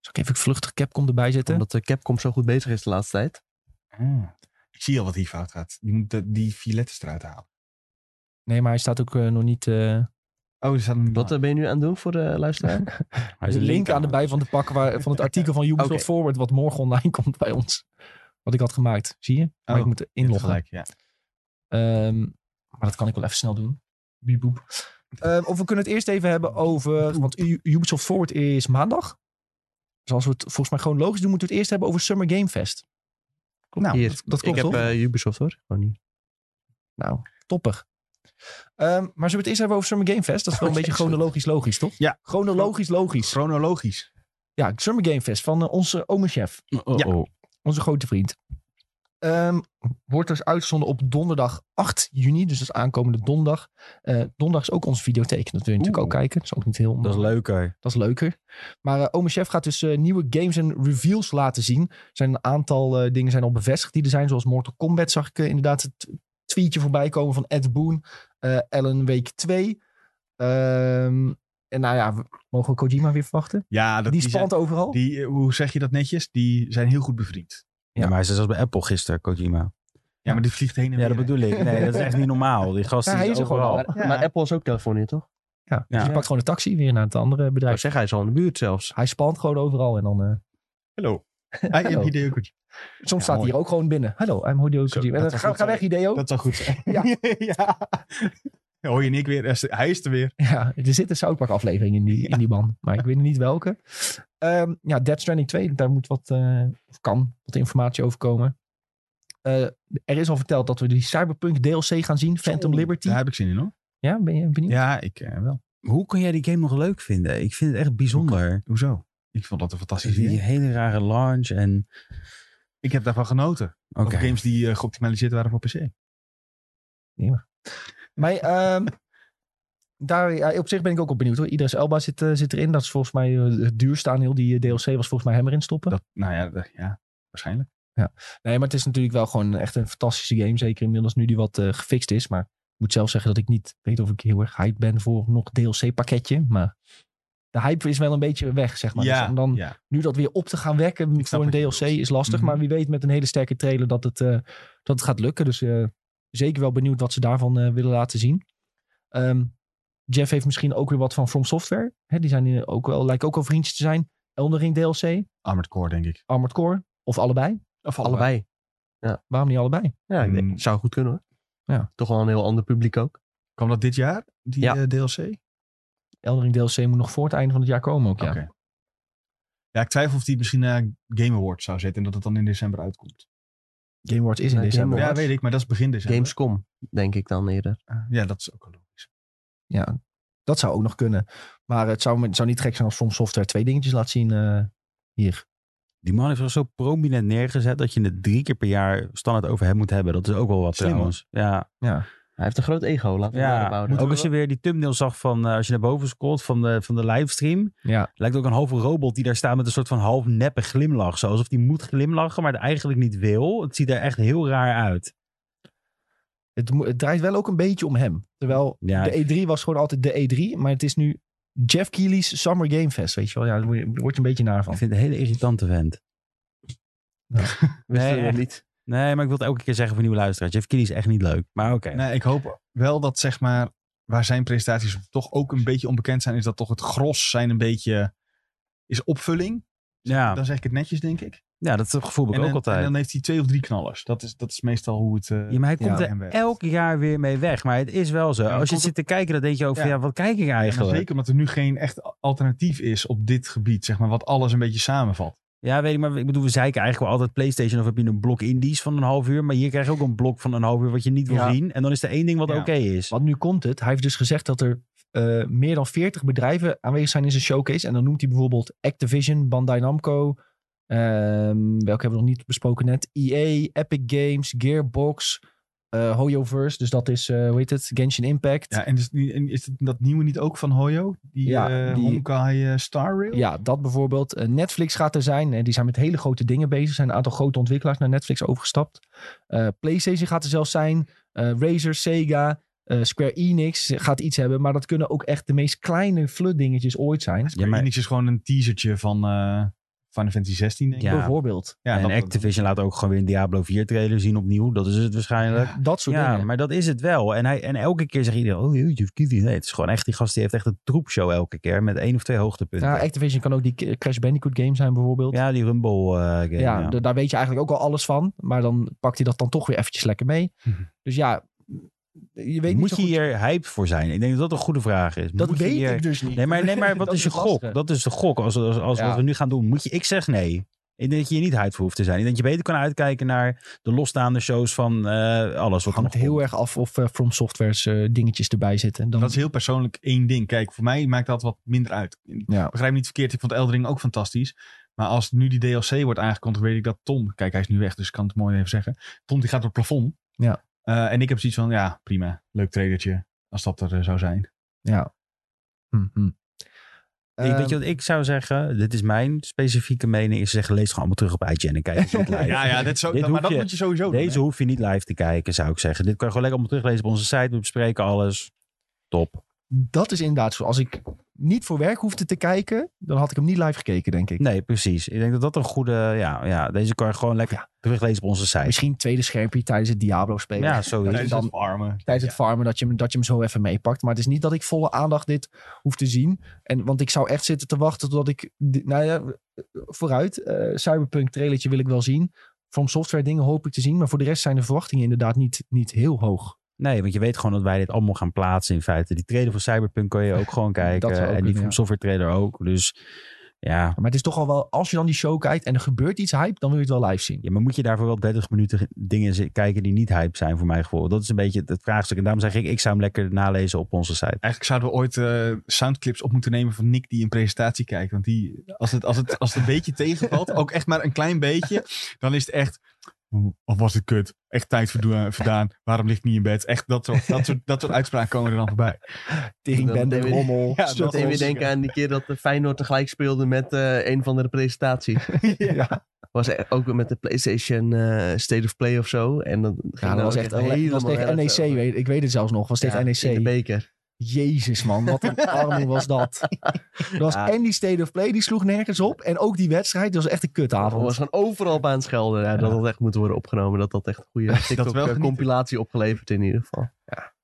Speaker 1: Zal ik even vluchtig Capcom erbij zetten?
Speaker 4: Omdat eh, Capcom zo goed bezig is de laatste tijd.
Speaker 2: Ah, ik zie al wat hier fout gaat. Je moet de- die vier letters eruit halen.
Speaker 1: Nee, maar hij staat ook eh, nog niet... eh,
Speaker 2: Oh, er staat een...
Speaker 1: Ah.
Speaker 4: Wat eh, ben je nu aan het doen voor de luisteraar?
Speaker 3: Hij is
Speaker 1: de
Speaker 3: een
Speaker 1: link aan de bij van de pak waar, van het artikel van Ubisoft
Speaker 4: Oké.
Speaker 1: Forward, wat morgen online komt bij ons. Wat ik had gemaakt, zie je? Maar
Speaker 2: Oh,
Speaker 1: ik moet
Speaker 2: Je hebt
Speaker 1: inloggen.
Speaker 2: gelijk, ja.
Speaker 1: Ehm, maar dat kan ik wel even snel doen. Bieboep. Ehm, of we kunnen het eerst even hebben over. Want U- Ubisoft Forward is maandag. Dus als we het volgens mij gewoon logisch doen, moeten we het eerst hebben over Summer Game Fest.
Speaker 2: Nou,
Speaker 4: Hier.
Speaker 1: dat, dat
Speaker 4: ik
Speaker 1: klopt
Speaker 4: heb
Speaker 1: toch?
Speaker 4: eh, Ubisoft hoor. Gewoon niet.
Speaker 1: Nou, toppig. Ehm, maar zullen we het eerst hebben over Summer Game Fest? Dat is wel een
Speaker 2: Oké,
Speaker 1: beetje
Speaker 2: is goed.
Speaker 1: chronologisch logisch, toch?
Speaker 2: Ja.
Speaker 1: Chronologisch logisch.
Speaker 2: chronologisch.
Speaker 1: Ja, Summer Game Fest van eh, onze omenchef.
Speaker 2: Ja.
Speaker 3: Oh, oh.
Speaker 1: onze grote vriend. Ehm, wordt dus uitgezonden op donderdag 8 juni. Dus dat is aankomende donderdag. Eh, donderdag is ook onze videotheek. Dat wil je natuurlijk
Speaker 2: Oeh.
Speaker 1: ook kijken. Dat is ook niet heel...
Speaker 3: Dat is leuker.
Speaker 1: Dat is leuker. Maar eh Ome Chef gaat dus eh, nieuwe games en reveals laten zien. Er zijn een aantal eh, dingen zijn al bevestigd die er zijn. Zoals Mortal Kombat zag ik eh, inderdaad het tweetje voorbij komen van Ed Boon. eh Ellen Week 2. Ehm, en nou ja, we- mogen we Kojima weer verwachten?
Speaker 2: Ja, dat,
Speaker 1: Die
Speaker 2: zijn-
Speaker 1: spant overal.
Speaker 2: die, eh, hoe zeg je dat netjes? Die zijn heel goed bevriend.
Speaker 1: Ja.
Speaker 3: Ja. maar hij is zelfs bij Apple gisteren, Kojima.
Speaker 2: Ja, maar die vliegt heen en
Speaker 3: Ja,
Speaker 2: weer.
Speaker 3: dat bedoel ik. Nee, dat is echt niet normaal. Die gast
Speaker 1: Ja, hij
Speaker 3: is,
Speaker 1: is er gewoon
Speaker 3: overal.
Speaker 1: al.
Speaker 4: Maar,
Speaker 2: Ja.
Speaker 4: maar Apple is ook Californië toch?
Speaker 1: Ja, dus
Speaker 3: Ja.
Speaker 1: je pakt gewoon een taxi weer naar het andere bedrijf.
Speaker 4: Nou, zeg, hij is al in de buurt zelfs.
Speaker 1: Hij spant gewoon overal en dan... eh,
Speaker 2: Hallo. Ah, je
Speaker 1: Hallo.
Speaker 2: hebt idee ook
Speaker 1: Soms staat
Speaker 2: mooi.
Speaker 1: hij hier ook gewoon binnen. Hallo, I'm Hideo
Speaker 2: Zo,
Speaker 1: Kojima. En
Speaker 2: dat
Speaker 1: dan
Speaker 2: was
Speaker 1: ga,
Speaker 2: goed,
Speaker 1: ga weg, Hideo.
Speaker 2: Dat zou goed zijn.
Speaker 1: Oh. Ja.
Speaker 2: ja. Hoor je Nick weer? Er is- Hij is er weer.
Speaker 1: Ja, er zit een South Park aflevering in die, in die band. Maar ik weet niet welke. Ehm, ja, Dead Stranding 2. Daar moet wat, eh, of kan wat informatie over komen. Eh, er is al verteld dat we die Cyberpunk DLC gaan zien. Phantom
Speaker 2: Zo,
Speaker 1: Liberty.
Speaker 2: Daar
Speaker 1: Ja,
Speaker 2: heb ik zin in hoor.
Speaker 1: ben je benieuwd?
Speaker 2: Ja, ik eh, wel.
Speaker 3: Hoe kun jij die game nog leuk vinden? Ik vind het echt bijzonder. Dus
Speaker 2: Hoezo? Ik vond dat een fantastisch
Speaker 3: Die eh,
Speaker 2: idee.
Speaker 3: hele rare launch en...
Speaker 2: Ik heb daarvan genoten.
Speaker 3: Oké.
Speaker 2: Over games die eh, geoptimaliseerd waren voor PC.
Speaker 1: Maar ehm, daar, ja, op zich ben ik ook op benieuwd hoor. Idris Elba zit, eh, zit erin. Dat is volgens mij eh, het duurste aan heel die eh, DLC. Was volgens mij hem erin stoppen.
Speaker 2: Dat, nou ja, dat- ja, waarschijnlijk.
Speaker 1: Nee, maar het is natuurlijk wel gewoon echt een fantastische game. Zeker inmiddels nu die wat eh, gefixt is. Maar ik moet zelf zeggen dat ik niet weet of ik heel erg hype ben voor nog DLC-pakketje. Maar de hype is wel een beetje weg, zeg maar. Dus
Speaker 2: ja,
Speaker 1: om dan
Speaker 2: ja.
Speaker 1: nu dat weer op te gaan wekken
Speaker 2: Ik snap
Speaker 1: voor een
Speaker 2: wat je
Speaker 1: DLC
Speaker 2: bedoelt.
Speaker 1: is lastig.
Speaker 2: Mhm.
Speaker 1: Maar wie weet met een hele sterke trailer dat het, eh, dat het gaat lukken. Dus eh, zeker wel benieuwd wat ze daarvan eh, willen laten zien. Ehm, Jeff heeft misschien ook weer wat van From Software. Hè, die zijn hier ook wel, lijken ook wel vriendjes te zijn. Elden Ring DLC,
Speaker 2: Armored Core, denk ik.
Speaker 1: Armored Core of allebei.
Speaker 2: Of
Speaker 4: Allebei.
Speaker 1: Waarom niet allebei?
Speaker 4: Ja, ik denk,
Speaker 2: Mm.
Speaker 4: zou goed kunnen hoor.
Speaker 1: Ja.
Speaker 4: Toch wel een heel ander publiek ook.
Speaker 2: Kwam dat dit jaar, die
Speaker 4: Ja.
Speaker 2: eh, DLC?
Speaker 1: Elden Ring DLC moet nog voor het einde van het jaar komen ook, ja.
Speaker 2: Oké. Ja, ik twijfel of die het misschien naar Game Awards zou zetten en dat het dan in december uitkomt.
Speaker 1: Game Awards is in
Speaker 4: Nee,
Speaker 1: december.
Speaker 4: Game
Speaker 2: Ja,
Speaker 4: Awards?
Speaker 2: weet ik, maar dat is begin december.
Speaker 4: Gamescom, denk ik dan eerder.
Speaker 2: Ja, dat is ook wel logisch.
Speaker 1: Ja, dat zou ook nog kunnen. Maar het zou, het zou niet gek zijn als From Software twee dingetjes laat zien eh, hier.
Speaker 3: Die man heeft er zo prominent neergezet dat je het drie keer per jaar standaard over hem moet hebben. Dat is ook wel wat
Speaker 2: Slim,
Speaker 3: trouwens. Ja,
Speaker 4: Hij heeft een groot ego, laten we
Speaker 3: Ja,
Speaker 4: daarop houden.
Speaker 3: ook als je weer die thumbnail zag van eh, als je naar boven scrolt van de, van de livestream.
Speaker 1: Ja.
Speaker 3: Lijkt ook een halve robot die daar staat met een soort van half neppe glimlach. Zo, alsof die moet glimlachen, maar het eigenlijk niet wil. Het ziet er echt heel raar uit.
Speaker 1: Het, mo- het draait wel ook een beetje om hem. Terwijl
Speaker 3: Ja,
Speaker 1: de E3 was gewoon altijd de E3. Maar het is nu Jeff Keighley's Summer Game Fest, weet je wel. Ja, daar word je, daar word je een beetje naar van.
Speaker 3: ik vind het een hele irritante vent.
Speaker 4: Wist
Speaker 3: Nee,
Speaker 4: je dat
Speaker 3: echt.
Speaker 4: niet.
Speaker 3: Nee, maar ik wil het elke keer zeggen voor nieuwe luisteraars. Jeff Keighley is echt niet leuk. Maar oké.
Speaker 2: Nee, ik hoop wel dat zeg maar waar zijn presentaties toch ook een beetje onbekend zijn, is dat toch het gros zijn een beetje is opvulling.
Speaker 3: Ja,
Speaker 2: Dan zeg ik het netjes, denk ik.
Speaker 3: ja, dat gevoel heb
Speaker 2: en,
Speaker 3: ik ook
Speaker 2: dan- en
Speaker 3: altijd.
Speaker 2: dan heeft hij twee of drie knallers. Dat is, dat is meestal hoe het. eh,
Speaker 3: Ja, maar hij
Speaker 1: Ja,
Speaker 3: komt
Speaker 2: en
Speaker 3: er
Speaker 2: weg.
Speaker 3: elk jaar weer mee weg. Maar het is wel zo.
Speaker 2: maar
Speaker 3: Als je
Speaker 2: komt
Speaker 3: zit te kijken, dan denk je ook van ja,
Speaker 2: Ja.
Speaker 3: wat kijk ik
Speaker 2: Ja, maar
Speaker 3: eigenlijk?
Speaker 2: zeker omdat er nu geen echt alternatief is op dit gebied, zeg maar, wat alles een beetje samenvat.
Speaker 3: Ja, weet ik, maar ik bedoel, we zeiken eigenlijk wel altijd PlayStation of heb je een blok indies van een half uur. Maar hier krijg je ook een blok van een half uur wat je niet wil
Speaker 1: Ja.
Speaker 3: zien. En dan is er één ding wat
Speaker 2: Ja.
Speaker 3: oké is.
Speaker 1: Want nu komt het. Hij heeft dus gezegd dat er eh, meer dan 40 bedrijven aanwezig zijn in zijn showcase. En dan noemt hij bijvoorbeeld Activision, Bandai Namco. ehm, welke hebben we nog niet besproken net? EA, Epic Games, Gearbox, eh HoYoverse. Dus dat is, eh hoe heet het? Genshin Impact.
Speaker 2: Ja, en is, die- en is het- dat nieuwe niet ook van Hoyo? Die,
Speaker 1: Ja,
Speaker 2: ja,
Speaker 1: die-
Speaker 2: Honkai eh, Star Rail?
Speaker 1: Ja, dat bijvoorbeeld. Eh, Netflix gaat er zijn. en die zijn met hele grote dingen bezig. Er zijn een aantal grote ontwikkelaars naar Netflix overgestapt. Eh, PlayStation gaat er zelfs zijn. Eh Razer, Sega, eh, Square Enix gaat iets hebben. Maar dat kunnen ook echt de meest kleine flutdingetjes ooit zijn.
Speaker 3: Ja, maar-
Speaker 2: Enix is gewoon een teasertje van eh Final Fantasy 16, denk ik.
Speaker 3: Ja.
Speaker 1: Bijvoorbeeld.
Speaker 2: Ja,
Speaker 3: en
Speaker 2: dat-
Speaker 3: Activision laat ook gewoon weer een Diablo 4 trailer zien opnieuw. Dat is het waarschijnlijk. Ja.
Speaker 1: Eh, Dat soort dingen.
Speaker 3: maar dat is het wel. En, hij, en elke keer zegt iedereen, oh, Jeff Keighley. Nee, het is gewoon echt, die gast die heeft echt een troepshow elke keer. Met één of twee hoogtepunten.
Speaker 1: Ja,
Speaker 3: Ja,
Speaker 1: Activision kan ook die K- Crash Bandicoot game zijn bijvoorbeeld. Ja,
Speaker 3: die Rumble eh, game.
Speaker 2: dus
Speaker 3: ja.
Speaker 1: d- daar weet je eigenlijk ook al alles van. Maar dan pakt hij dat dan toch weer eventjes lekker mee.
Speaker 2: Mhm.
Speaker 1: Dus ja, je weet niet
Speaker 3: Moet
Speaker 1: zo
Speaker 3: je
Speaker 1: goed-
Speaker 3: hier hype voor zijn? Ik denk dat dat een goede vraag is.
Speaker 1: Dat
Speaker 3: Moet je
Speaker 1: weet
Speaker 3: hier-
Speaker 1: ik dus niet.
Speaker 3: Nee, maar, nee, maar wat
Speaker 1: Dat
Speaker 3: is je
Speaker 1: het lastige.
Speaker 3: gok? Dat is de gok. Als, als, als
Speaker 1: Ja.
Speaker 3: wat we nu gaan doen, moet je. Ik zeg nee. Ik denk dat je hier niet hype voor hoeft te zijn. Ik denk dat je beter kan uitkijken naar de losstaande shows van eh, alles. Wat er nog
Speaker 1: hangt heel
Speaker 3: komt.
Speaker 1: erg af of eh, From Software's eh, dingetjes erbij zitten. En Dan,
Speaker 2: Dat is heel persoonlijk één ding. Kijk, voor mij maakt dat wat minder uit. Ik
Speaker 1: ja.
Speaker 2: begrijp me niet verkeerd, ik vond Eldering ook fantastisch. Maar als nu die DLC wordt aangekondigd, weet ik dat Tom... Kijk, hij is nu weg, dus ik kan het mooi even zeggen. Tom die gaat door het plafond.
Speaker 1: Ja.
Speaker 2: Eh, en ik heb zoiets van, ja, prima. Leuk trailertje, als dat er eh, zou zijn.
Speaker 1: ja. Hm, hm.
Speaker 3: ik,
Speaker 1: Ehm,
Speaker 3: weet je wat ik zou zeggen? Dit is mijn specifieke mening. Is zeggen, lees gewoon allemaal terug op IGN en kijk eens wat live.
Speaker 2: Ja, ja, dit zo,
Speaker 3: Dit
Speaker 2: maar
Speaker 3: hoef
Speaker 2: dat
Speaker 3: je-
Speaker 2: moet je sowieso
Speaker 3: Deze
Speaker 2: doen.
Speaker 3: hoef je niet live te kijken, zou ik zeggen. Dit kan je gewoon lekker allemaal teruglezen op onze site. We bespreken alles. Top.
Speaker 1: dat is inderdaad zo. Als ik niet voor werk hoefde te kijken, dan had ik hem niet live gekeken, denk ik.
Speaker 3: Nee, precies. Ik denk dat dat een goede... Ja, ja deze kan je gewoon lekker
Speaker 1: Ja.
Speaker 3: teruglezen op onze site.
Speaker 1: Misschien tijdens schermpje tijdens het Diablo spelen.
Speaker 3: Ja, zoiets.
Speaker 2: Tijdens
Speaker 1: Dan-
Speaker 2: het farmen.
Speaker 1: tijdens het farmen dat je, hem, dat je hem zo even meepakt. Maar het is niet dat ik volle aandacht dit hoef te zien. En, want ik zou echt zitten te wachten totdat ik... di- Nou ja, vooruit. eh, Cyberpunk trailertje wil ik wel zien. From Software dingen hoop ik te zien. Maar voor de rest zijn de verwachtingen inderdaad niet, niet heel hoog.
Speaker 3: Nee, want je weet gewoon dat wij dit allemaal gaan plaatsen in feite. Die trailer van Cyberpunk kan je ook gewoon kijken.
Speaker 1: zou ook
Speaker 3: en die
Speaker 1: kunnen,
Speaker 3: van
Speaker 1: ja.
Speaker 3: Software trailer ook. Dus ja.
Speaker 1: Maar het is toch al wel... Als je dan die show kijkt en er gebeurt iets hype, dan wil je het wel live zien.
Speaker 3: ja, maar moet je daarvoor wel 30 minuten ge- dingen zi- kijken die niet hype zijn voor mijn gevoel. Dat is een beetje het- het vraagstuk. En daarom zeg ik, ik zou hem lekker nalezen op onze site.
Speaker 2: Eigenlijk zouden we ooit eh, soundclips op moeten nemen van Nick die een presentatie kijkt. Want die, als, het, als, het, als het een beetje tegenvalt, ook echt maar een klein beetje, dan is het echt. Of was het kut? Echt tijd verdoen- verdaan. Waarom ligt ik niet in bed? Echt dat soort, dat soort, dat soort uitspraken komen er dan voorbij.
Speaker 1: Teringbende,
Speaker 4: Dan- dan-
Speaker 1: rommel.
Speaker 2: Ja,
Speaker 4: Ik moet
Speaker 2: dat
Speaker 4: even
Speaker 2: is-
Speaker 4: denken aan die keer dat de Feyenoord tegelijk speelde met eh, een van de presentaties.
Speaker 1: Ja.
Speaker 4: Was e- ook weer met de PlayStation eh, State of Play of zo. En dat, ging
Speaker 1: Ja,
Speaker 4: dan
Speaker 1: dat was
Speaker 4: ook
Speaker 1: echt, een- dat was tegen
Speaker 4: helemaal
Speaker 1: NEC.
Speaker 4: nergens over.
Speaker 1: weet- ik weet het zelfs nog. was tegen E
Speaker 4: Ja, In de
Speaker 1: NEC.
Speaker 4: beker.
Speaker 1: Jezus man, wat een armoe was dat. Er was
Speaker 4: Ja.
Speaker 1: en die State of Play, die sloeg nergens op. En ook die wedstrijd, dat was echt een
Speaker 4: We
Speaker 1: kutavond.
Speaker 4: was gewoon overal op aan het schelden. Ja, Dat dat echt moet worden opgenomen. Dat dat echt een goede eh,
Speaker 2: wel genieten.
Speaker 4: TikTok-compilatie opgeleverd in ieder geval.
Speaker 1: Maar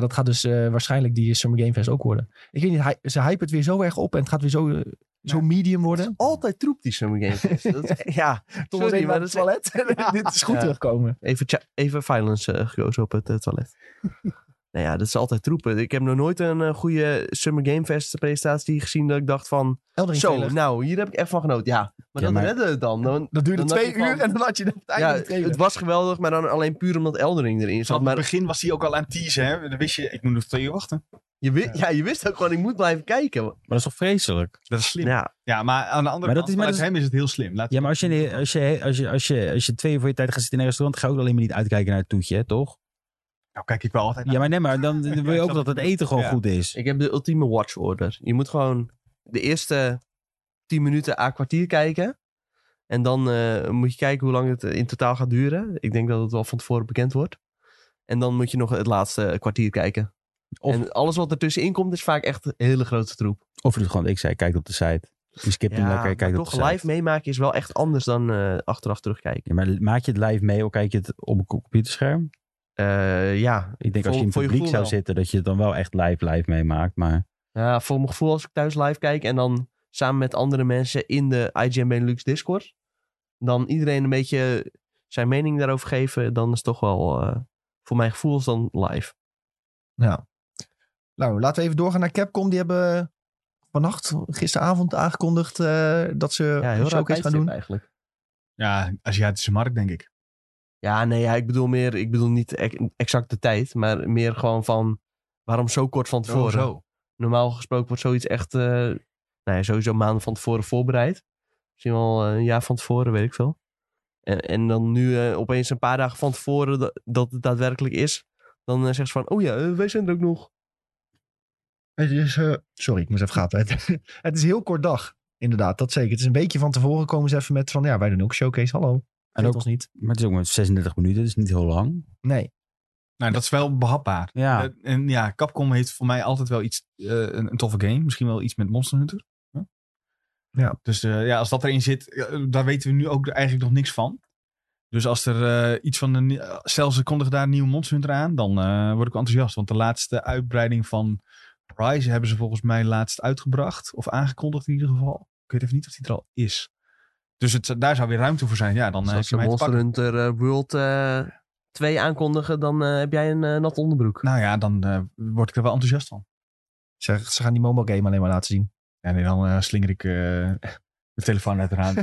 Speaker 1: ja, dat gaat dus eh, waarschijnlijk die Summer Game Fest ook worden. Ik weet niet, hij, ze hypen het weer zo erg op en het gaat weer zo, eh, zo medium worden.
Speaker 4: Altijd troep die Summer Game Fest. Dat- ja,
Speaker 1: was
Speaker 4: sorry,
Speaker 1: even
Speaker 4: maar
Speaker 1: naar het
Speaker 4: dat is-
Speaker 1: Dit is goed
Speaker 4: Ja.
Speaker 1: terugkomen.
Speaker 4: Even, tja- even violence eh, gekozen op het eh, toilet. nou ja, dat is altijd troepen. Ik heb nog nooit een eh, goede Summer Game Fest presentatie gezien dat ik dacht van...
Speaker 1: Elden Ring
Speaker 4: Zo,
Speaker 1: trailer.
Speaker 4: nou, hier heb ik echt van genoten. Ja, maar
Speaker 3: Ja,
Speaker 4: dat
Speaker 3: maar-
Speaker 4: redden we het dan. Dan-
Speaker 1: Dat duurde
Speaker 4: dan dacht
Speaker 1: twee
Speaker 4: ik van-
Speaker 1: uur en dan had je het
Speaker 4: ja,
Speaker 1: einde ja,
Speaker 4: het was geweldig, maar dan alleen puur omdat Eldering erin
Speaker 2: Aan
Speaker 4: zat.
Speaker 2: het
Speaker 4: Maar
Speaker 2: Oh, begin was hij ook al aan het teasen, hè? Dan wist je, ik moet nog twee uur wachten.
Speaker 4: je, wi- ja, je wist ook gewoon, ik moet blijven kijken.
Speaker 3: dat is toch vreselijk?
Speaker 2: Dat is slim. Ja,
Speaker 4: Ja,
Speaker 2: maar aan de andere
Speaker 3: Maar dat
Speaker 2: kant,
Speaker 3: is- maar
Speaker 2: vanuit
Speaker 3: dat is-
Speaker 2: hem is het heel slim. Laat
Speaker 3: Ja, maar als je, als, je, als, je, als, je, als je twee uur voor je tijd gaat zitten in een restaurant, ga je ook alleen maar niet uitkijken naar het toetje, hè, toch?
Speaker 2: Nou, kijk ik wel altijd naar.
Speaker 3: Ja, maar nee, maar dan dan wil je ook
Speaker 2: snap
Speaker 3: dat het eten gewoon
Speaker 2: Ja.
Speaker 3: goed is.
Speaker 4: ik heb de ultieme watch order. Je moet gewoon de eerste 10 minuten à kwartier kijken. En dan eh, moet je kijken hoe lang het eh, in totaal gaat duren. Ik denk dat het wel van tevoren bekend wordt. En dan moet je nog het laatste kwartier kijken.
Speaker 3: Of-
Speaker 4: En alles wat ertussenin komt is vaak echt een hele grote troep.
Speaker 3: Of je doet gewoon, ik zei, kijk op de site. Je skipt hem lekker,
Speaker 4: maar
Speaker 3: je kijkt op de
Speaker 4: toch
Speaker 3: site.
Speaker 4: live meemaken is wel echt anders dan eh, achteraf terugkijken.
Speaker 3: Ja, maar maak je het live mee of kijk je het op een computerscherm?
Speaker 4: Eh, ja,
Speaker 3: Ik denk
Speaker 4: Voor-
Speaker 3: als je in het
Speaker 4: voor je
Speaker 3: publiek zou
Speaker 4: gevoel wel.
Speaker 3: zitten, dat je het dan wel echt live live meemaakt. Maar
Speaker 4: Ja, voor mijn gevoel als ik thuis live kijk en dan samen met andere mensen in de IGN Benelux Discord, dan iedereen een beetje zijn mening daarover geven, dan is het toch wel, eh, voor mijn gevoel is dan live.
Speaker 1: Nou, laten we even doorgaan naar Capcom. Die hebben vannacht, gisteravond aangekondigd eh, dat ze
Speaker 4: Ja, heel
Speaker 1: een
Speaker 4: raar
Speaker 1: showcase gaan
Speaker 4: tijdstip
Speaker 1: doen.
Speaker 4: eigenlijk.
Speaker 2: Ja, Aziatische markt, denk ik.
Speaker 4: Ja, nee, ja, ik bedoel meer, ik bedoel niet ex- exact de tijd, maar meer gewoon van, waarom zo kort van tevoren? Normaal gesproken wordt zoiets echt, eh nou ja, sowieso maanden van tevoren voorbereid. Misschien wel eh, een jaar van tevoren, weet ik veel. En, en dan nu eh, opeens een paar dagen van tevoren dat, dat het daadwerkelijk is. Dan eh, zeggen ze van, oh ja, eh, wij zijn er ook nog.
Speaker 1: Het is, eh, sorry, ik moest even gapen. Het, het is heel kort dag, inderdaad. Dat zeker. Het is een beetje van tevoren komen ze even met van... Ja, wij doen ook een showcase, hallo. En
Speaker 3: ook-
Speaker 1: ons niet.
Speaker 3: maar het is ook maar 36 minuten, dus niet heel lang.
Speaker 1: Nee.
Speaker 2: Nou, dat is wel behapbaar.
Speaker 3: Ja,
Speaker 2: Eh, en ja, Capcom heeft voor mij altijd wel iets, eh, een, een toffe game. Misschien wel iets met Monster Hunter. Huh?
Speaker 1: Ja.
Speaker 2: Dus eh, ja, als dat erin zit, eh, daar weten we nu ook eigenlijk nog niks van. Dus als er eh, iets van een. eh, Zelfs ze kondigen daar een nieuw Monster Hunter aan, dan eh, word ik wel enthousiast. Want de laatste uitbreiding van Rise hebben ze volgens mij laatst uitgebracht. Of aangekondigd in ieder geval. Ik weet even niet of die er al is. Dus het, daar zou weer ruimte voor zijn. Ja, dan eh,
Speaker 4: Dus
Speaker 2: heb
Speaker 4: als
Speaker 2: je
Speaker 4: ze
Speaker 2: mij te
Speaker 4: Monster
Speaker 2: pakken.
Speaker 4: Hunter eh, World eh, 2 aankondigen, dan eh, heb jij een eh, nat onderbroek.
Speaker 2: Nou ja, dan eh, word ik er wel enthousiast van.
Speaker 1: Ze, ze gaan die mobile game alleen maar laten zien.
Speaker 2: Ja, nee, dan eh, slinger ik eh, de telefoon uit de raam.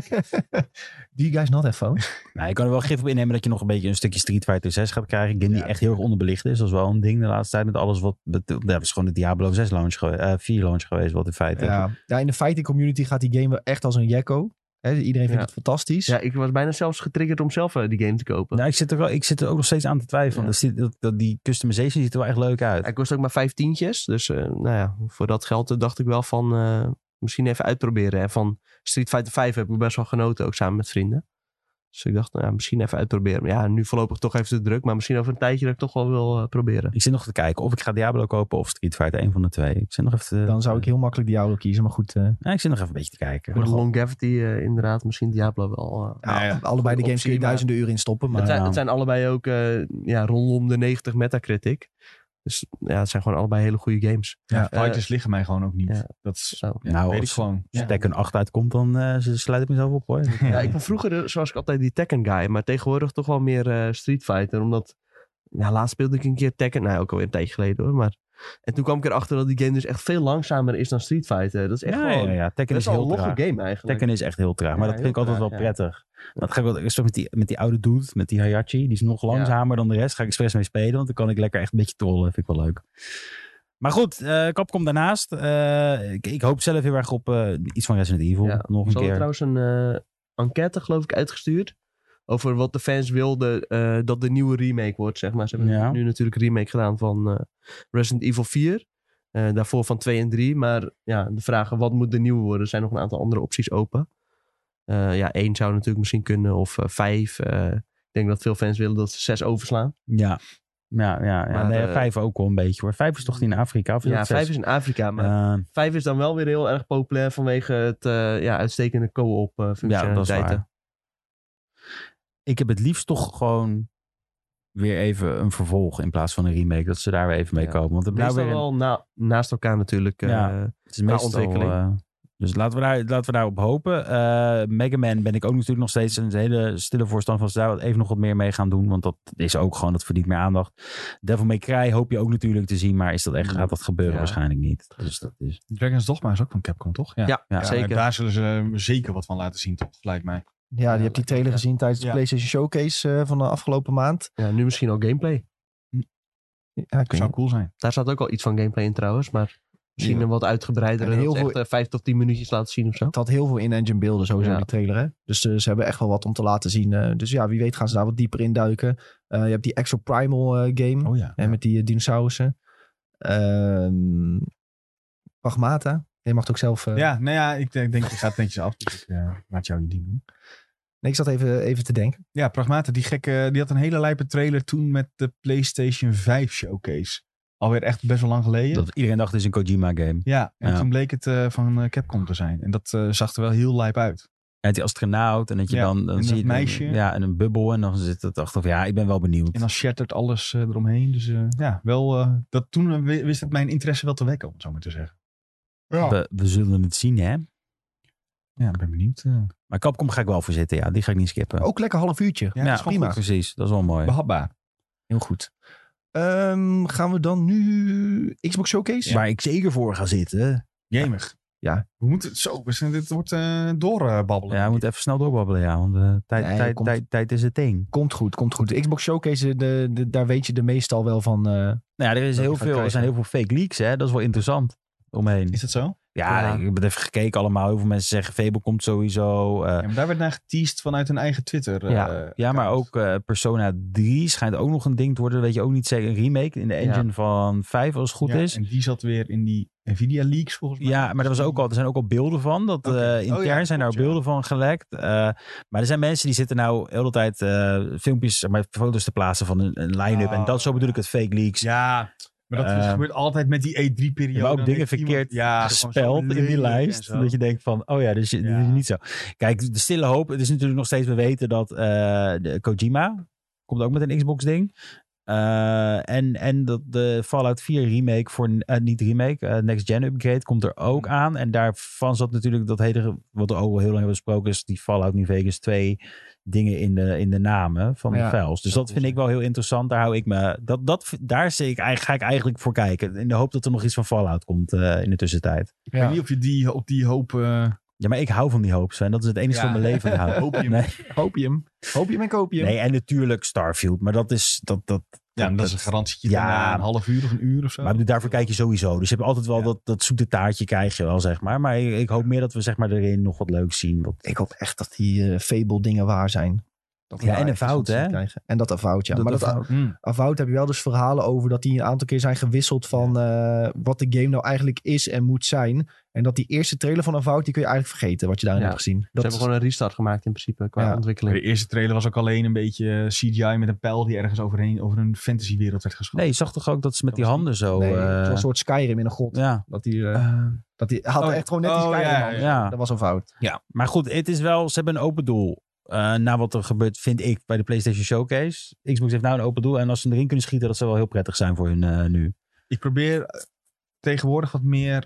Speaker 1: Do you guys not have phone?
Speaker 3: nou, je kan er wel gif op innemen dat je nog een beetje een stukje Street Fighter 6 gaat krijgen. Een game die
Speaker 2: Ja,
Speaker 3: echt heel erg onderbelicht is. Dat is wel een ding de laatste tijd met alles wat... bet- Dat is gewoon de Diablo 6 launch, gewe- eh, 4 launch geweest, wat in feite.
Speaker 1: Ja. ja, in de fighting community gaat die game wel echt als een jekko. Hè, iedereen vindt
Speaker 4: Ja.
Speaker 1: het fantastisch.
Speaker 4: Ja, ik was bijna zelfs getriggerd om zelf eh, die game te kopen.
Speaker 3: Nou, ik zit, er wel, ik zit er ook nog steeds aan te twijfelen.
Speaker 4: Ja.
Speaker 3: Dat ziet- dat, dat, die customization ziet er wel echt leuk uit.
Speaker 4: Hij kost ook maar vijf tientjes. Dus eh, nou ja, voor dat geld eh, dacht ik wel van eh, misschien even uitproberen. En van Street Fighter 5 heb ik best wel genoten, ook samen met vrienden. Dus ik dacht, nou, ja, misschien even uitproberen. Maar Ja, nu voorlopig toch even te druk. Maar misschien over een tijdje dat ik toch wel wil eh, proberen.
Speaker 3: Ik zit nog te kijken of ik ga Diablo kopen of Street Fighter, een van de twee. Ik zit nog even te-
Speaker 1: Dan zou ik heel makkelijk Diablo kiezen. Maar goed, eh,
Speaker 3: Ja, ik zit nog even een beetje te kijken.
Speaker 4: Voor de longevity eh, inderdaad, misschien Diablo wel. eh.
Speaker 1: ja,
Speaker 2: Nou ja,
Speaker 1: allebei de
Speaker 2: goed
Speaker 1: games kun je
Speaker 2: optie, maar-
Speaker 1: duizenden uren in stoppen. Maar
Speaker 4: het, zijn,
Speaker 3: ja.
Speaker 4: het zijn allebei ook eh, ja, rondom de 90 Metacritic. Dus ja, het zijn gewoon allebei hele goede games.
Speaker 2: ja,
Speaker 4: Eh,
Speaker 2: fighters liggen mij gewoon ook niet.
Speaker 4: ja.
Speaker 2: Dat is,
Speaker 4: Zo.
Speaker 2: ja,
Speaker 3: Nou,
Speaker 2: weet ik
Speaker 3: als-
Speaker 2: gewoon.
Speaker 3: Als
Speaker 2: Ja.
Speaker 3: Tekken 8 uitkomt, dan eh, sluit ik mezelf op hoor.
Speaker 4: Ja, ik ben vroeger, eh, zoals ik altijd, die Tekken guy. Maar tegenwoordig toch wel meer eh, Street Fighter. Omdat, ja, laatst speelde ik een keer Tekken. Nou, ja, ook alweer een tijdje geleden hoor. Maar, en toen kwam ik erachter dat die game dus echt veel langzamer is dan Street Fighter. Dat is echt
Speaker 3: Ja,
Speaker 4: wel...
Speaker 3: ja, ja. Tekken
Speaker 4: Dat
Speaker 3: is
Speaker 4: is al
Speaker 3: heel
Speaker 4: een logge
Speaker 3: traag.
Speaker 4: game eigenlijk.
Speaker 3: Tekken is echt heel traag,
Speaker 4: Ja,
Speaker 3: maar dat
Speaker 4: heel
Speaker 3: vind ik altijd
Speaker 4: traag,
Speaker 3: wel
Speaker 4: ja.
Speaker 3: prettig. Maar dat ga ik wel, ik stop met die, met die oude dude, met die Hayachi, die is nog langzamer dan de rest. Ga ik expres mee spelen, want dan kan ik lekker echt een beetje trollen. Vind ik wel leuk. Maar goed, eh Capcom daarnaast. eh, ik, ik hoop zelf heel erg op eh, iets van Resident Evil.
Speaker 4: Ja.
Speaker 3: Nog een
Speaker 4: Ze hadden
Speaker 3: keer.
Speaker 4: trouwens een eh, enquête, geloof ik, uitgestuurd. Over wat de fans wilden eh, dat de nieuwe remake wordt, zeg maar. Ze hebben
Speaker 3: Ja.
Speaker 4: nu natuurlijk een remake gedaan van eh, Resident Evil 4. eh, daarvoor van 2 en 3. Maar ja, de vragen wat moet de nieuwe worden? Er zijn nog een aantal andere opties open. Eh, ja, 1 zou natuurlijk misschien kunnen. Of 5. ik denk dat veel fans willen dat ze 6 overslaan.
Speaker 3: Ja, ja, ja. ja.
Speaker 4: Maar,
Speaker 3: nee,
Speaker 4: eh,
Speaker 3: vijf ook wel een beetje hoor. Vijf is Eh, toch niet in Afrika? Of
Speaker 4: Ja, 5 is in Afrika. Maar
Speaker 3: maar.
Speaker 4: 5 is dan wel weer heel erg populair vanwege het eh, ja, uitstekende co-op eh,
Speaker 3: ja, dat is
Speaker 4: functionaliteiten.
Speaker 3: waar. Ik heb het liefst toch gewoon weer even een vervolg in plaats van een remake. Dat ze daar weer even mee
Speaker 4: Ja.
Speaker 3: komen. Want het, blijft
Speaker 4: Meestal
Speaker 3: weer een-
Speaker 4: wel na, naast elkaar natuurlijk. eh,
Speaker 3: Ja. het is
Speaker 4: qua
Speaker 3: meestal...
Speaker 4: ontwikkeling.
Speaker 3: eh, dus laten we, daar, laten we daarop hopen. Eh Mega Man ben ik ook natuurlijk nog steeds een hele stille voorstander van. Ze daar even nog wat meer mee gaan doen. Want dat is ook gewoon, dat verdient meer aandacht. Devil May Cry hoop je ook natuurlijk te zien. Maar is dat echt, gaat dat gebeuren?
Speaker 4: Mm. Ja.
Speaker 3: Waarschijnlijk niet. Dus dat is...
Speaker 2: Dragon's Dogma is ook van Capcom, toch?
Speaker 4: ja,
Speaker 3: Ja,
Speaker 4: zeker.
Speaker 2: Daar zullen ze eh, zeker wat van laten zien, toch? Lijkt mij.
Speaker 1: Ja, je hebt die trailer gezien tijdens de
Speaker 2: Ja.
Speaker 1: PlayStation Showcase eh, van de afgelopen maand.
Speaker 4: Ja, nu misschien al gameplay.
Speaker 1: Ja, ik weet
Speaker 2: Zou
Speaker 1: niet.
Speaker 2: cool zijn.
Speaker 4: Daar zat ook al iets van gameplay in trouwens, maar misschien
Speaker 1: Ja.
Speaker 4: een wat uitgebreider.
Speaker 1: En
Speaker 4: En
Speaker 1: heel
Speaker 4: heel echt
Speaker 1: veel-
Speaker 4: eh, vijf tot tien minuutjes laten zien of zo.
Speaker 1: Het had heel veel in-engine beelden sowieso
Speaker 4: Ja.
Speaker 1: die trailer. Hè? Dus eh, ze hebben echt wel wat om te laten zien. eh. dus ja, wie weet gaan ze daar wat dieper in duiken. Eh, je hebt die Exo Primal eh, game.
Speaker 2: Oh ja.
Speaker 1: Hè, met die eh, dinosaurussen. Ehm Pragmata. Je mag het ook zelf... eh,
Speaker 2: Ja, nou ja, ik denk, denk je gaat netjes af. Dus ik eh, laat jou je ding doen.
Speaker 1: Nee, ik zat even, even te denken.
Speaker 2: Ja, Pragmata, die gekke, eh, die had een hele lijpe trailer toen met de PlayStation 5 showcase. Alweer echt best wel lang geleden.
Speaker 3: Dat iedereen dacht, het is een Kojima game.
Speaker 2: Ja, en
Speaker 3: Ja.
Speaker 2: toen bleek het eh, van eh, Capcom te zijn. En dat eh, zag er wel heel lijp uit.
Speaker 3: En die astronaut. En dat je
Speaker 2: Ja,
Speaker 3: dan, dan
Speaker 2: en
Speaker 3: zie
Speaker 2: dat
Speaker 3: je
Speaker 2: meisje.
Speaker 3: ja, en een bubbel. En dan zit het achter van ja, ik ben wel benieuwd.
Speaker 2: En dan shattert alles eh, eromheen. Dus eh, ja, wel, eh, dat, toen eh, wi- wist het mijn interesse wel te wekken, om het zo maar te zeggen. Ja,
Speaker 3: we, we zullen het zien, hè?
Speaker 2: ja ik ben benieuwd. eh.
Speaker 3: Maar Capcom ga ik wel voor zitten, ja. Die ga ik niet skippen.
Speaker 1: Ook lekker half uurtje.
Speaker 2: Oh, ja,
Speaker 3: Ja,
Speaker 2: dat is gewoon
Speaker 1: prima.
Speaker 2: goed.
Speaker 3: Precies, dat is wel mooi.
Speaker 2: Behapbaar.
Speaker 1: Heel goed. Ehm, gaan we dan nu Xbox Showcase?
Speaker 3: Waar ik zeker voor ga zitten.
Speaker 2: Jemig.
Speaker 1: Ja.
Speaker 2: We moeten het zo, we zijn- dit wordt eh, doorbabbelen.
Speaker 3: Ja, we moeten even snel doorbabbelen, ja. Want eh, tijd,
Speaker 1: Nee,
Speaker 3: tijd,
Speaker 1: komt-
Speaker 3: tijd, tijd is het ding.
Speaker 1: Komt goed, komt goed. De Xbox Showcase, de, de- daar weet je de meestal wel van. eh,
Speaker 3: Nou ja, er, is
Speaker 1: je
Speaker 3: heel
Speaker 1: gaat
Speaker 3: veel, er
Speaker 1: krijgen.
Speaker 3: zijn heel veel fake leaks, hè. Dat is wel interessant omheen.
Speaker 2: Is dat zo?
Speaker 3: Ja,
Speaker 4: Ja.
Speaker 3: ik heb het even gekeken allemaal. Heel veel mensen zeggen Fable komt sowieso. eh,
Speaker 2: Ja, maar daar werd naar geteased vanuit hun eigen Twitter. eh,
Speaker 4: Ja.
Speaker 3: ja, maar
Speaker 2: account.
Speaker 3: ook eh, Persona 3 schijnt ook nog een ding te worden. Weet je ook niet zeker. Een remake in de engine van 5 als het goed
Speaker 2: Ja,
Speaker 3: is.
Speaker 2: En die zat weer in die Nvidia leaks volgens mij.
Speaker 3: Ja, maar er, was ook al, er zijn ook al beelden van. Dat,
Speaker 2: Oké.
Speaker 3: eh,
Speaker 2: Oh ja,
Speaker 3: intern zijn daar
Speaker 2: klopt, ja.
Speaker 3: beelden van gelekt. Eh, maar er zijn mensen die zitten nou heel de tijd eh, filmpjes, zeg maar foto's te plaatsen van een, een line-up.
Speaker 2: Oh,
Speaker 3: en dat, zo bedoel ik het, fake leaks.
Speaker 2: Ja, maar dat is-
Speaker 3: Eh,
Speaker 2: gebeurt altijd met die E3-periode.
Speaker 3: maar ook
Speaker 2: Dan
Speaker 3: dingen
Speaker 2: heeft iemand-
Speaker 3: verkeerd
Speaker 2: ja,
Speaker 3: gespeld in die lijst. Dat je denkt van, oh ja, dus je- dit
Speaker 2: Ja.
Speaker 3: is niet zo. Kijk, de stille hoop. Het is natuurlijk nog steeds, we weten dat eh, de Kojima komt ook met een Xbox ding. Eh, en, en dat de Fallout 4 remake, voor, eh, niet remake, eh, next gen upgrade komt er ook
Speaker 2: Mhm.
Speaker 3: aan. En daarvan zat natuurlijk dat hele, wat we ook al heel lang hebben besproken, is die Fallout New Vegas 2 dingen in de, in de namen van
Speaker 1: Ja,
Speaker 3: de files.
Speaker 2: dat
Speaker 3: Dus dat vind
Speaker 2: wil
Speaker 3: ik wel heel interessant. Daar hou ik me, dat, dat, daar zie ik, eigenlijk- ga ik eigenlijk voor kijken. In de hoop dat er nog iets van Fallout komt eh, in de tussentijd.
Speaker 2: Ik weet niet of je die, op die hoop... eh,
Speaker 3: Ja, maar ik hou van die hoop, Sven. Dat is het enige
Speaker 2: Ja.
Speaker 3: van mijn leven. dat ik hou.
Speaker 2: Hopium.
Speaker 3: Nee.
Speaker 1: Hopium. Hopium en Copium.
Speaker 3: nee, en natuurlijk Starfield. Maar dat is... Dat, dat,
Speaker 2: ja, dat, is een garantietje
Speaker 3: ja.
Speaker 2: daarna een half uur of een uur of zo.
Speaker 3: maar ik bedoel, daarvoor kijk je sowieso. Dus je hebt altijd wel
Speaker 2: Ja.
Speaker 3: dat, dat zoete taartje krijg je wel, zeg maar. Maar ik, ik hoop meer dat we zeg maar, erin nog wat leuks zien. Wat,
Speaker 1: Ik hoop echt dat die eh, Fable dingen waar zijn. Dat we
Speaker 3: Ja,
Speaker 1: daar
Speaker 3: en een
Speaker 1: echt iets
Speaker 3: fout,
Speaker 1: van te zien
Speaker 3: hè?
Speaker 1: krijgen. En dat een fout, ja.
Speaker 3: dat-
Speaker 1: maar
Speaker 3: dat-
Speaker 1: dat, Avoud heb je wel dus verhalen over dat die een aantal keer zijn gewisseld van eh, wat de game nou eigenlijk is en moet zijn. En dat die eerste trailer van Avoud, die kun je eigenlijk vergeten wat je daarin
Speaker 4: Ja.
Speaker 1: hebt gezien.
Speaker 4: Ze
Speaker 1: Dat
Speaker 4: hebben gewoon een restart gemaakt in principe qua
Speaker 1: Ja.
Speaker 2: Maar
Speaker 4: ontwikkeling.
Speaker 2: De eerste trailer was ook alleen een beetje eh, CGI met een pijl die ergens overheen over een fantasywereld werd geschoten.
Speaker 3: nee, je zag toch ook dat ze met
Speaker 2: Dat
Speaker 3: die
Speaker 2: was
Speaker 3: handen zo...
Speaker 1: nee,
Speaker 3: eh,
Speaker 1: het was een soort Skyrim in een god.
Speaker 3: ja.
Speaker 1: Dat die, eh, dat die had
Speaker 2: Oh,
Speaker 1: echt gewoon net die
Speaker 2: oh,
Speaker 1: Skyrim.
Speaker 2: ja,
Speaker 1: aan.
Speaker 2: ja,
Speaker 3: ja.
Speaker 1: Dat was een fout.
Speaker 3: Ja, maar goed, het is wel, ze hebben een open doel. Eh, na wat er gebeurt, vind ik, bij de PlayStation Showcase. Xbox heeft nou een open doel. En als ze erin kunnen schieten, dat zou wel heel prettig zijn voor hun eh, nu.
Speaker 2: Ik probeer eh, tegenwoordig wat meer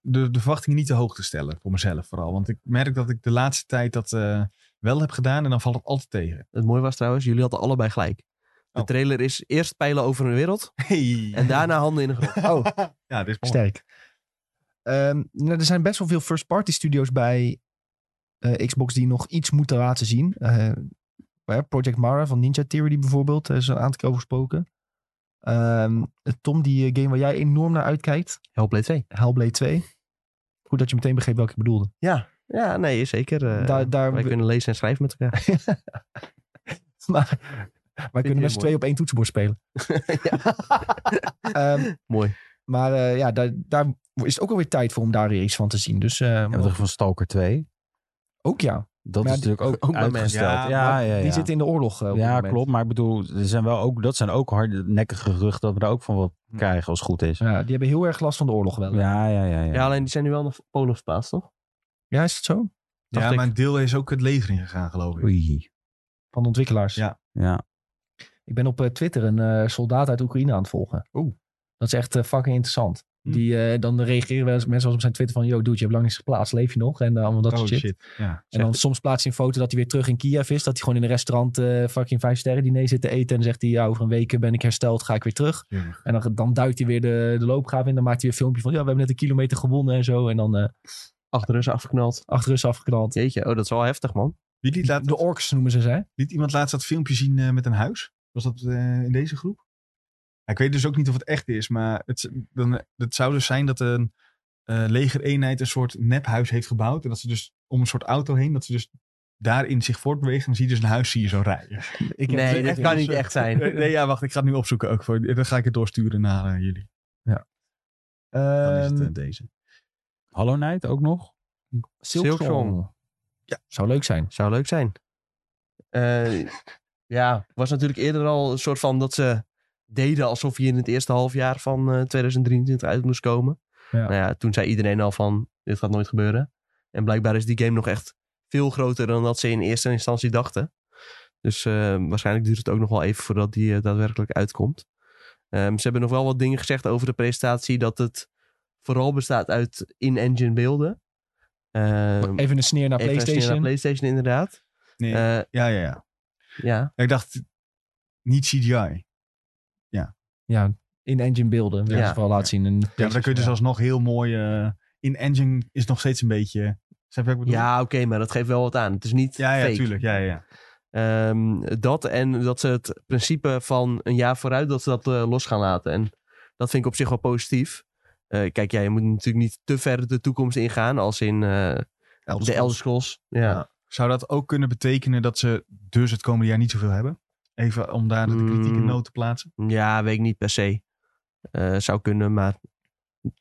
Speaker 2: de, de verwachtingen niet te hoog te stellen. Voor mezelf vooral. Want ik merk dat ik de laatste tijd dat eh, wel heb gedaan en dan valt het altijd tegen.
Speaker 4: Het mooie was trouwens, jullie hadden allebei gelijk. De
Speaker 2: Oh.
Speaker 4: trailer is eerst pijlen over een wereld
Speaker 2: Hey.
Speaker 4: en daarna handen in een grot.
Speaker 1: Oh,
Speaker 2: Ja, dit is mooi.
Speaker 1: sterk. Ehm, nou, er zijn best wel veel first-party studios bij eh, Xbox die nog iets moeten laten zien. Eh, eh, Project Mara van Ninja Theory bijvoorbeeld, daar is een aantal keer over gesproken. Ehm, Tom, die eh, game waar jij enorm naar uitkijkt.
Speaker 4: Hellblade 2.
Speaker 1: Hellblade 2. Goed dat je meteen begreep welke ik bedoelde.
Speaker 4: Ja, ja nee, zeker. eh,
Speaker 1: Daar- daar-
Speaker 4: wij kunnen lezen en schrijven met elkaar.
Speaker 1: Maar wij
Speaker 4: heel
Speaker 1: kunnen met z'n
Speaker 4: mooi.
Speaker 1: twee op één toetsenbord spelen.
Speaker 4: Ja.
Speaker 1: Ehm,
Speaker 4: Mooi.
Speaker 1: maar eh, ja, daar, daar is het ook alweer tijd voor om daar weer iets van te zien. Dus eh,
Speaker 3: Ja, wat van Stalker 2.
Speaker 1: ook ja.
Speaker 3: Dat
Speaker 1: Maar
Speaker 3: is
Speaker 1: die-
Speaker 3: natuurlijk ook,
Speaker 4: ook bij mensen.
Speaker 3: uitgesteld.
Speaker 2: Ja,
Speaker 3: Ja, ja,
Speaker 1: maar
Speaker 3: ja,
Speaker 1: Die zitten in de oorlog. eh, op dit
Speaker 3: ja,
Speaker 1: moment.
Speaker 3: klopt. Maar ik bedoel, er zijn wel ook, dat zijn ook hardnekkige geruchten dat we daar ook van wat
Speaker 2: Hm.
Speaker 3: krijgen als het goed is.
Speaker 1: Ja, die hebben heel erg last van de oorlog wel. Ja,
Speaker 3: Ja, ja, ja. ja.
Speaker 4: Ja, alleen die zijn nu wel naar Polen verplaatst, toch?
Speaker 1: is dat zo?
Speaker 2: Ja,
Speaker 4: Dacht ik.
Speaker 2: maar een deel is ook het leger ingegaan, geloof ik.
Speaker 3: Oei.
Speaker 1: Van de ontwikkelaars.
Speaker 2: Ja.
Speaker 3: Ja.
Speaker 1: Ik ben op eh, Twitter een eh, soldaat uit Oekraïne aan het volgen.
Speaker 2: Oeh.
Speaker 1: Dat is echt eh, fucking interessant.
Speaker 2: Hm.
Speaker 1: Die, eh, dan reageren wel eens mensen als op zijn Twitter van... Yo, dude, je hebt lang niks geplaatst. Leef je nog? En eh, allemaal dat
Speaker 2: oh
Speaker 1: soort shit.
Speaker 2: shit. Ja.
Speaker 1: En dan soms plaatst hij een foto dat hij weer terug in Kiev is. Dat hij gewoon in een restaurant eh, fucking vijf sterren diner zit te eten. En zegt hij, ja, over een week ben ik hersteld, ga ik weer terug.
Speaker 2: Jemig.
Speaker 1: En dan, dan duikt hij weer de, de loopgraaf in. Dan maakt hij weer een filmpje van, ja, we hebben net een kilometer gewonnen en zo. En dan eh
Speaker 4: Achter Russen afgeknald.
Speaker 1: achter Russen afgeknald.
Speaker 4: Jeetje, oh, dat is wel heftig, man.
Speaker 2: Wie liet, laat,
Speaker 1: De orks noemen ze ze, hè?
Speaker 2: liet iemand laatst dat filmpje zien eh, met een huis? Was dat eh, in deze groep? Ja, ik weet dus ook niet of het echt is, maar het, dan, het zou dus zijn dat een eh, legereenheid een soort nephuis heeft gebouwd. En dat ze dus om een soort auto heen, dat ze dus daarin zich voortbewegen. En dan zie je dus een huis zie je zo rijden.
Speaker 1: Ik heb-
Speaker 4: Nee, dat kan niet echt zijn.
Speaker 2: Nee, nee, ja, wacht. Ik ga het nu opzoeken ook. Voor, dan ga ik het doorsturen naar eh, jullie. Dan is het
Speaker 1: Ehm,
Speaker 2: eh, deze.
Speaker 3: Hollow Knight ook nog?
Speaker 1: Silksong.
Speaker 4: Silksong.
Speaker 1: Ja, zou leuk zijn.
Speaker 4: Zou leuk zijn. Eh, ja, was natuurlijk eerder al een soort van dat ze deden alsof hij in het eerste halfjaar van eh, 2023 uit moest komen.
Speaker 1: Ja.
Speaker 4: Nou ja, toen zei iedereen al van, dit gaat nooit gebeuren. En blijkbaar is die game nog echt veel groter dan dat ze in eerste instantie dachten. Dus eh, waarschijnlijk duurt het ook nog wel even voordat die eh, daadwerkelijk uitkomt. Ehm, ze hebben nog wel wat dingen gezegd over de presentatie. Dat het vooral bestaat uit in-engine beelden. Ehm,
Speaker 1: Even een sneer naar
Speaker 4: Even een
Speaker 1: PlayStation.
Speaker 4: sneer naar PlayStation, inderdaad.
Speaker 2: Nee,
Speaker 4: Eh,
Speaker 2: ja, ja, ja.
Speaker 4: ja.
Speaker 2: Ik dacht, niet CGI.
Speaker 1: Ja, in-engine beelden. Wil
Speaker 4: Ja.
Speaker 1: ze vooral laten zien. En
Speaker 2: Ja, maar dan kun je dus alsnog heel mooi... eh, in Engine is nog steeds een beetje... Snap je wat ik bedoel?
Speaker 4: ja oké, maar dat geeft wel wat aan. Het is niet
Speaker 2: ja, ja
Speaker 4: fake.
Speaker 2: tuurlijk. Ja, ja, ja.
Speaker 4: Ehm, dat en dat ze het principe van een jaar vooruit, dat ze dat eh, los gaan laten. En dat vind ik op zich wel positief. Eh, kijk, ja, je moet natuurlijk niet te ver de toekomst ingaan als in eh, de Elder Scrolls. Ja.
Speaker 2: Ja. Zou dat ook kunnen betekenen dat ze dus het komende jaar niet zoveel hebben? Even om daar de
Speaker 4: Mm.
Speaker 2: kritieke noot te plaatsen.
Speaker 4: Ja, weet ik niet per se. Eh, zou kunnen, maar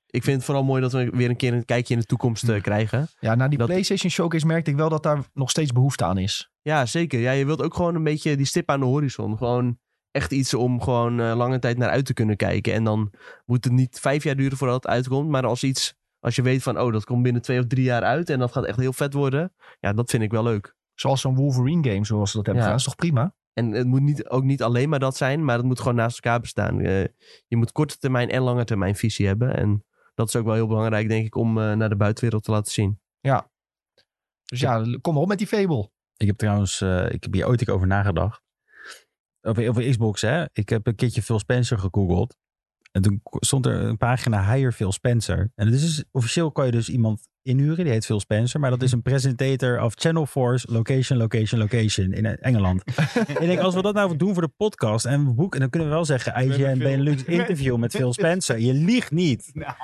Speaker 4: ik vind het vooral mooi dat we weer een keer een kijkje in de toekomst eh,
Speaker 2: Hm.
Speaker 4: krijgen.
Speaker 1: Ja, na die
Speaker 4: Dat-
Speaker 1: PlayStation Showcase merkte ik wel dat daar nog steeds behoefte aan is.
Speaker 4: Ja, zeker. Ja, je wilt ook gewoon een beetje die stip aan de horizon. Gewoon echt iets om gewoon eh, lange tijd naar uit te kunnen kijken. En dan moet het niet vijf jaar duren voordat het uitkomt. Maar als iets, als je weet van, oh, dat komt binnen twee of drie jaar uit. En dat gaat echt heel vet worden. Ja, dat vind ik wel leuk.
Speaker 1: Zoals zo'n Wolverine game, zoals ze dat hebben
Speaker 4: Ja.
Speaker 1: gedaan. is toch prima?
Speaker 4: En het moet niet, ook niet alleen maar dat zijn, maar het moet gewoon naast elkaar bestaan. Eh, je moet korte termijn en lange termijn visie hebben. En dat is ook wel heel belangrijk, denk ik, om eh, naar de buitenwereld te laten zien.
Speaker 1: Dus ja, kom maar op met die Fable.
Speaker 3: Ik heb trouwens, eh, ik heb hier ooit een keer over nagedacht. Over, over Xbox, hè. Ik heb een keertje Phil Spencer gegoogeld. En toen k- stond er een pagina Hire Phil Spencer. En het is dus, officieel kan je dus iemand inhuren, die heet Phil Spencer. Maar dat is een presentator of Channel Force, location, location, location in eh, Engeland. ik denk, als we dat nou doen voor de podcast en we boeken, dan kunnen we wel zeggen
Speaker 2: hebben
Speaker 3: IGN
Speaker 2: Phil-
Speaker 3: Benelux interview met Phil Spencer. Je liegt niet.
Speaker 4: Ja,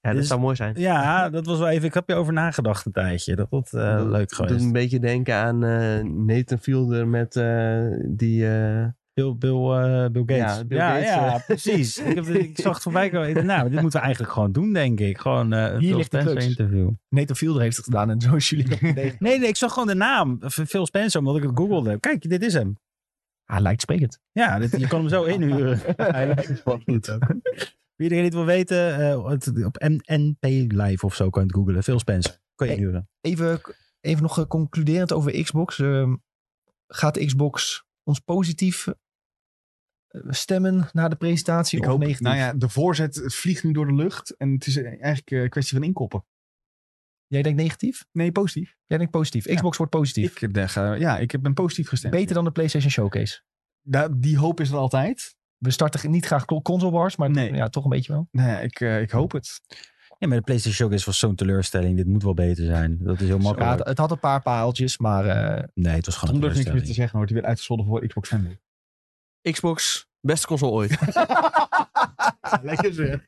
Speaker 4: dat
Speaker 3: Dus-
Speaker 4: zou mooi zijn.
Speaker 3: Ja, dat was wel even, ik heb je over nagedacht een tijdje. Dat was eh,
Speaker 4: Dat
Speaker 3: leuk
Speaker 4: Doet
Speaker 3: geweest.
Speaker 4: een beetje denken aan eh, Nathan Fielder met eh, die... eh,
Speaker 3: Bill, Bill, eh, Bill Gates.
Speaker 4: Ja, Bill
Speaker 3: ja,
Speaker 4: Gates,
Speaker 3: ja,
Speaker 4: eh.
Speaker 3: precies. Ik, heb, ik zag het voorbij komen. Ik dacht, Nou, dit moeten we eigenlijk gewoon doen, denk ik. Gewoon eh een
Speaker 1: Hier
Speaker 3: Phil
Speaker 1: ligt de
Speaker 3: Spencer
Speaker 1: crux.
Speaker 3: interview.
Speaker 1: Nathan Fielder heeft het gedaan en zo is jullie dat idee.
Speaker 3: Nee, nee, ik zag gewoon de naam. van Phil Spencer, omdat ik het googelde. Kijk, dit is hem.
Speaker 1: Hij Ah, lijkt sprekend.
Speaker 3: Ja, dit, je kan hem zo inhuren. Hij lijkt wel goed. Voor iedereen die het wil weten, eh, het- op NP Live of zo kan je het googelen. Phil Spencer. Kan je
Speaker 1: Hey.
Speaker 3: inhuren.
Speaker 1: Even, even nog eh, concluderend over Xbox. Ehm, gaat Xbox ons positief eh, stemmen na de presentatie
Speaker 2: Ik
Speaker 1: of
Speaker 2: hoop,
Speaker 1: negatief?
Speaker 2: nou ja, de voorzet vliegt nu door de lucht. En het is eigenlijk eh, een kwestie van inkoppen.
Speaker 1: Jij denkt negatief?
Speaker 2: Nee, positief.
Speaker 1: Jij denkt positief. Xbox wordt positief.
Speaker 2: Ik, eh, ga- ja, ik ben positief gestemd.
Speaker 1: Beter dan de PlayStation Showcase.
Speaker 2: Da- die hoop is er altijd.
Speaker 1: We starten niet graag console wars, maar
Speaker 2: Nee.
Speaker 1: ja, toch een beetje wel.
Speaker 2: Nou ja, ik, eh, ik hoop het.
Speaker 3: Ja, maar de PlayStation Showcase was zo'n teleurstelling. Dit moet wel beter zijn. Dat is heel
Speaker 1: Ja, het,
Speaker 3: makkelijk.
Speaker 1: het had een paar paaltjes, maar eh,
Speaker 3: Nee, het was gewoon
Speaker 2: Zonder niks meer
Speaker 3: een teleurstelling.
Speaker 2: te zeggen wordt hij weer uitgescholden voor Xbox Family.
Speaker 4: Xbox, beste console ooit.
Speaker 2: Lekker zeg.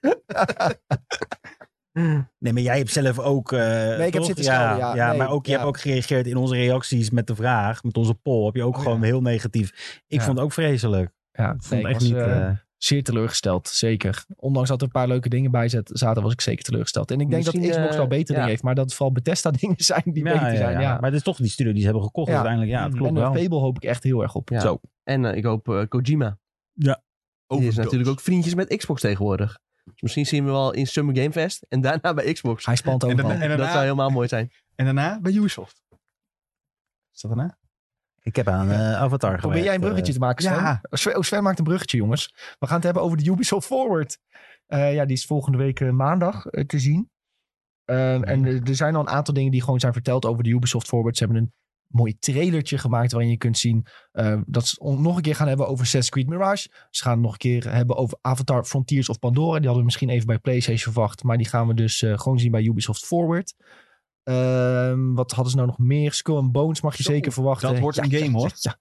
Speaker 3: Nee, maar jij hebt zelf ook. eh,
Speaker 1: ik heb
Speaker 3: toch?
Speaker 1: zitten
Speaker 3: ja,
Speaker 1: schelden, ja. Nee,
Speaker 3: maar ook, je
Speaker 1: ja.
Speaker 3: hebt ook gereageerd in onze reacties met de vraag, met onze poll. Heb je ook
Speaker 1: Oh,
Speaker 3: gewoon heel negatief. Ik
Speaker 1: Ja.
Speaker 3: vond het ook vreselijk.
Speaker 1: ja,
Speaker 3: Ik vond
Speaker 1: nee,
Speaker 3: het
Speaker 1: ik
Speaker 3: echt
Speaker 1: was,
Speaker 3: niet.
Speaker 1: eh,
Speaker 3: eh,
Speaker 1: zeer teleurgesteld, zeker. Ondanks dat er een paar leuke dingen bij zat- zaten, was ik zeker teleurgesteld. En ik denk dat
Speaker 4: Misschien,
Speaker 1: Xbox
Speaker 4: eh,
Speaker 1: wel betere
Speaker 4: ja.
Speaker 1: dingen heeft, maar dat het vooral Bethesda dingen zijn die beter zijn. Ja,
Speaker 3: Maar het is toch die studio die ze hebben gekocht
Speaker 1: Ja.
Speaker 3: uiteindelijk. Ja, het
Speaker 2: Mm.
Speaker 3: klopt
Speaker 1: en eh,
Speaker 3: wel.
Speaker 1: Fable hoop ik echt heel erg op.
Speaker 4: Ja.
Speaker 3: Zo.
Speaker 4: En eh, ik hoop eh, Kojima. Die is natuurlijk ook vriendjes met Xbox tegenwoordig. Dus misschien zien we hem wel in Summer Game Fest en daarna bij Xbox.
Speaker 1: Hij spant
Speaker 2: En
Speaker 1: overal.
Speaker 2: dan- en- daarna-
Speaker 4: Dat zou helemaal mooi zijn.
Speaker 2: En daarna bij Ubisoft. Is dat daarna?
Speaker 3: Ik heb aan eh, Avatar
Speaker 1: Probeer jij een bruggetje te maken, Sven?
Speaker 2: ja.
Speaker 1: Oh, Sven, oh, Sven maakt een bruggetje, jongens. We gaan het hebben over de Ubisoft Forward. Eh, ja, die is volgende week eh, maandag eh, te zien. Ehm, en er- er zijn al een aantal dingen die gewoon zijn verteld over de Ubisoft Forward. Ze hebben een mooi trailertje gemaakt waarin je kunt zien eh, dat ze het nog een keer gaan hebben over Assassin's Creed Mirage. Ze gaan het nog een keer hebben over Avatar Frontiers of Pandora. Die hadden we misschien even bij PlayStation verwacht, maar die gaan we dus eh, gewoon zien bij Ubisoft Forward. Ehm, wat hadden ze nou nog meer? Skull and Bones mag je
Speaker 2: Zo,
Speaker 1: zeker verwachten.
Speaker 2: dat wordt een game, hoor.
Speaker 1: Ja.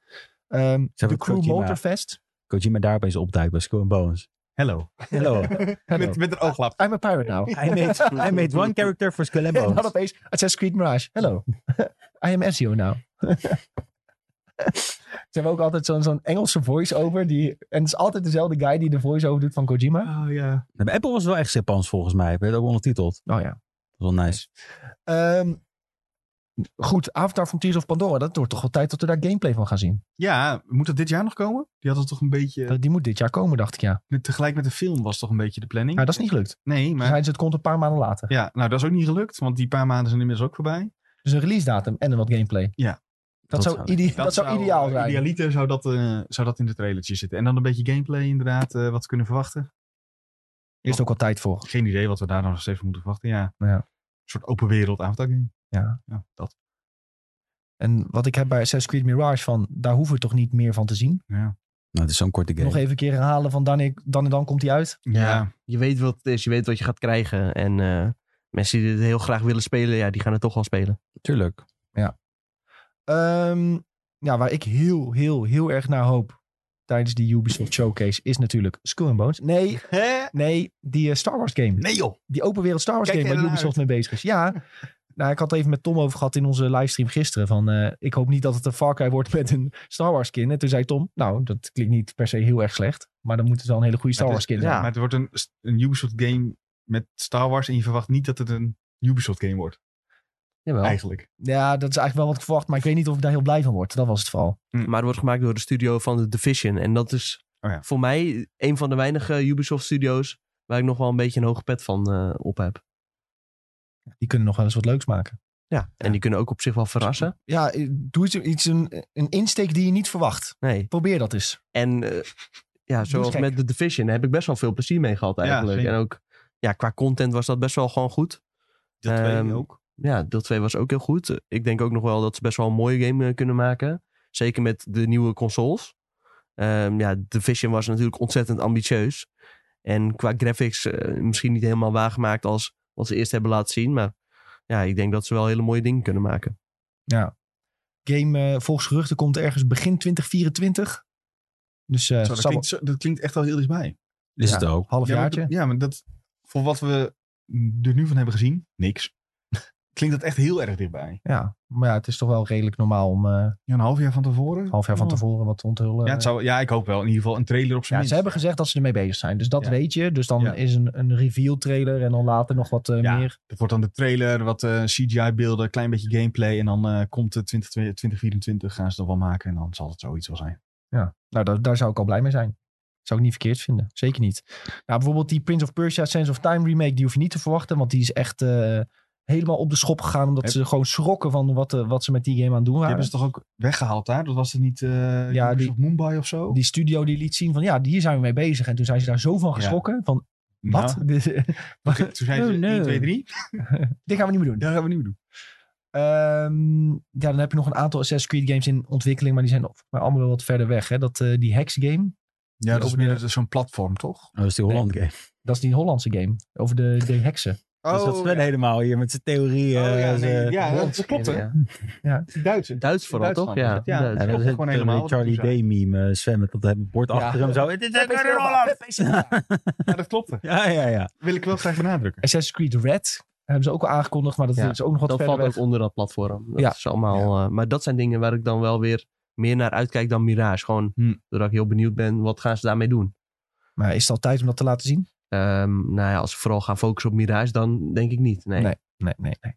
Speaker 1: Ehm, de
Speaker 3: hebben
Speaker 1: Crew
Speaker 3: Kojima.
Speaker 1: Motorfest.
Speaker 3: eh, Kojima daar opeens opduikt bij Skull and Bones.
Speaker 2: Hello.
Speaker 3: Hello.
Speaker 2: Met, met een ooglap.
Speaker 1: I'm a pirate now.
Speaker 3: I made, I made one character for Skull and
Speaker 1: En dan
Speaker 3: Bones.
Speaker 1: opeens Assassin's Creed Mirage. Hello. I am Ezio now. Ze hebben ook altijd zo'n zo'n Engelse voice-over. Die, en het is altijd dezelfde guy die de voice-over doet van Kojima.
Speaker 2: Oh ja.
Speaker 3: Bij Apple was het wel echt Japans volgens mij. Werd ook ondertiteld.
Speaker 1: Oh ja.
Speaker 3: Dat is wel nice.
Speaker 1: Ehm, goed, Avatar Frontiers of Pandora. Dat wordt toch wel tijd dat we daar gameplay van gaan zien.
Speaker 2: Ja, moet dat dit jaar nog komen? Die hadden toch een beetje...
Speaker 1: Dat, die moet dit jaar komen, dacht ik ja.
Speaker 2: Met, tegelijk met de film was toch een beetje de planning?
Speaker 1: Maar dat is niet gelukt.
Speaker 2: Nee,
Speaker 1: Maar...
Speaker 2: maar...
Speaker 1: Zeiden ze, het komt een paar maanden later.
Speaker 2: Ja, nou dat is ook niet gelukt, want die paar maanden zijn inmiddels ook voorbij.
Speaker 1: Dus een release datum en wat gameplay.
Speaker 2: Ja.
Speaker 1: Dat,
Speaker 3: Dat
Speaker 1: zou,
Speaker 3: zou-
Speaker 1: ide- dat zou ideaal
Speaker 2: eh,
Speaker 1: zijn.
Speaker 2: Idealiter zou dat, eh, zou dat in de trailertje zitten. En dan een beetje gameplay inderdaad, eh, wat we kunnen verwachten.
Speaker 1: Er is ook al tijd voor.
Speaker 2: Geen idee wat we daar nog steeds van moeten verwachten, ja.
Speaker 1: Ja.
Speaker 2: Een soort open wereld avondaging.
Speaker 1: Ja.
Speaker 2: ja dat.
Speaker 1: En wat ik heb bij Assassin's Creed Mirage van, daar hoeven we toch niet meer van te zien.
Speaker 2: Ja.
Speaker 3: Nou, het is zo'n korte game.
Speaker 1: Nog even een keer herhalen van dan, ik- dan en dan komt die uit.
Speaker 2: Ja.
Speaker 4: Je weet wat het is, je weet wat je gaat krijgen. En eh, mensen die dit heel graag willen spelen, ja, die gaan het toch wel spelen.
Speaker 3: Tuurlijk.
Speaker 1: Ehm, ja, waar ik heel, heel, heel erg naar hoop tijdens die Ubisoft Showcase is natuurlijk Skull and Bones. Nee,
Speaker 2: Hè?
Speaker 1: nee, die eh, Star Wars game.
Speaker 2: Nee joh!
Speaker 1: Die open wereld Star Wars
Speaker 2: Kijk
Speaker 1: game
Speaker 2: je
Speaker 1: waar
Speaker 2: ernaar
Speaker 1: Ubisoft mee bezig is. Ja, nou, ik had het even met Tom over gehad in onze livestream gisteren. Van, eh, ik hoop niet dat het een Far Cry wordt met een Star Wars skin. En toen zei Tom, nou, dat klinkt niet per se heel erg slecht. Maar dan moet het wel een hele goede Star
Speaker 2: Maar
Speaker 1: Wars
Speaker 2: het is-
Speaker 1: skin
Speaker 4: ja.
Speaker 1: zijn.
Speaker 2: Maar het wordt een, een Ubisoft game met Star Wars en je verwacht niet dat het een Ubisoft game wordt,
Speaker 1: Jawel.
Speaker 2: eigenlijk.
Speaker 1: Ja, dat is eigenlijk wel wat ik verwacht. Maar ik weet niet of ik daar heel blij van word. Dat was het vooral.
Speaker 4: Maar het wordt gemaakt door de studio van The Division. En dat is
Speaker 2: Oh ja.
Speaker 4: voor mij een van de weinige Ubisoft-studio's waar ik nog wel een beetje een hoge pet van eh, op heb.
Speaker 1: Die kunnen nog wel eens wat leuks maken.
Speaker 4: Ja. En die kunnen ook op zich wel verrassen.
Speaker 1: Ja, eh, doe iets, iets een, een insteek die je niet verwacht.
Speaker 4: Nee.
Speaker 1: Probeer dat eens.
Speaker 4: En eh, ja, zoals
Speaker 1: gek.
Speaker 4: met The Division daar heb ik best wel veel plezier mee gehad eigenlijk.
Speaker 2: zeker.
Speaker 4: en ook ja, qua content was dat best wel gewoon goed.
Speaker 2: Dat
Speaker 4: Ehm,
Speaker 2: weet ik ook.
Speaker 4: Ja, deel 2 was ook heel goed. Ik denk ook nog wel dat ze best wel een mooie game eh, kunnen maken. Zeker met de nieuwe consoles. Ehm ja, Division was natuurlijk ontzettend ambitieus. En qua graphics eh, misschien niet helemaal waargemaakt als wat ze eerst hebben laten zien. Maar ja, ik denk dat ze wel hele mooie dingen kunnen maken.
Speaker 1: Game eh, volgens geruchten komt ergens begin 2024. Dus eh
Speaker 2: Zo, dat,
Speaker 1: zal-
Speaker 2: klinkt, zo- dat klinkt echt al heel dichtbij.
Speaker 3: Is
Speaker 1: Ja.
Speaker 3: het ook.
Speaker 1: halfjaartje.
Speaker 2: Ja, maar, dat- ja, maar dat, voor wat we er nu van hebben gezien, niks. klinkt dat echt heel erg dichtbij.
Speaker 1: Ja, maar ja, het is toch wel redelijk normaal om eh, een
Speaker 2: Ja, een half jaar van tevoren?
Speaker 1: half jaar van
Speaker 2: Oh.
Speaker 1: tevoren wat te onthullen.
Speaker 2: Ja, het zou, ja, ik hoop wel. In ieder geval een trailer op
Speaker 1: Ja,
Speaker 2: zijn
Speaker 1: ze
Speaker 2: minst.
Speaker 1: hebben gezegd dat ze ermee bezig zijn. Dus dat
Speaker 2: Ja.
Speaker 1: weet je. Dus dan
Speaker 2: Ja.
Speaker 1: is een, een reveal trailer en dan later nog wat eh,
Speaker 2: Ja.
Speaker 1: meer.
Speaker 2: Het wordt dan de trailer, wat eh, CGI-beelden, klein beetje gameplay. En dan eh, komt het 20, 2024, gaan ze dat wel maken. En dan zal het zoiets wel zijn.
Speaker 1: Nou, daar, daar zou ik al blij mee zijn. Zou ik niet verkeerd vinden. Zeker niet. Nou, bijvoorbeeld die Prince of Persia Sense of Time remake, die hoef je niet te verwachten. Want die is echt eh, helemaal op de schop gegaan. Omdat
Speaker 2: Heb-
Speaker 1: ze gewoon schrokken van wat, eh, wat ze met die game aan het doen
Speaker 2: Die
Speaker 1: waren.
Speaker 2: hebben ze toch ook weggehaald daar? Dat was het niet eh
Speaker 1: Ja,
Speaker 2: ja,
Speaker 1: die-
Speaker 2: Mumbai of zo?
Speaker 1: Die studio die liet zien van ja, hier zijn we mee bezig. En toen zijn ze daar zo van geschrokken. Van
Speaker 2: Nou,
Speaker 1: wat? Dit,
Speaker 2: oké, toen zijn ze
Speaker 1: Oh, nee.
Speaker 2: 1, 2, 3.
Speaker 1: dit gaan we niet meer doen.
Speaker 2: Dat gaan we niet meer doen.
Speaker 1: Ehm, ja, dan heb je nog een aantal Assassin's Creed games in ontwikkeling. Maar die zijn volgens mij allemaal wel wat verder weg. Hè? Dat, eh, die Hex game,
Speaker 2: Ja, dat is
Speaker 1: over
Speaker 2: meer dat is zo'n platform, toch?
Speaker 3: Oh, dat is die Holland game.
Speaker 1: dat is die Hollandse game. Over de, de heksen.
Speaker 3: dus
Speaker 1: Oh,
Speaker 3: dat Sven helemaal hier met zijn theorieën.
Speaker 2: Oh, ja,
Speaker 3: eh,
Speaker 2: nee,
Speaker 3: zijn-
Speaker 2: ja,
Speaker 4: Hollandse
Speaker 2: dat klopt. hè.
Speaker 4: kinderen,
Speaker 2: Die Duitsers.
Speaker 4: Duits vooral,
Speaker 2: Duitsland
Speaker 4: toch?
Speaker 2: is
Speaker 4: Ja,
Speaker 2: het,
Speaker 4: Duits.
Speaker 2: Ja,
Speaker 3: Ja,
Speaker 2: dat
Speaker 3: dat
Speaker 2: is ook
Speaker 3: is
Speaker 2: gewoon helemaal.
Speaker 3: de Charlie
Speaker 2: dat is
Speaker 3: Day meme, eh, Sven met dat he- bord
Speaker 1: Ja.
Speaker 3: achter hem zo. Het is een Holland!
Speaker 2: Ja, dat klopt.
Speaker 3: Ja, ja, ja.
Speaker 2: Wil ik wel graag benadrukken.
Speaker 1: Assassin's Creed Red hebben ze ook al aangekondigd. Maar dat
Speaker 4: Ja,
Speaker 1: is ook nog wat
Speaker 4: dat
Speaker 1: verder
Speaker 4: valt
Speaker 1: weg.
Speaker 4: ook onder dat platform. Dat
Speaker 1: Ja.
Speaker 4: is allemaal, eh, maar dat zijn dingen waar ik dan wel weer meer naar uitkijk dan Mirage. Gewoon
Speaker 2: Hm.
Speaker 4: doordat ik heel benieuwd ben, wat gaan ze daarmee doen?
Speaker 1: Maar is het al tijd om dat te laten zien?
Speaker 4: Ehm, nou ja, als ik vooral ga focussen op Mirage, dan denk ik niet. Nee,
Speaker 1: Nee. Nee, nee, nee.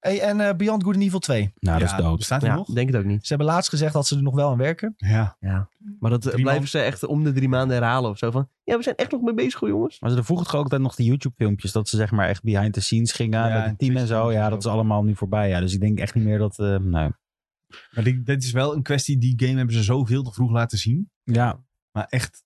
Speaker 1: Hey, en eh, Beyond Good and Evil 2.
Speaker 3: Nou, dat
Speaker 2: Ja,
Speaker 3: is dood.
Speaker 2: Bestaat hij
Speaker 4: ja,
Speaker 2: nog?
Speaker 4: denk het ook niet.
Speaker 1: Ze hebben laatst gezegd dat ze er nog wel aan werken.
Speaker 2: Ja.
Speaker 4: Maar dat eh,
Speaker 2: Drie
Speaker 4: blijven
Speaker 2: man-
Speaker 4: ze echt om de drie maanden herhalen of zo. Van, ja, we zijn echt nog mee bezig, hoor, jongens.
Speaker 3: Maar ze vroegen toch ook dan nog die YouTube-filmpjes dat ze zeg maar echt behind the scenes gingen
Speaker 2: Ja,
Speaker 3: met het team en
Speaker 2: Twitch-filmpjes
Speaker 3: zo. Ja,
Speaker 2: en
Speaker 3: dat is
Speaker 2: zo.
Speaker 3: allemaal nu voorbij. Ja, dus ik denk echt niet meer dat. eh, nee.
Speaker 2: Maar dit, dit is wel een kwestie, die game hebben ze zoveel te vroeg laten zien.
Speaker 3: Ja,
Speaker 2: Maar echt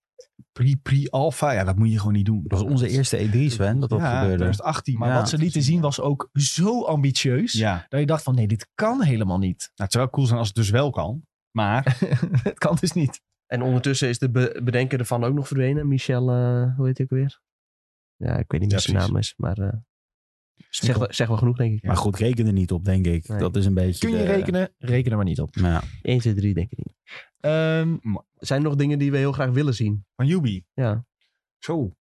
Speaker 2: pre- pre-alpha, ja, dat moet je gewoon niet doen.
Speaker 3: dat was onze eerste E3, Sven, dat dat
Speaker 2: ja,
Speaker 3: gebeurde.
Speaker 2: 2018.
Speaker 1: Maar
Speaker 3: Ja.
Speaker 1: wat ze lieten zien was ook zo ambitieus.
Speaker 2: Ja, nou,
Speaker 1: Dat je dacht van nee, dit kan helemaal niet.
Speaker 2: het zou wel cool zijn als het dus wel kan. Maar
Speaker 1: het kan dus niet.
Speaker 4: En ondertussen is de be- bedenker ervan ook nog verdwenen. Michel, eh, hoe heet hij ook weer? Ja, ik weet niet meer
Speaker 2: Ja,
Speaker 4: wat zijn
Speaker 2: precies.
Speaker 4: naam is. Maar eh zeg, wel- zeg wel genoeg, denk ik.
Speaker 3: Maar goed, reken er niet op, denk ik.
Speaker 4: Nee.
Speaker 3: Dat is een beetje...
Speaker 1: Kun je
Speaker 3: de-
Speaker 1: rekenen? eh, Reken er maar niet op.
Speaker 4: 1, 2, 3, denk ik niet.
Speaker 1: Ehm,
Speaker 4: Zijn er nog dingen die we heel graag willen zien?
Speaker 2: van Yubi,
Speaker 4: Ja.
Speaker 2: zo.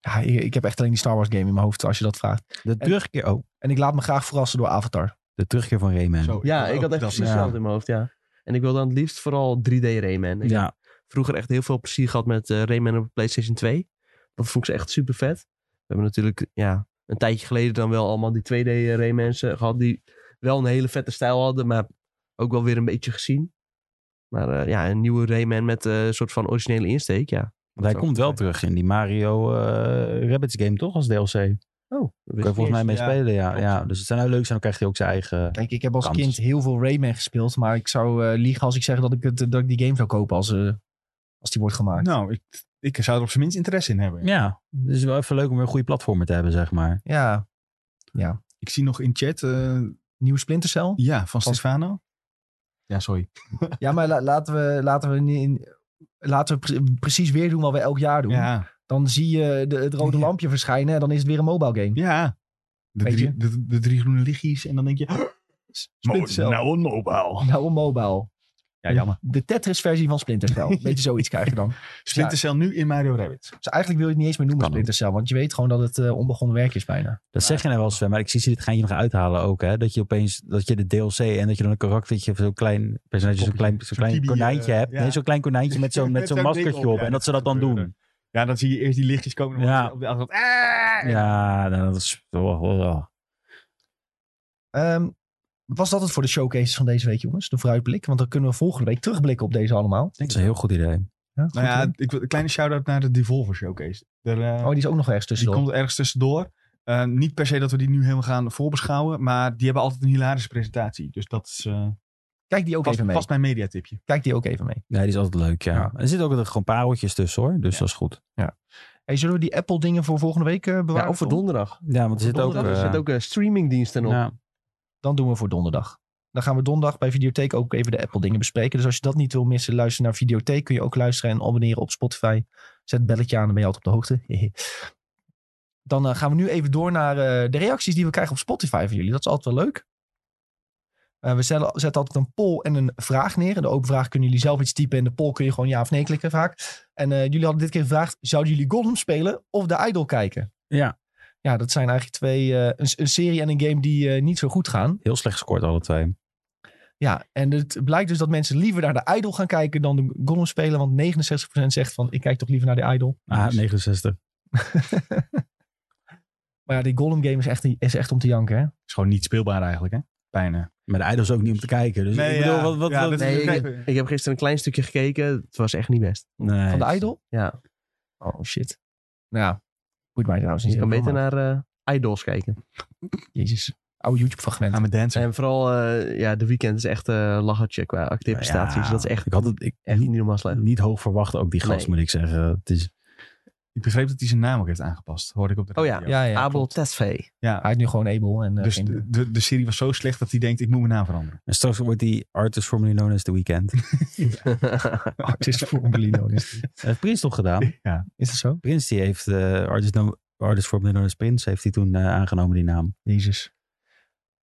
Speaker 1: ja, ik, ik heb echt alleen die Star Wars game in mijn hoofd als je dat vraagt.
Speaker 3: De terugkeer, oh,
Speaker 1: En ik laat me graag verrassen door Avatar.
Speaker 3: de terugkeer van Rayman.
Speaker 2: zo
Speaker 4: Ja, ik
Speaker 2: ook
Speaker 4: had
Speaker 2: dat.
Speaker 4: echt precies
Speaker 3: ja.
Speaker 4: hetzelfde in mijn hoofd, ja. En ik wil dan het liefst vooral 3D Rayman. Ik
Speaker 3: Ja,
Speaker 4: vroeger echt heel veel plezier gehad met eh, Rayman op de PlayStation 2. Dat vond ik ze echt super vet. We hebben natuurlijk ja, een tijdje geleden dan wel allemaal die 2D Raymans eh, gehad. Die wel een hele vette stijl hadden, maar ook wel weer een beetje gezien. Maar eh, ja, een nieuwe Rayman met eh, een soort van originele insteek, ja.
Speaker 3: want hij
Speaker 4: zou
Speaker 3: komt
Speaker 4: goed
Speaker 3: wel terug in die Mario eh, Rabbids game, toch? Als DLC.
Speaker 4: Oh, dat
Speaker 3: Kun je volgens mij mee
Speaker 2: ja.
Speaker 3: spelen, ja.
Speaker 2: Klopt.
Speaker 3: ja. Dus het zijn heel leuk zijn, dan krijgt hij ook zijn eigen...
Speaker 1: Kijk, ik heb als
Speaker 3: Kans.
Speaker 1: kind heel veel Rayman gespeeld. Maar ik zou eh, liegen als ik zeg dat ik, het, dat ik die game zou kopen als, eh, als die wordt gemaakt.
Speaker 2: Nou, ik, ik zou er op zijn minst interesse in hebben.
Speaker 3: Ja, het is wel even leuk om weer een goede platformer te hebben, zeg maar.
Speaker 1: Ja,
Speaker 2: Ik zie nog in chat, eh,
Speaker 1: nieuwe Splinter Cell.
Speaker 2: ja, van
Speaker 1: Van-
Speaker 2: Stefano. Ja, sorry.
Speaker 1: Ja, maar la- laten we, laten we, niet in, laten we pre- precies weer doen wat we elk jaar doen.
Speaker 2: Ja,
Speaker 1: Dan zie je de, het rode
Speaker 2: Ja.
Speaker 1: lampje verschijnen en dan is het weer een mobile game.
Speaker 2: ja. De
Speaker 1: Weet
Speaker 2: drie,
Speaker 1: je?
Speaker 2: de, de drie groene lichtjes en dan denk je... "Oh,
Speaker 1: Splinter Cell.
Speaker 2: Nou, een mobile.
Speaker 1: Nou, een mobile.
Speaker 2: Ja, jammer.
Speaker 1: De Tetris-versie van Splinter Cell. Beetje zoiets krijg je dan.
Speaker 2: Splinter Cell nu in Mario Rabbit.
Speaker 1: Dus eigenlijk wil je het niet eens meer noemen
Speaker 3: Kan ook.
Speaker 1: Splinter Cell. Want je weet gewoon dat het eh, onbegonnen werk is bijna.
Speaker 3: Dat zeg je nou wel, Sven, maar ik zie ze dit geintje nog uithalen ook, hè. Dat je opeens, dat je de DLC en dat je dan een karaktertje van zo'n klein, personage, zo'n
Speaker 2: Poppetje.
Speaker 3: klein, zo'n
Speaker 2: Zo'n
Speaker 3: klein
Speaker 2: chibi, eh,
Speaker 3: konijntje hebt.
Speaker 2: ja.
Speaker 3: Nee, zo'n klein konijntje met zo'n, met zo'n
Speaker 2: ding
Speaker 3: maskertje
Speaker 2: op,
Speaker 3: op.
Speaker 2: ja,
Speaker 3: en dat ze dat dan
Speaker 2: gebeurde.
Speaker 3: doen.
Speaker 2: Ja, dan zie je eerst die lichtjes komen.
Speaker 3: Ja.
Speaker 2: Ja. Op de achtergrond. Ah!
Speaker 3: Ja, nou, dat is... oh, oh, oh.
Speaker 1: Ehm, was dat het voor de showcases van deze week, jongens? De vooruitblik. Want dan kunnen we volgende week terugblikken op deze allemaal.
Speaker 3: Dat is een heel goed idee.
Speaker 1: Ja,
Speaker 2: Nou
Speaker 1: goed,
Speaker 2: ja,
Speaker 1: hè?
Speaker 2: ik wil een kleine shout-out naar de Devolver Showcase. Daar, eh,
Speaker 1: oh, die is ook nog ergens
Speaker 2: die
Speaker 1: tussendoor.
Speaker 2: komt ergens tussendoor. Eh, niet per se dat we die nu helemaal gaan voorbeschouwen. Maar die hebben altijd een hilarische presentatie. Dus dat is eh
Speaker 1: Kijk die ook
Speaker 2: vast,
Speaker 1: even mee.
Speaker 2: vast mijn mediatipje.
Speaker 1: Kijk die ook even mee.
Speaker 3: Nee, die is altijd leuk, ja.
Speaker 1: Ja.
Speaker 3: Er zitten ook gewoon pareltjes tussen, hoor. Dus dat is goed.
Speaker 1: Hey, zullen we die Apple dingen voor volgende week eh, bewaren?
Speaker 4: Ja, of voor
Speaker 1: Tom?
Speaker 4: donderdag.
Speaker 3: Ja, want er zit ook...
Speaker 4: Donderdag er
Speaker 3: eh,
Speaker 4: zitten ook eh, streamingdiensten op.
Speaker 3: ja.
Speaker 1: Dan doen we voor donderdag. Dan gaan we donderdag bij Videotheek ook even de Apple dingen bespreken. Dus als je dat niet wil missen, luister naar Videotheek. Kun je ook luisteren en abonneren op Spotify. Zet het belletje aan, dan ben je altijd op de hoogte. dan eh, gaan we nu even door naar eh, de reacties die we krijgen op Spotify van jullie. Dat is altijd wel leuk. Eh, we stellen- zetten altijd een poll en een vraag neer. In de open vraag kunnen jullie zelf iets typen. En de poll kun je gewoon ja of nee klikken vaak. En eh, jullie hadden dit keer gevraagd, zouden jullie Gollum spelen of The Idol kijken?
Speaker 3: Ja.
Speaker 1: Ja, dat zijn eigenlijk twee, eh, een, een serie en een game die eh, niet zo goed gaan.
Speaker 3: Heel slecht gescoord, alle twee.
Speaker 1: Ja, en het blijkt dus dat mensen liever naar de Idol gaan kijken dan de Gollum spelen. Want 69% zegt van, ik kijk toch liever naar de Idol. Dus-
Speaker 3: Ah, 69.
Speaker 1: Maar ja, die Gollum game is echt, is echt om te janken, hè?
Speaker 2: Is gewoon niet speelbaar eigenlijk, hè? Bijna.
Speaker 3: Maar de Idol is ook niet om te kijken. Dus ik bedoel, wat... wat, wat-
Speaker 4: nee, Ik heb gisteren een klein stukje gekeken. Het was echt niet best.
Speaker 3: Nee.
Speaker 1: Van de Idol?
Speaker 4: Ja,
Speaker 1: Oh, shit. Nou ja, moet mij trouwens niet
Speaker 4: Dus je kan
Speaker 1: zoveel,
Speaker 4: beter
Speaker 1: maar-
Speaker 4: naar eh, Idols kijken.
Speaker 1: Jezus, oude YouTube-fragment.
Speaker 2: I'm a dancer.
Speaker 4: En vooral, eh, ja, de weekend is echt eh lachertje qua acteerprestaties.
Speaker 3: Nou Ja,
Speaker 4: dat is echt,
Speaker 3: Ik had het ik,
Speaker 4: echt niet
Speaker 3: niet,
Speaker 4: normaal slecht.
Speaker 3: niet hoog verwacht, ook die gast,
Speaker 4: Nee.
Speaker 3: moet ik zeggen. Het is,
Speaker 2: Ik begreep dat hij zijn naam ook heeft aangepast. Hoorde ik op de
Speaker 4: Oh
Speaker 2: radio.
Speaker 1: ja, ja.
Speaker 4: Abel Tesfaye.
Speaker 2: Ja,
Speaker 1: Hij heet nu gewoon Abel. En, eh,
Speaker 2: Dus
Speaker 1: geen-
Speaker 2: de, de, de serie was zo slecht dat hij denkt, ik moet mijn naam veranderen.
Speaker 3: en straks wordt die artist formerly known as The Weeknd. Dat
Speaker 1: artist voor Belino. Is,
Speaker 3: heeft Prins toch gedaan?
Speaker 2: Ja.
Speaker 1: is dat zo?
Speaker 3: Prins die heeft, eh, artist, no- artist formerly known as Prince, heeft hij toen eh, aangenomen die naam.
Speaker 1: Jezus.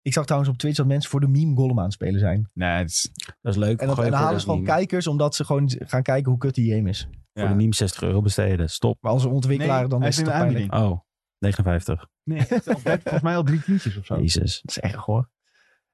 Speaker 1: Ik zag trouwens op Twitch dat mensen voor de meme Gollum aan het spelen zijn.
Speaker 2: Nee, het is,
Speaker 3: Dat is leuk.
Speaker 1: En, dat,
Speaker 3: Gooi
Speaker 1: en dan
Speaker 3: voor
Speaker 1: halen
Speaker 3: de
Speaker 1: ze gewoon
Speaker 3: meme.
Speaker 1: kijkers omdat ze gewoon gaan kijken hoe kut die game is.
Speaker 3: Voor de meme 60 euro besteden. Stop.
Speaker 1: Maar als een ontwikkelaar
Speaker 2: Nee,
Speaker 1: dan
Speaker 2: hij
Speaker 1: is
Speaker 2: is
Speaker 1: het
Speaker 2: in
Speaker 1: toch
Speaker 2: de
Speaker 1: pijnlijk.
Speaker 2: aanbieding.
Speaker 3: Oh, 59.
Speaker 2: nee, het is al- volgens mij al drie tientjes of zo.
Speaker 3: Jezus.
Speaker 1: Dat is erg hoor.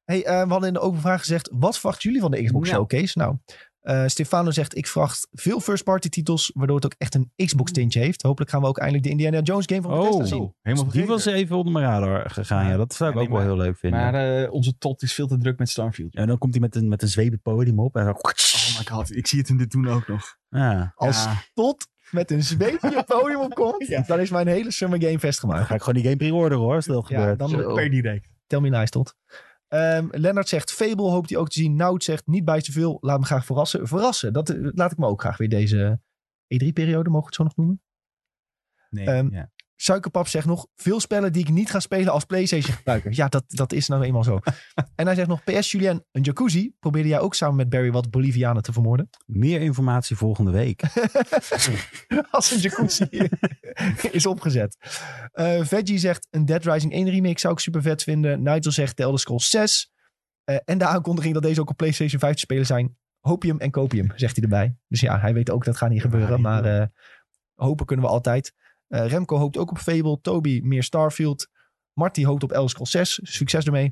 Speaker 1: Hey, eh, we hadden in de open vraag gezegd, wat verwachten jullie van de Xbox
Speaker 2: Ja.
Speaker 1: Showcase? Nou, eh, Stefano zegt, ik verwacht veel first party titels, waardoor het ook echt een Xbox tintje heeft. Hopelijk gaan we ook eindelijk de Indiana Jones game van
Speaker 3: Oh.
Speaker 1: Bethesda
Speaker 2: Zo,
Speaker 1: zien.
Speaker 2: helemaal
Speaker 3: Die
Speaker 2: vergeten.
Speaker 3: was even onder mijn radar gegaan. Ja, dat zou ik
Speaker 2: Ja, nee,
Speaker 3: ook wel
Speaker 2: maar-
Speaker 3: heel leuk vinden.
Speaker 2: Maar eh, onze tot is veel te druk met Starfield.
Speaker 3: en dan komt hij met een, met een zweep podium op. En dan...
Speaker 2: Oh my god, ik zie het in dit doen ook nog.
Speaker 3: Ja,
Speaker 1: Als
Speaker 2: Ja.
Speaker 1: tot met een zweepje het podium opkomt, dan is mijn hele Summer Game Fest
Speaker 3: dan
Speaker 1: gemaakt.
Speaker 3: ga ik gewoon die game pre-order hoor, als dat
Speaker 1: Ja,
Speaker 3: gebeurt.
Speaker 1: dan
Speaker 4: Zo.
Speaker 2: Per direct.
Speaker 1: Tell me nice tot. Ehm, Lennart zegt, Fable hoopt hij ook te zien. Nout zegt, niet bij te veel. Laat me graag verrassen. Verrassen, dat eh, laat ik me ook graag weer deze E3-periode, mogen we het zo nog noemen.
Speaker 2: Nee,
Speaker 1: Ehm,
Speaker 2: ja.
Speaker 1: Suikerpap zegt nog, veel spellen die ik niet ga spelen als PlayStation-gebruiker. ja, dat, dat is nou eenmaal zo. en hij zegt nog, PS Julien, een jacuzzi. Probeerde jij ook samen met Barry wat Bolivianen te vermoorden?
Speaker 3: Meer informatie volgende week.
Speaker 1: als een jacuzzi is opgezet. Eh, Veggie zegt, een Dead Rising 1 remake zou ik super vet vinden. Nigel zegt, The Elder Scrolls 6. Eh, en de aankondiging dat deze ook op PlayStation 5 te spelen zijn. Hopium en Copium, zegt hij erbij. Dus ja, hij weet ook dat gaat niet gebeuren. Maar eh, hopen kunnen we altijd. Eh, Remco hoopt ook op Fable. Toby meer Starfield. Marty hoopt op Elder Scrolls 6. Succes ermee.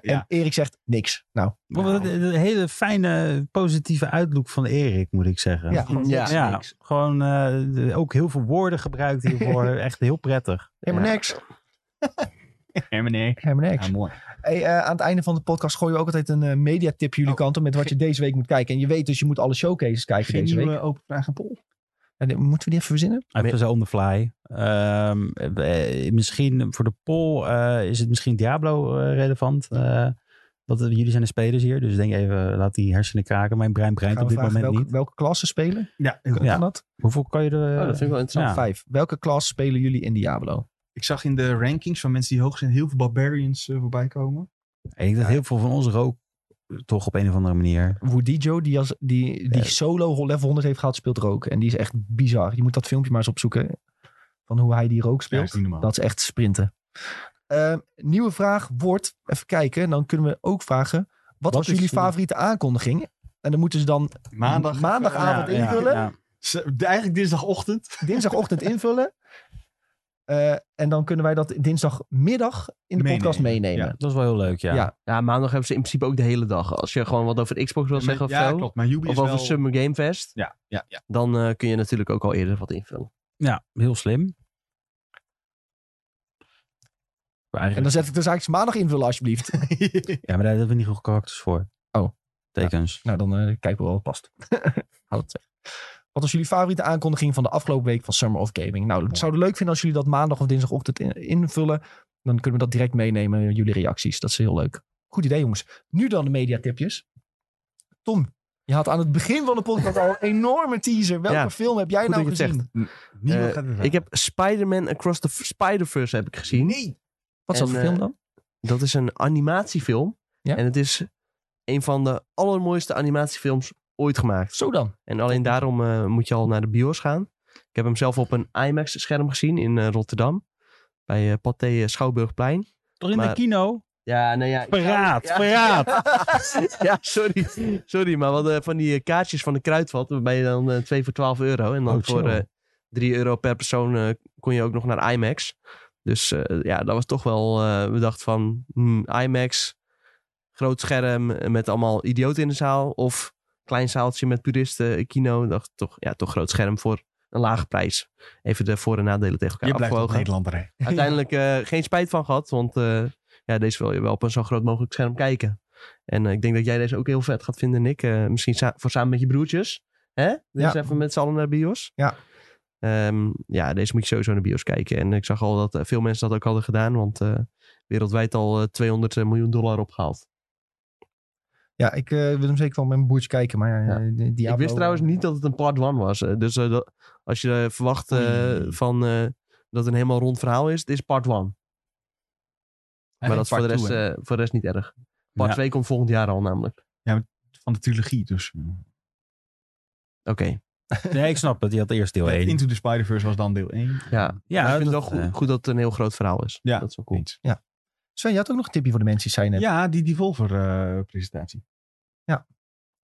Speaker 2: Ja.
Speaker 1: En Erik zegt niks. Nou,
Speaker 3: Wat een, een hele fijne, positieve uitlook van Erik, moet ik zeggen.
Speaker 1: ja.
Speaker 4: Ja.
Speaker 3: Ja, gewoon eh, de- ook heel veel woorden gebruikt hiervoor. Echt heel prettig.
Speaker 1: Helemaal
Speaker 4: Ja.
Speaker 1: niks.
Speaker 2: Ja, meneer.
Speaker 1: Helemaal niks.
Speaker 2: Ja, mooi.
Speaker 1: Hey, eh, aan het einde van de podcast gooien we ook altijd een eh, mediatip jullie
Speaker 2: Oh,
Speaker 1: kant op met wat je deze week moet kijken. En je weet dus, je moet alle showcases kijken
Speaker 2: Geen
Speaker 1: deze week.
Speaker 2: nieuwe open vraag en poll.
Speaker 1: En, dit- moeten we die even verzinnen?
Speaker 3: Even zo on the fly. Ehm, eh, misschien voor de poll eh, is het misschien Diablo eh, relevant. Eh, dat, jullie zijn de spelers hier, dus denk even, laat die hersenen kraken. Mijn brein breint
Speaker 1: Gaan
Speaker 3: op
Speaker 1: we
Speaker 3: dit
Speaker 1: vragen
Speaker 3: moment
Speaker 1: welke,
Speaker 3: niet.
Speaker 1: welke klassen spelen?
Speaker 2: Ja, heel
Speaker 1: Kan
Speaker 3: Ja.
Speaker 1: dat?
Speaker 3: Hoeveel kan je er...
Speaker 4: Oh, dat vind ik wel interessant.
Speaker 3: Ja.
Speaker 1: Vijf. Welke klas spelen jullie in Diablo?
Speaker 2: Ik zag in de rankings van mensen die hoog zijn heel veel barbarians eh, voorbij komen.
Speaker 3: eh, Ik denk dat heel veel van ons er ook toch op een of andere manier...
Speaker 1: Woody Joe, die, als, die, die
Speaker 3: Ja.
Speaker 1: solo level 100 heeft gehad, speelt rook. En die is echt bizar. Je moet dat filmpje maar eens opzoeken. Van hoe hij die rook
Speaker 2: Ja,
Speaker 1: speelt.
Speaker 2: is niet normaal.
Speaker 1: Dat is echt sprinten. Eh, nieuwe vraag wordt, even kijken, dan kunnen we ook vragen. Wat, was
Speaker 3: is
Speaker 1: jullie
Speaker 3: de-
Speaker 1: favoriete aankondiging? En dan moeten ze dan
Speaker 2: Maandag.
Speaker 1: maandagavond
Speaker 2: Ja, ja.
Speaker 1: invullen.
Speaker 2: Z- Eigenlijk dinsdagochtend.
Speaker 1: dinsdagochtend invullen. Eh, en dan kunnen wij dat dinsdagmiddag in de
Speaker 2: Meenemen.
Speaker 1: podcast meenemen.
Speaker 2: Ja.
Speaker 3: Dat is wel heel leuk, ja.
Speaker 1: Ja.
Speaker 4: Ja, maandag hebben ze in principe ook de hele dag. Als je gewoon wat over Xbox wil zeggen of
Speaker 2: ja,
Speaker 4: zo.
Speaker 2: klopt. Maar Yubi
Speaker 4: Of
Speaker 2: is
Speaker 4: over
Speaker 2: wel...
Speaker 4: Summer Game Fest.
Speaker 2: Ja, ja, ja.
Speaker 4: Dan eh, kun je natuurlijk ook al eerder wat invullen.
Speaker 3: Ja, heel slim. Maar
Speaker 1: En
Speaker 3: eigenlijk-
Speaker 1: dan zet ik dus eigenlijk maandag invullen alsjeblieft.
Speaker 3: Ja, maar daar hebben we niet genoeg karakters voor.
Speaker 1: Oh.
Speaker 3: Tekens.
Speaker 1: nou, dan eh, kijken we wel wat past. Houd het weg. Wat was jullie favoriete aankondiging van de afgelopen week van Summer of Gaming? Nou, ik zou het leuk vinden als jullie dat maandag of dinsdagochtend in- invullen. Dan kunnen we dat direct meenemen, jullie reacties. Dat is heel leuk. Goed idee, jongens. Nu dan de mediatipjes. Tom, je had aan het begin van de podcast al een enorme teaser. Welke
Speaker 4: Ja,
Speaker 1: film heb jij
Speaker 4: goed
Speaker 1: nou
Speaker 4: dat je het
Speaker 1: gezien?
Speaker 2: Niemand
Speaker 4: Eh,
Speaker 2: gaat het
Speaker 4: Ik heb Spider-Man Across the F- Spider-Verse heb ik gezien.
Speaker 2: Nee.
Speaker 1: Wat is dat
Speaker 4: en,
Speaker 1: voor
Speaker 4: eh,
Speaker 1: film dan?
Speaker 4: Dat is een animatiefilm.
Speaker 1: Ja.
Speaker 4: En het is een van de allermooiste animatiefilms ooit gemaakt.
Speaker 1: Zo dan.
Speaker 4: En alleen daarom eh, moet je al naar de bios gaan. Ik heb hem zelf op een IMAX-scherm gezien in eh, Rotterdam. Bij eh Pathé eh, Schouwburgplein.
Speaker 3: Toch in de
Speaker 4: Maar-
Speaker 3: kino?
Speaker 4: Ja, nou ja.
Speaker 3: Verraad,
Speaker 4: Ja.
Speaker 3: verraad.
Speaker 4: ja, sorry. Sorry, maar wat van die eh, kaartjes van de Kruidvat. Waarbij je dan eh, twee voor 12 euro. En dan
Speaker 3: Oh, chill.
Speaker 4: voor eh 3 euro per persoon eh, kon je ook nog naar IMAX. Dus eh, ja, dat was toch wel... eh, we dachten van hmm, IMAX, groot scherm eh, met allemaal idioten in de zaal. Of klein zaaltje met puristen, eh, kino. Ik dacht toch, ja, toch groot scherm voor een lage prijs. Even de voor- en nadelen tegen elkaar
Speaker 2: Je blijft op
Speaker 4: afwogen.
Speaker 2: Nederlander, hè.
Speaker 4: Uiteindelijk eh, geen spijt van gehad, want eh, ja, deze wil je wel op een zo groot mogelijk scherm kijken. En eh, ik denk dat jij deze ook heel vet gaat vinden, Nick. Eh, misschien sa- voor samen met je broertjes. Hè? Dus
Speaker 1: Ja.
Speaker 4: even met z'n allen naar de bios.
Speaker 1: Ja.
Speaker 4: Ehm, ja, deze moet je sowieso naar de bios kijken. En ik zag al dat eh, veel mensen dat ook hadden gedaan, want eh, wereldwijd al eh, 200 miljoen dollar opgehaald.
Speaker 1: Ja, ik eh, wil hem zeker wel met mijn boertje kijken, maar eh, ja.
Speaker 4: Ja. ik wist trouwens niet dat het een part one was. eh, dus eh, dat- als je eh, verwacht eh,
Speaker 2: Oei.
Speaker 4: van, eh, dat het een helemaal rond verhaal is, het is part one. Maar dat is voor de, rest, eh, voor de rest niet erg. Part
Speaker 3: Ja.
Speaker 4: 2 komt volgend jaar al namelijk.
Speaker 2: van de trilogie, dus. eh,
Speaker 4: Oké.
Speaker 3: Nee, ik snap het. Die had eerst deel 1.
Speaker 2: Into the Spider-Verse was dan deel 1.
Speaker 4: Ja.
Speaker 3: Ja,
Speaker 4: Maar ik vind
Speaker 3: dat,
Speaker 4: het wel
Speaker 3: eh,
Speaker 4: goed, goed dat het een heel groot verhaal is.
Speaker 2: Ja.
Speaker 4: Dat is wel cool.
Speaker 2: Eens.
Speaker 1: Sven, je had ook nog een tipje voor de mensen die zijn net.
Speaker 2: Ja, die Devolver-presentatie.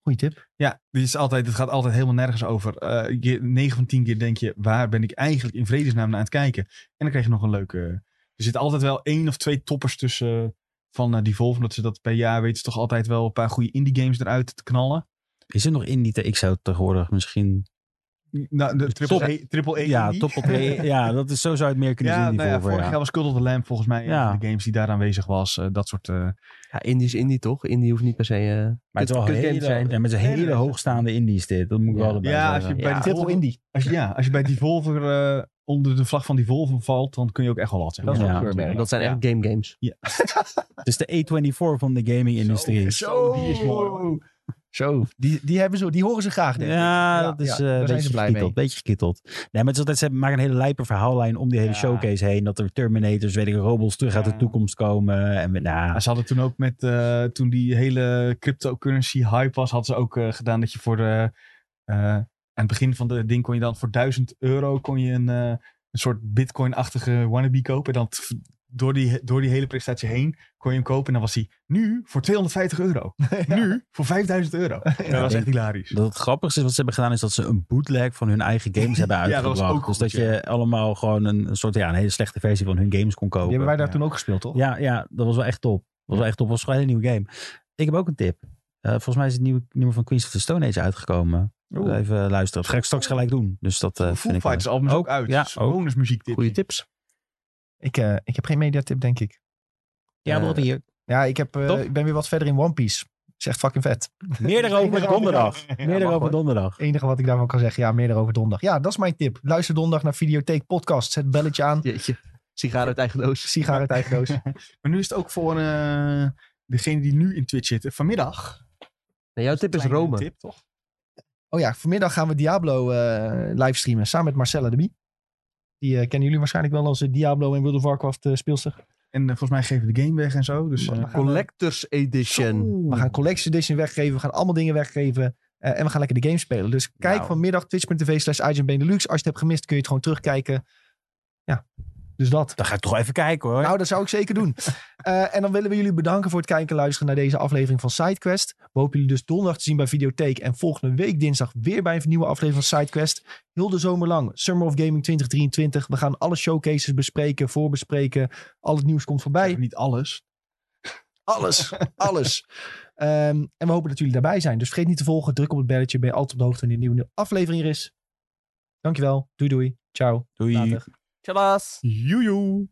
Speaker 1: Goeie tip.
Speaker 2: Ja, dit is altijd, het gaat altijd helemaal nergens over. Eh je, 9 van 10 keer denk je, waar ben ik eigenlijk in vredesnaam naar aan het kijken? En dan krijg je nog een leuke... eh, Er zit altijd wel één of twee toppers tussen van eh Devolver. Omdat ze dat per jaar weten ze toch altijd wel een paar goede indie games eruit te knallen.
Speaker 3: Is er nog indie? te- Ik zou tegenwoordig misschien...
Speaker 2: Nou, de triple,
Speaker 3: Top.
Speaker 2: E- triple E
Speaker 3: Ja,
Speaker 2: indie.
Speaker 3: top op één. Ja, dat is, zo zou je het meer kunnen
Speaker 2: Ja,
Speaker 3: zien. Die
Speaker 2: nou ja,
Speaker 3: voor,
Speaker 2: vorig jaar was Cult of the Lamb volgens mij een
Speaker 3: Ja.
Speaker 2: van de games die daar aanwezig was. Eh, dat soort... eh,
Speaker 4: Ja, indie is indie toch? Indie hoeft niet per se... eh,
Speaker 3: Maar het is wel
Speaker 4: kut- kutgame
Speaker 3: hele,
Speaker 4: te zijn.
Speaker 3: ja, met een
Speaker 2: Nee,
Speaker 3: hele
Speaker 2: nee.
Speaker 3: hoogstaande indie is dit. Dat moet ik
Speaker 4: Ja.
Speaker 3: wel erbij
Speaker 2: Ja, als
Speaker 3: zeggen.
Speaker 2: je
Speaker 4: Ja.
Speaker 2: bij
Speaker 1: Triple
Speaker 2: Devolver,
Speaker 1: Indie.
Speaker 2: als je, ja, als je bij Devolver eh, onder de vlag van die Volvo valt, dan kun je ook echt wel wat zeggen.
Speaker 1: Dat is
Speaker 3: eh, Ja.
Speaker 1: wel een keurmerk.
Speaker 4: Dat zijn
Speaker 2: Ja.
Speaker 4: echt game games.
Speaker 3: Het is de A24 van de gaming-industrie.
Speaker 1: Zo, die is mooi. hoor. Zo, die, die, hebben ze, die horen ze graag. denk ik.
Speaker 3: Ja, dat is eh,
Speaker 1: daar
Speaker 3: een
Speaker 1: zijn
Speaker 3: beetje
Speaker 1: ze blij
Speaker 3: gekitteld.
Speaker 1: mee.
Speaker 3: Beetje gekitteld. Nee, maar het is altijd, ze maken een hele lijpe verhaallijn om die hele
Speaker 2: Ja.
Speaker 3: showcase heen. Dat er Terminators, weet ik, robots terug uit de
Speaker 2: Ja.
Speaker 3: toekomst komen. En, we- nou,
Speaker 2: Ja, ze hadden toen ook met, eh, toen die hele cryptocurrency hype was, hadden ze ook eh, gedaan dat je voor de, eh, aan het begin van de ding kon je dan voor 1000 euro kon je een, eh, een soort bitcoin-achtige wannabe kopen. En dan t- door die, door die hele prestatie heen kon je hem kopen en dan was hij nu voor 250 euro. Nu voor 5000 euro. dat was echt hilarisch.
Speaker 3: dat het grappigste is wat ze hebben gedaan is dat ze een bootleg van hun eigen games hebben
Speaker 2: Ja, dat was
Speaker 3: uitgebracht.
Speaker 2: ook
Speaker 3: dus
Speaker 2: goed,
Speaker 3: dat je allemaal gewoon een, een soort, ja, een hele slechte versie van hun games kon kopen.
Speaker 1: Die hebben wij daar
Speaker 2: Ja.
Speaker 1: toen ook gespeeld, toch?
Speaker 3: Ja, ja, dat was wel echt top. Dat was wel echt top. was gewoon een hele nieuwe game. Ik heb ook een tip. Eh, volgens mij is het nieuwe nummer van Queens of the Stone Age uitgekomen.
Speaker 1: Oeh.
Speaker 3: Even luisteren. Oh, Dat ga ik straks gelijk doen. Dus dat eh,
Speaker 2: Foo
Speaker 3: vind ik wel-
Speaker 2: Fighters album is ook,
Speaker 3: Ook,
Speaker 2: uit.
Speaker 3: ja,
Speaker 2: dus
Speaker 3: ook.
Speaker 2: bonusmuziek dit.
Speaker 4: Goede tips.
Speaker 1: Ik, eh, ik heb geen mediatip, denk ik.
Speaker 3: Ja,
Speaker 1: Eh,
Speaker 3: wat hier.
Speaker 1: Ja, ik, heb, eh,
Speaker 3: Toch?
Speaker 1: ik ben weer wat verder in One Piece. Is echt fucking vet.
Speaker 3: Meer daarover donderdag. Meer
Speaker 1: mag
Speaker 3: daarover
Speaker 1: hoor.
Speaker 3: donderdag.
Speaker 1: Het enige wat ik daarvan kan zeggen, ja, meer daarover donderdag. Ja, dat is mijn tip. Luister donderdag naar Videotheek Podcast. Zet het belletje aan.
Speaker 4: Jeetje. Sigaar uit eigen doos.
Speaker 1: Sigaar uit eigen doos.
Speaker 2: Maar nu is het ook voor eh degene die nu in Twitch zitten. Vanmiddag.
Speaker 4: Nee, jouw tip is
Speaker 2: Kleine
Speaker 4: Rome.
Speaker 2: Tip, toch?
Speaker 1: Oh ja, vanmiddag gaan we Diablo eh livestreamen samen met Marcella de Bie. Die eh, kennen jullie waarschijnlijk wel als eh, Diablo en World of Warcraft eh, speelster.
Speaker 2: En eh, volgens mij geven we de game weg en zo. Dus,
Speaker 1: Maar-
Speaker 2: eh,
Speaker 1: maar-
Speaker 4: Collectors Edition.
Speaker 1: eh, We gaan Collection Edition weggeven, we gaan allemaal dingen weggeven. eh, en we gaan lekker de game spelen. Dus kijk
Speaker 3: Nou.
Speaker 1: vanmiddag twitch.tv slash IGN Benelux. Als je het hebt gemist kun je het gewoon terugkijken. Ja, dus dat.
Speaker 3: Dan ga ik toch even kijken hoor.
Speaker 1: Nou, dat zou ik zeker doen. Eh, en dan willen we jullie bedanken voor het kijken en luisteren naar deze aflevering van SideQuest. We hopen jullie dus donderdag te zien bij Videotheek. En volgende week dinsdag weer bij een nieuwe aflevering van SideQuest. Heel de zomer lang. Summer of Gaming 2023. We gaan alle showcases bespreken, voorbespreken. Al het nieuws komt voorbij.
Speaker 2: niet alles.
Speaker 1: Alles, alles. Ehm, en we hopen dat jullie daarbij zijn. Dus vergeet niet te volgen. Druk op het belletje. Ben je altijd op de hoogte wanneer een nieuwe aflevering er is. Dankjewel. Doei doei. Ciao.
Speaker 3: Doei.
Speaker 1: Later.
Speaker 4: Tjallas.
Speaker 2: Joejoe.